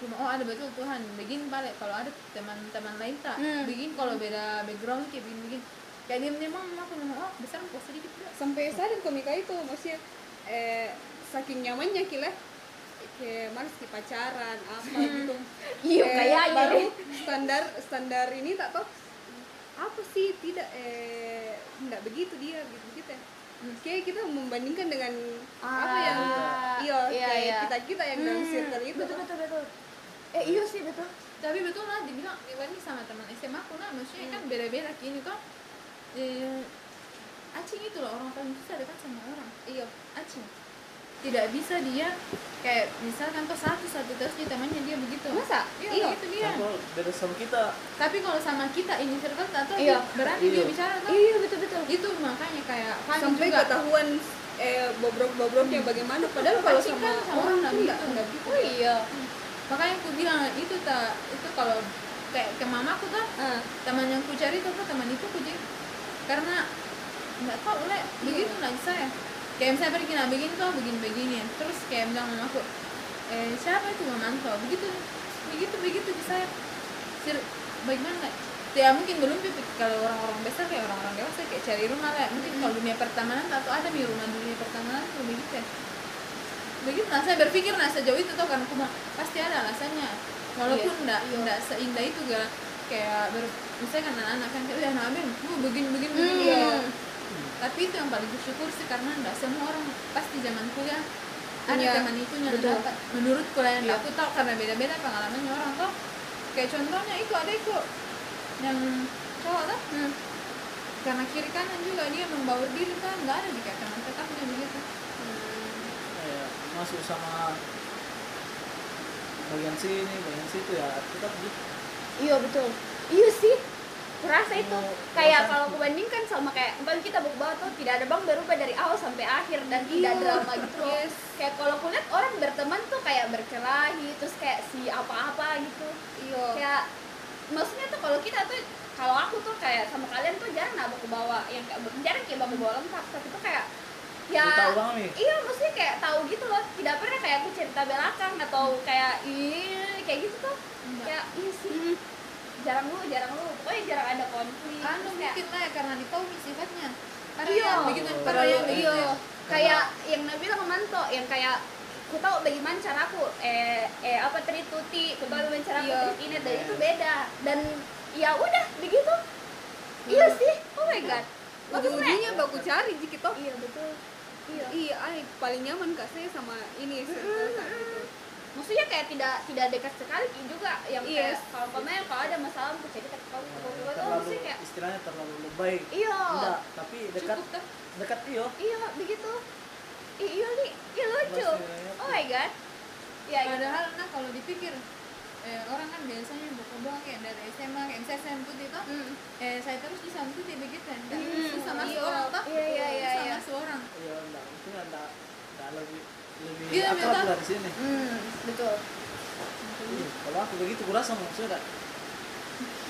[SPEAKER 4] cuma oh ada betul Tuhan begin balik kalau ada teman-teman lain tak
[SPEAKER 2] Hmm.
[SPEAKER 4] begin kalau beda background kayak begin begin kayak dia memang aku ngomong oh besar kok sedikit tidak
[SPEAKER 1] sampai sadar komika itu maksudnya eh, saking nyamannya kila kayak malas ki pacaran apa gitu
[SPEAKER 2] Iya,
[SPEAKER 1] Eh,
[SPEAKER 2] kayaknya
[SPEAKER 1] baru
[SPEAKER 2] deh.
[SPEAKER 1] standar standar ini tak tahu apa sih tidak eh nggak begitu dia gitu gitu ya kayak kita membandingkan dengan apa yang
[SPEAKER 2] Ah,
[SPEAKER 1] iya
[SPEAKER 2] iya,
[SPEAKER 1] kayak
[SPEAKER 2] iya.
[SPEAKER 1] kita kita yang dalam circle itu
[SPEAKER 2] betul betul betul eh iya sih betul
[SPEAKER 4] tapi betul lah dibilang Iwan ini sama teman SMA aku lah maksudnya kan
[SPEAKER 1] Hmm.
[SPEAKER 4] beda-beda kini tuh eh, acing itu loh orang paling susah dekat sama orang iya acing tidak bisa dia kayak misalkan tuh satu satu terus dia temannya dia begitu
[SPEAKER 1] Masa? Iya.
[SPEAKER 4] iya begitu dia
[SPEAKER 3] Nah, kalau beda sama kita
[SPEAKER 4] tapi kalau sama kita ini circle atau
[SPEAKER 2] Iya.
[SPEAKER 4] berani dia
[SPEAKER 3] Iya.
[SPEAKER 4] bicara tuh
[SPEAKER 2] iya betul betul
[SPEAKER 4] itu makanya kayak Fanny
[SPEAKER 1] sampai
[SPEAKER 4] juga
[SPEAKER 1] ketahuan eh bobrok-bobroknya bagaimana padahal kalau
[SPEAKER 4] Pancing
[SPEAKER 1] sama
[SPEAKER 4] kan sama
[SPEAKER 1] orang
[SPEAKER 4] orang
[SPEAKER 1] tuh nggak
[SPEAKER 4] gitu.
[SPEAKER 1] nggak gitu
[SPEAKER 2] oh iya
[SPEAKER 4] makanya aku bilang itu tak itu kalau kayak ke mamaku tuh
[SPEAKER 1] Ah,
[SPEAKER 4] teman yang ku cari tuh apa teman itu ku jadi karena nggak tahu le begitu lagi saya kayak misalnya pergi nah begini tuh begini begini terus kayak bilang sama aku eh siapa itu mama kau begitu begitu begitu di saya Sir, bagaimana Le? ya mungkin belum pipik kalau orang-orang besar kayak orang-orang dewasa kayak cari rumah lah mungkin kalau dunia pertemanan atau ada di rumah dunia pertemanan tuh begitu ya begitu nah saya berpikir nah sejauh itu tuh karena aku bilang, pasti ada alasannya walaupun
[SPEAKER 2] Iya,
[SPEAKER 4] enggak
[SPEAKER 2] iya.
[SPEAKER 4] enggak seindah itu gak kayak ber, misalnya kan anak-anak kan kayak ya naben lu begini begini
[SPEAKER 2] Hmm.
[SPEAKER 4] begini ya tapi itu yang paling bersyukur sih karena enggak semua orang pasti zaman kuliah ada
[SPEAKER 1] Iya,
[SPEAKER 4] teman itu yang
[SPEAKER 2] betul.
[SPEAKER 4] dapat menurut kuliah yang
[SPEAKER 2] Iya.
[SPEAKER 4] aku tahu karena beda-beda pengalamannya orang tuh kayak contohnya itu ada itu yang cowok tuh
[SPEAKER 2] Hmm.
[SPEAKER 4] karena kiri kanan juga dia membaur diri kan nggak ada di kayak teman tetap dia begitu
[SPEAKER 3] ya, masuk sama bagian sini bagian situ ya kita gitu
[SPEAKER 2] Iya betul. Iya sih. Kurasa itu
[SPEAKER 3] Mau
[SPEAKER 2] kayak
[SPEAKER 3] kurasa.
[SPEAKER 2] kalau aku bandingkan sama kayak bang kita buku banget tuh tidak ada bang berubah dari awal sampai akhir dan tidak
[SPEAKER 1] Iya.
[SPEAKER 2] drama gitu. loh.
[SPEAKER 1] Yes.
[SPEAKER 2] Kayak kalau aku lihat orang berteman tuh kayak berkelahi terus kayak si apa-apa gitu.
[SPEAKER 1] iya
[SPEAKER 2] Kayak maksudnya tuh kalau kita tuh kalau aku tuh kayak sama kalian tuh jarang nabok ke bawah yang kayak jarang kayak bawa bawa lengkap tapi tuh kayak ya
[SPEAKER 3] kita ulang nih
[SPEAKER 2] iya maksudnya kayak tahu gitu loh tidak pernah kayak aku cerita belakang atau kayak ih kayak gitu tuh
[SPEAKER 4] Enggak.
[SPEAKER 2] kayak iya sih jarang lu jarang lu pokoknya jarang ada konflik
[SPEAKER 4] anu
[SPEAKER 2] Terus kayak-
[SPEAKER 4] Hmm. mungkin lah ya, karena ditahu sifatnya karena
[SPEAKER 2] Iya.
[SPEAKER 4] yang begitu
[SPEAKER 3] Oh.
[SPEAKER 4] karena yang begitu
[SPEAKER 2] iya
[SPEAKER 4] ya.
[SPEAKER 2] kayak yang Nabila kemanto yang kayak ku tahu bagaimana caraku eh eh apa teri tuti ku tahu bagaimana caraku
[SPEAKER 1] Iya.
[SPEAKER 2] teri ini dan itu beda dan ya udah begitu iya
[SPEAKER 4] Hmm.
[SPEAKER 2] sih oh my god maksudnya
[SPEAKER 1] ujung-ujungnya baku cari jika toh
[SPEAKER 2] iya betul iya
[SPEAKER 1] iya ay, paling nyaman kak saya sama ini circle kak gitu
[SPEAKER 2] maksudnya kayak tidak tidak dekat sekali juga yang
[SPEAKER 1] Yes.
[SPEAKER 2] kayak kalau pemain kalau ada masalah aku cerita ke kamu ke kamu ke kamu tuh
[SPEAKER 3] terlalu
[SPEAKER 2] maksudnya kayak
[SPEAKER 3] istilahnya terlalu lebay
[SPEAKER 2] iya
[SPEAKER 3] enggak tapi dekat
[SPEAKER 4] cukup tuh
[SPEAKER 3] dekat iyo
[SPEAKER 2] iya begitu I, iya nih iya lucu
[SPEAKER 3] Maksudnya,
[SPEAKER 2] oh my god ya gitu.
[SPEAKER 4] Padahal nah kalau dipikir eh, orang kan biasanya buku doang kayak dari SMA kayak misalnya saya putih itu
[SPEAKER 2] Mm.
[SPEAKER 4] eh, saya terus bisa putih begitu kan nggak
[SPEAKER 2] Hmm,
[SPEAKER 4] susah masuk
[SPEAKER 2] iya.
[SPEAKER 4] orang toh
[SPEAKER 2] Iya, iya, iya,
[SPEAKER 4] susah
[SPEAKER 2] iya.
[SPEAKER 4] masuk orang
[SPEAKER 3] iya enggak mungkin enggak enggak lebih lebih
[SPEAKER 4] Iya,
[SPEAKER 3] akrab
[SPEAKER 4] beda.
[SPEAKER 3] lah di sini
[SPEAKER 2] Hmm, betul
[SPEAKER 3] Iya, kalau aku begitu kurasa maksudnya enggak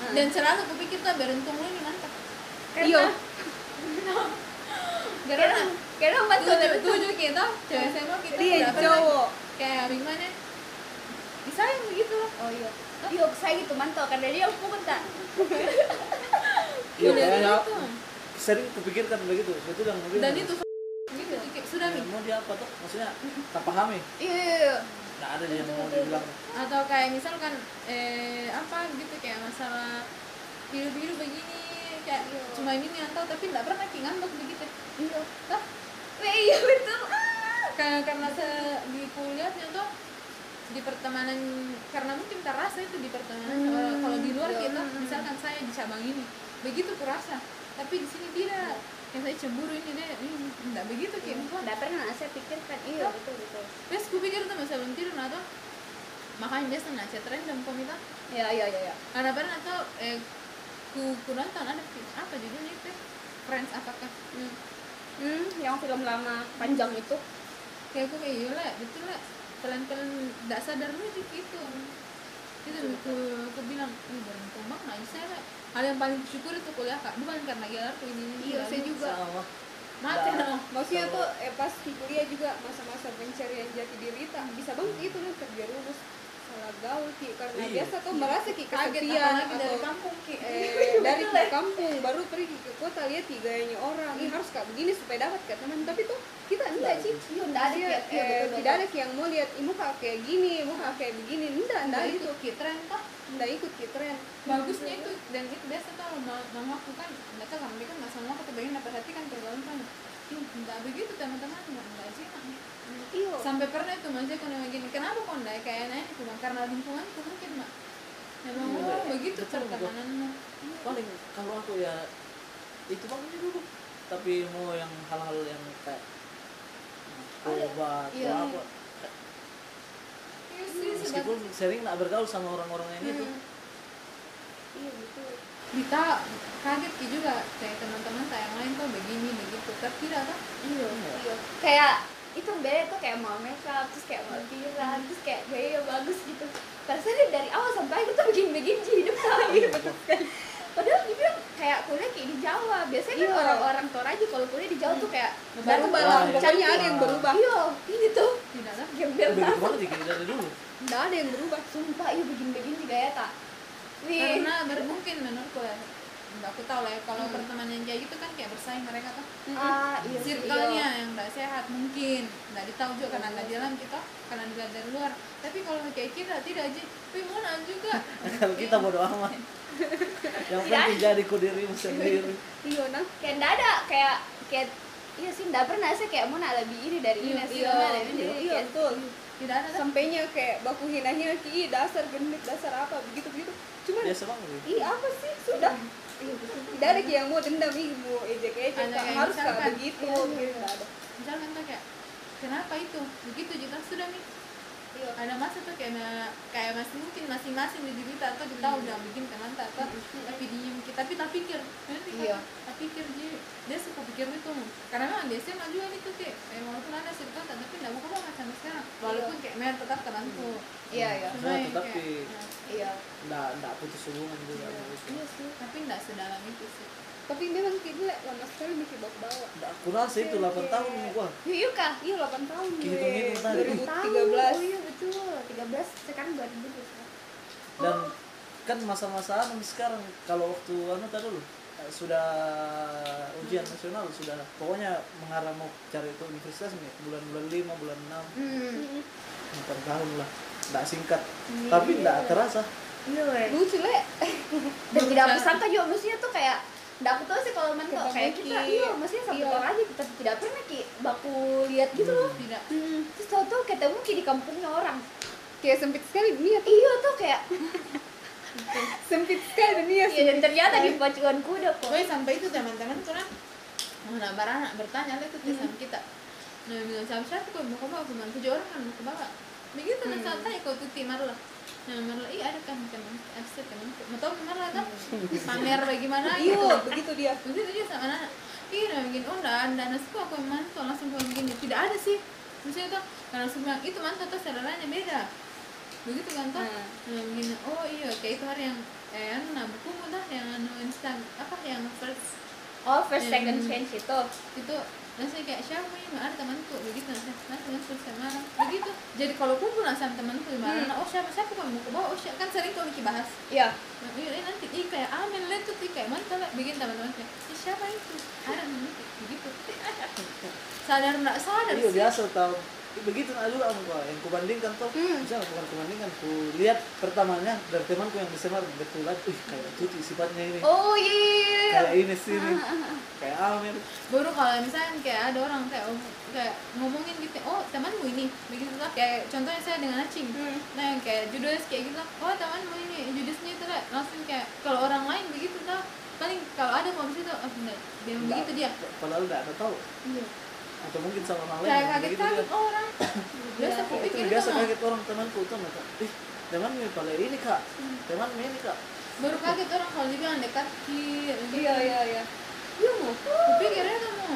[SPEAKER 2] Hmm.
[SPEAKER 4] dan selalu aku pikir tuh beruntung lu ini mantap
[SPEAKER 1] iya
[SPEAKER 2] Iya.
[SPEAKER 4] karena
[SPEAKER 2] karena empat
[SPEAKER 4] tujuh tujuh kita cewek SMA
[SPEAKER 2] Iya,
[SPEAKER 4] kita
[SPEAKER 1] dia
[SPEAKER 4] berapa lagi?
[SPEAKER 1] cowok
[SPEAKER 4] kayak gimana disayang begitu loh
[SPEAKER 2] oh iya iya saya gitu mantau karena dia aku bentar
[SPEAKER 3] iya
[SPEAKER 4] Udah
[SPEAKER 3] kayaknya
[SPEAKER 4] gitu.
[SPEAKER 3] sering kupikirkan begitu betul yang mobil
[SPEAKER 4] dan itu gitu kayak sudah nih
[SPEAKER 3] mau dia apa tuh maksudnya tak pahami
[SPEAKER 2] iya iya iya
[SPEAKER 3] enggak ada yang mau dibilang
[SPEAKER 4] atau kayak misalkan eh apa gitu kayak masalah biru-biru begini kayak
[SPEAKER 2] Iya.
[SPEAKER 4] cuma ini yang tahu tapi nggak pernah kayak ngambek begitu
[SPEAKER 2] iya
[SPEAKER 4] Toh,
[SPEAKER 2] Weh, iya betul Ah.
[SPEAKER 4] karena karena se- di kuliahnya tuh di pertemanan karena mungkin terasa itu di pertemanan
[SPEAKER 2] Hmm,
[SPEAKER 4] Kalau- kalau di luar
[SPEAKER 2] iya.
[SPEAKER 4] kita misalkan saya di cabang ini begitu kurasa tapi di sini tidak
[SPEAKER 2] Iya.
[SPEAKER 4] yang saya cemburu ini deh ini nggak begitu kayak
[SPEAKER 2] nggak pernah saya pikirkan kan? iya betul betul
[SPEAKER 4] terus gue pikir tuh masa belum tidur nah tuh makanya biasa nah chat random kok minta
[SPEAKER 2] ya ya ya ya
[SPEAKER 4] karena pernah atau eh, ku, ku nonton ada film- apa judulnya itu Friends apakah
[SPEAKER 2] hmm. Hmm, yang film lama panjang itu
[SPEAKER 4] kayak aku kayak yola betul lah pelan-pelan tidak sadar lu itu itu itu aku, aku bilang ini barang tombak nggak bisa lah hal yang paling syukur itu kuliah kak bukan karena gila aku ini ini,
[SPEAKER 1] Iya,
[SPEAKER 4] ini,
[SPEAKER 1] saya
[SPEAKER 4] ini.
[SPEAKER 1] juga.
[SPEAKER 3] sama
[SPEAKER 4] mati dong
[SPEAKER 1] maksudnya tuh eh, pas di kuliah juga masa-masa pencarian jati diri tak bisa
[SPEAKER 2] Hmm.
[SPEAKER 1] banget itu nih kerja lulus salah gaul ki karena
[SPEAKER 3] Iya.
[SPEAKER 1] biasa tuh merasa ki
[SPEAKER 4] kaget
[SPEAKER 1] kesepian
[SPEAKER 4] apalagi
[SPEAKER 1] atau
[SPEAKER 4] dari kampung ki
[SPEAKER 1] eh, dari kampung baru pergi ke kota lihat tiganya orang ini harus kayak begini supaya dapat kayak teman tapi tuh kita enggak sih
[SPEAKER 2] Iya, enggak ada,
[SPEAKER 1] Iya,
[SPEAKER 2] Ki. Iya,
[SPEAKER 1] eh,
[SPEAKER 2] betul-betul.
[SPEAKER 1] tidak ada Ki yang mau lihat ibu kakak kayak gini ibu kakak kayak begini enggak enggak
[SPEAKER 4] dari itu
[SPEAKER 1] itu
[SPEAKER 4] ki tren toh
[SPEAKER 1] enggak ikut ya, ki tren
[SPEAKER 4] bagusnya itu dan itu biasa tau ma- mama aku kan nggak tahu kamu kan nggak semua aku kebagian dapat hati kan pergaulan kan Ih, nggak begitu teman-teman nggak nggak sih Mak.
[SPEAKER 1] iya
[SPEAKER 4] sampai pernah itu masih aku nanya gini kenapa kau ndak kayak nanya cuma karena lingkungan tuh mungkin mak memang
[SPEAKER 3] Iya,
[SPEAKER 4] oh,
[SPEAKER 3] iya.
[SPEAKER 4] begitu
[SPEAKER 3] Betul,
[SPEAKER 4] pertemananmu
[SPEAKER 3] paling kalau aku ya itu banget dulu tapi mau yang hal-hal yang kayak obat
[SPEAKER 2] iya.
[SPEAKER 3] atau apa
[SPEAKER 4] iya sih
[SPEAKER 3] meskipun sering nak bergaul sama orang-orang yang itu
[SPEAKER 2] Hmm.
[SPEAKER 1] iya betul
[SPEAKER 4] kita kaget ki juga kayak teman-teman saya yang lain kok begini begitu terkira kan
[SPEAKER 2] iya iya kayak itu beda tuh kayak mau makeup terus kayak mau pikiran terus kayak gaya bagus gitu Rasanya dari awal sampai akhir tuh begini-begini hidup lagi padahal dibilang kayak kuliah kayak di Jawa biasanya kan
[SPEAKER 1] Iya.
[SPEAKER 2] orang-orang Toraja kalau kuliah di Jawa tuh kayak
[SPEAKER 1] baru
[SPEAKER 2] baru-baru
[SPEAKER 1] baru pokoknya ada yang berubah
[SPEAKER 2] iya gitu
[SPEAKER 4] tidak kan
[SPEAKER 2] gembel
[SPEAKER 3] udah
[SPEAKER 2] banget
[SPEAKER 3] gitu banget dikira dari dulu
[SPEAKER 1] enggak ada yang berubah
[SPEAKER 2] sumpah iya begini-begini juga ya tak Wih.
[SPEAKER 4] karena baru mungkin menurutku ya nggak aku tahu lah ya kalau
[SPEAKER 3] Hmm.
[SPEAKER 4] pertemanan yang kayak gitu kan kayak bersaing mereka kan
[SPEAKER 2] ah iya sih,
[SPEAKER 4] circle-nya yang nggak sehat mungkin nggak ditahu juga
[SPEAKER 3] Iya,
[SPEAKER 4] karena nggak di dalam kita karena di dari luar tapi kalau kayak kita tidak aja tapi mau juga
[SPEAKER 3] kalau kita
[SPEAKER 2] Iya.
[SPEAKER 3] bodo amat yang penting jadi ku dirimu sendiri
[SPEAKER 1] iya nah
[SPEAKER 2] iya. kayak nggak ada kayak kayak iya sih nggak pernah sih kayak mau nak lebih iri dari ini sih
[SPEAKER 1] iya
[SPEAKER 2] mana
[SPEAKER 1] iya,
[SPEAKER 2] ini
[SPEAKER 1] iya
[SPEAKER 2] kayak
[SPEAKER 1] betul
[SPEAKER 4] tidak ada kan?
[SPEAKER 1] sampainya kayak baku hina-hina ki "Ih, dasar genit dasar apa begitu begitu cuman
[SPEAKER 3] biasa banget gitu.
[SPEAKER 1] ih apa sih sudah tidak ada yang mau dendam ih mau ejek ejek
[SPEAKER 4] Ada
[SPEAKER 1] tak
[SPEAKER 4] yang
[SPEAKER 1] harus
[SPEAKER 4] misalkan.
[SPEAKER 1] tak begitu
[SPEAKER 4] Iya,
[SPEAKER 1] gitu nggak ada
[SPEAKER 4] misalkan tuh kayak kenapa itu begitu juga sudah nih
[SPEAKER 2] Iya.
[SPEAKER 4] ada masa tuh kayak na- kayak masih mungkin masing-masing di kita atau
[SPEAKER 2] Iya.
[SPEAKER 4] kita udah bikin teman tak atau tapi diem kita tapi tak pikir nanti
[SPEAKER 2] Iya.
[SPEAKER 4] tak pikir dia dia suka pikir itu karena memang biasanya maju juga gitu kayak eh, walaupun ada cerita tapi nggak buka banget sampai sekarang walaupun kayak mer tetap temanku
[SPEAKER 2] iya iya
[SPEAKER 4] Cuma
[SPEAKER 3] Nah,
[SPEAKER 4] yang
[SPEAKER 3] tetap
[SPEAKER 4] kayak,
[SPEAKER 3] di-
[SPEAKER 4] nah,
[SPEAKER 2] iya
[SPEAKER 3] nggak nggak putus hubungan juga gitu.
[SPEAKER 4] tapi nggak sedalam itu sih
[SPEAKER 1] tapi memang tidak lama sekali bikin bawa bawa
[SPEAKER 3] Nggak, aku rasa itu
[SPEAKER 2] Iya,
[SPEAKER 3] 8 tahun nih gua
[SPEAKER 2] yuk yuk kah
[SPEAKER 1] iya 8 tahun gue
[SPEAKER 3] Dihitung-hitung tadi.
[SPEAKER 1] 2013
[SPEAKER 2] oh iya betul 13 sekarang 2021
[SPEAKER 3] dan kan masa-masa anu sekarang kalau waktu anu tadi dulu eh, sudah ujian nasional sudah pokoknya mengarah mau cari ke universitas nih bulan-bulan lima bulan enam
[SPEAKER 2] hmm
[SPEAKER 3] empat tahun lah nggak singkat tapi nggak terasa
[SPEAKER 2] iya weh.
[SPEAKER 1] lucu le
[SPEAKER 2] dan tidak aku sangka juga maksudnya tuh kayak nggak aku tahu sih kalau men kok
[SPEAKER 1] Ketemu
[SPEAKER 2] kayak
[SPEAKER 1] Ki.
[SPEAKER 2] kita iya maksudnya satu
[SPEAKER 1] Iya.
[SPEAKER 2] orang aja kita tidak pernah ki baku lihat gitu loh
[SPEAKER 4] tidak
[SPEAKER 2] terus tau tau ketemu ki di kampungnya orang
[SPEAKER 1] kayak sempit sekali dunia tuh
[SPEAKER 2] iya tuh kayak
[SPEAKER 1] sempit sekali dunia
[SPEAKER 2] iya dan ternyata di pacuan kuda kok
[SPEAKER 4] Pokoknya sampai itu teman-teman kurang mau nabar anak bertanya lah itu tuh sama kita. Nah bilang sama siapa kok mau ke bawah cuma tujuh orang kan mau ke bawah. Begitu kan santai kok tuh timar lah. Nah Marla, iya ada kan teman, FC teman, mau tau Marla kan pamer bagaimana gitu.
[SPEAKER 1] iya begitu dia
[SPEAKER 4] Begitu dia sama anak, iya nah mungkin oh nggak ada nasib aku yang mantau langsung bilang gini tidak ada sih. Maksudnya tuh kalau langsung bilang itu mantau tuh saudaranya beda. Begitu kan tuh,
[SPEAKER 1] Hmm.
[SPEAKER 4] Nah, gini, oh iya kayak itu hari yang eh yang nah buku mudah yang anu instan apa yang first
[SPEAKER 2] oh first second
[SPEAKER 4] Hmm.
[SPEAKER 2] change itu
[SPEAKER 4] itu dan saya kayak siapa yang nggak ada temanku begitu nah saya- nah teman terus sama begitu jadi kalau kumpul lah sama temanku di mana oh siapa siapa kok mau ke bawah oh siapa kan sering tuh kita bahas
[SPEAKER 2] iya
[SPEAKER 4] nah, iya iya, nanti ih kayak amin lihat tuh ih, kayak mantap lah bikin teman-teman kayak "Ih, siapa itu "Ah, ada temanku begitu gitu." sadar nggak sadar
[SPEAKER 3] Iya
[SPEAKER 4] sih
[SPEAKER 3] biasa tau Ih, begitu nah juga sama gua yang kubandingkan tuh
[SPEAKER 2] Hmm.
[SPEAKER 3] misalnya bukan kubandingkan ku lihat pertamanya dari temanku yang disemar betulan ih kayak tuti sifatnya ini
[SPEAKER 2] oh iya ah.
[SPEAKER 3] kayak ini sini kayak Amir
[SPEAKER 4] baru kalau misalnya kayak ada orang kayak oh, kayak ngomongin gitu oh temanmu ini begitu lah kayak contohnya saya dengan acing
[SPEAKER 3] Hmm.
[SPEAKER 4] nah yang kayak judes kayak gitu lah oh temanmu ini judesnya itu lah langsung kayak kalau orang lain begitu lah paling kalau ada kalau misalnya tuh oh, enggak dia
[SPEAKER 3] Enggak.
[SPEAKER 4] begitu dia
[SPEAKER 3] padahal nggak ada tahu
[SPEAKER 4] iya
[SPEAKER 3] atau mungkin sama hal lain
[SPEAKER 4] kayak gitu
[SPEAKER 3] yang
[SPEAKER 4] kaget
[SPEAKER 3] begitu
[SPEAKER 4] kaget
[SPEAKER 3] dia.
[SPEAKER 4] orang biasa aku
[SPEAKER 3] itu
[SPEAKER 4] pikir itu
[SPEAKER 3] biasa
[SPEAKER 4] mah
[SPEAKER 3] kaget orang temanku tuh mereka ih teman mi pale ini kak
[SPEAKER 4] Hmm.
[SPEAKER 3] teman mi ini kak
[SPEAKER 4] baru kaget orang kalau dibilang dekat ki
[SPEAKER 2] iya iya iya
[SPEAKER 4] iya mau aku pikirnya kamu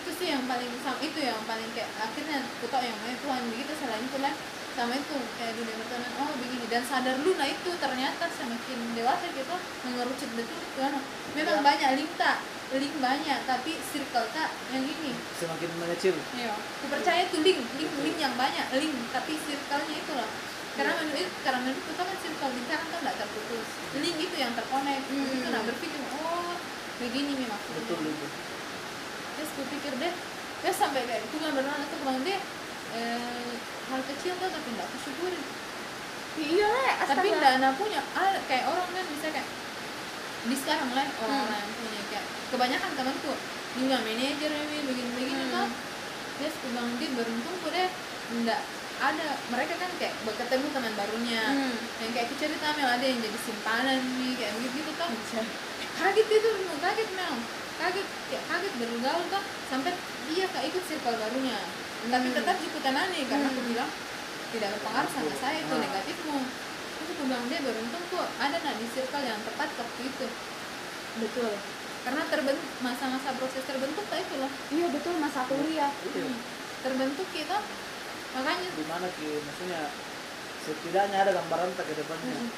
[SPEAKER 4] itu sih yang paling sama itu yang paling kayak akhirnya aku tahu yang namanya Tuhan begitu selain itu lah sama itu kayak dunia pertemanan oh begini dan sadar lu nah itu ternyata semakin dewasa kita mengerucut betul Tuhan memang
[SPEAKER 3] Iya.
[SPEAKER 4] banyak link tak link banyak tapi circle tak yang ini
[SPEAKER 3] semakin mengecil
[SPEAKER 4] Iya, percaya itu link, link, link yang banyak, link, tapi circle-nya itu loh.
[SPEAKER 3] Iya.
[SPEAKER 4] Karena menurut karena menurut kita kan circle lingkaran kan nggak terputus. Link itu yang terkonek. Itu nah berpikir, oh begini nih maksudnya.
[SPEAKER 3] Hmm. betul itu
[SPEAKER 4] Terus gue pikir deh, terus sampai kayak gue nggak benar itu bilang deh, eh, hal kecil tuh tapi nggak aku syukurin.
[SPEAKER 2] iya lah
[SPEAKER 4] Tapi nggak anak punya, ah, kayak orang kan bisa kayak di sekarang lah
[SPEAKER 2] Hmm.
[SPEAKER 4] orang yang punya kayak kebanyakan temanku juga manajer ini begini-begini
[SPEAKER 2] Hmm.
[SPEAKER 4] tuh terus gue bilang dia beruntung gue deh nggak ada mereka kan kayak bertemu teman barunya
[SPEAKER 2] Hmm.
[SPEAKER 4] yang kayak aku cerita Mel ada yang jadi simpanan nih kayak begitu gitu tuh kaget itu Mel, kaget Mel kaget kayak kaget bergaul tuh sampai dia kayak ikut circle barunya tapi
[SPEAKER 2] Hmm.
[SPEAKER 4] tetap ikutan aneh karena aku bilang tidak berpengaruh sama saya itu
[SPEAKER 3] Ah.
[SPEAKER 4] negatifmu terus aku bilang dia beruntung kok ada nah di circle yang tepat waktu itu betul karena terbentuk masa-masa proses terbentuk tuh itu loh
[SPEAKER 2] iya betul masa kuliah
[SPEAKER 3] Iya.
[SPEAKER 4] Hmm. terbentuk kita makanya
[SPEAKER 3] di mana ki maksudnya setidaknya ada gambaran tak ke depannya
[SPEAKER 4] Hmm.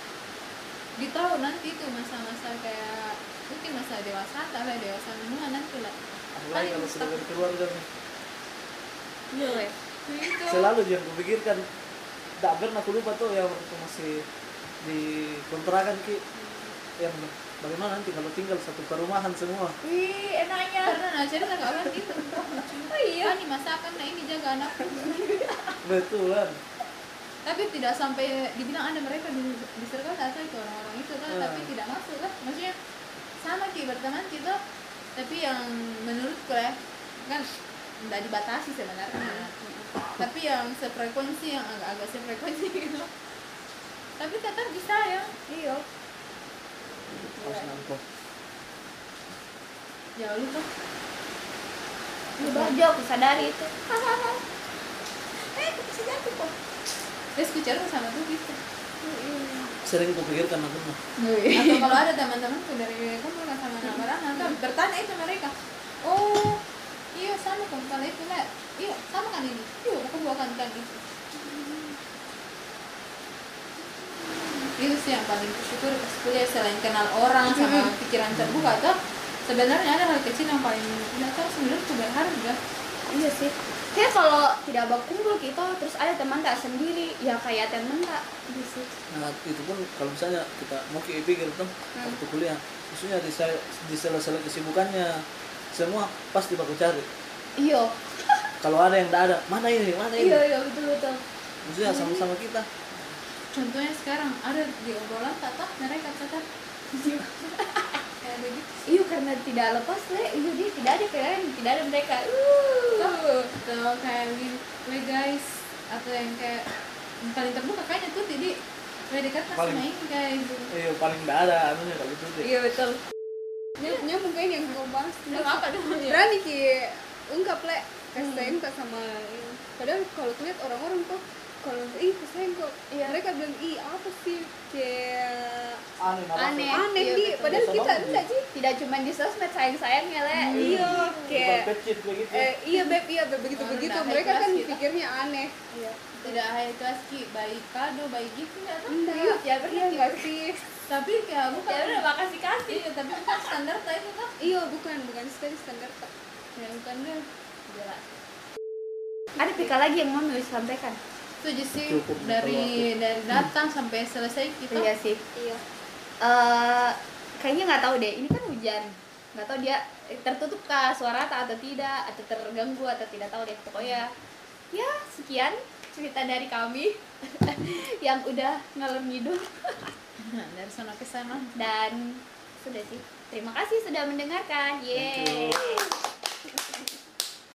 [SPEAKER 4] di tahun nanti itu masa-masa kayak mungkin masa dewasa tak lah dewasa menua nanti lah
[SPEAKER 3] apalagi kalau sudah berkeluarga nih
[SPEAKER 2] iya weh.
[SPEAKER 4] itu
[SPEAKER 3] selalu jangan kupikirkan tak pernah aku lupa tuh yang waktu masih di kontrakan ki
[SPEAKER 4] Hmm.
[SPEAKER 3] yang bagaimana nanti kalau tinggal satu perumahan semua
[SPEAKER 4] wih enaknya karena nah cerita gak orang gitu oh iya nih masakan nah ini jaga anakku
[SPEAKER 3] betulan
[SPEAKER 4] tapi tidak sampai dibilang ada mereka di di circle tak tahu itu orang-orang itu kan
[SPEAKER 3] Hmm.
[SPEAKER 4] tapi tidak masuk kan maksudnya sama ki berteman kita tapi yang menurutku ya kan tidak dibatasi sebenarnya tapi yang sefrekuensi yang agak-agak sefrekuensi gitu tapi tetap bisa ya
[SPEAKER 2] iya
[SPEAKER 3] harus nampung
[SPEAKER 4] jangan lupa
[SPEAKER 2] lu bajo aku sadari itu
[SPEAKER 4] eh aku bisa jatuh kok terus ku cerita sama tuh gitu
[SPEAKER 3] sering kupikirkan aku mah
[SPEAKER 4] atau kalau ada teman-temanku dari kumpul kan sama anak orang nanti bertanya itu mereka oh iya sama kan kalau itu lah iya sama kan ini iya aku bukan kan itu itu sih yang paling bersyukur pas kuliah selain kenal orang sama pikiran terbuka tuh sebenarnya ada hal kecil yang paling nggak tahu sebenarnya tuh berharga
[SPEAKER 2] iya sih kayak kalau tidak berkumpul kita terus ada teman tak sendiri ya kayak teman tak
[SPEAKER 1] Iya
[SPEAKER 2] gitu sih
[SPEAKER 3] nah itu pun kalau misalnya kita mau ki pikir tuh
[SPEAKER 2] Hmm.
[SPEAKER 3] waktu kuliah maksudnya di, sel- di sela-sela kesibukannya semua pasti aku cari
[SPEAKER 2] iya
[SPEAKER 3] kalau ada yang tidak ada mana ini mana ini
[SPEAKER 2] iya iya betul betul
[SPEAKER 3] maksudnya sama-sama kita
[SPEAKER 4] contohnya sekarang ada di obrolan tak tahu mereka kata kayak begitu
[SPEAKER 2] iya karena tidak lepas le iya dia tidak ada kalian tidak ada mereka Uh.
[SPEAKER 4] Tuh, tuh kayak gini, weh guys, atau yang kayak yang paling terbuka kayaknya tuh jadi weh dekat pas
[SPEAKER 3] Paling-
[SPEAKER 4] main guys.
[SPEAKER 3] iya paling tidak ada anunya kalau itu deh
[SPEAKER 2] iya betul
[SPEAKER 1] Nya mungkin yang kau bahas
[SPEAKER 4] Lu apa dong ya?
[SPEAKER 1] berani ki ungkap le kasih sayang tak sama padahal kalau lihat orang-orang tuh kalau ih kasih sayang kok
[SPEAKER 2] Iya.
[SPEAKER 1] mereka bilang ih apa sih kayak
[SPEAKER 3] aneh apa
[SPEAKER 2] Aneh.
[SPEAKER 3] tuh?
[SPEAKER 1] aneh
[SPEAKER 2] Iya,
[SPEAKER 1] di
[SPEAKER 2] betul.
[SPEAKER 1] padahal
[SPEAKER 3] Biasa
[SPEAKER 1] kita
[SPEAKER 3] banget,
[SPEAKER 1] enggak sih
[SPEAKER 2] tidak cuma di sosmed sayang sayangnya le
[SPEAKER 1] iya
[SPEAKER 3] Bukan gitu.
[SPEAKER 1] kayak
[SPEAKER 3] kecil begitu
[SPEAKER 1] eh, iya beb iya beb begitu begitu
[SPEAKER 4] Orang
[SPEAKER 1] mereka
[SPEAKER 4] naik
[SPEAKER 1] kan
[SPEAKER 4] kelas kita.
[SPEAKER 1] pikirnya aneh iya
[SPEAKER 4] Tidak high class ki, baik kado, gitu, baik gift enggak tuh.
[SPEAKER 1] enggak
[SPEAKER 2] ya
[SPEAKER 1] iya
[SPEAKER 2] pernah
[SPEAKER 1] enggak sih
[SPEAKER 4] kan? Tapi kayak bukan
[SPEAKER 2] ya udah makasih kasih
[SPEAKER 4] Iya, tapi bukan standar tuh itu tuh.
[SPEAKER 1] iya bukan bukan sekali standar tak
[SPEAKER 4] Ya bukan deh. Jelas.
[SPEAKER 2] ada pika lagi yang mau nulis sampaikan
[SPEAKER 4] Itu sih
[SPEAKER 3] Cukup
[SPEAKER 4] dari dari datang sampai selesai kita.
[SPEAKER 2] iya sih
[SPEAKER 1] iya
[SPEAKER 2] eh kayaknya nggak tahu deh ini kan hujan nggak tahu dia tertutup kah suara tak atau tidak atau terganggu atau tidak tahu deh pokoknya ya sekian cerita dari kami yang udah ngalem hidup
[SPEAKER 4] Nah, dari sana ke sana.
[SPEAKER 2] dan sudah sih terima kasih sudah mendengarkan yeay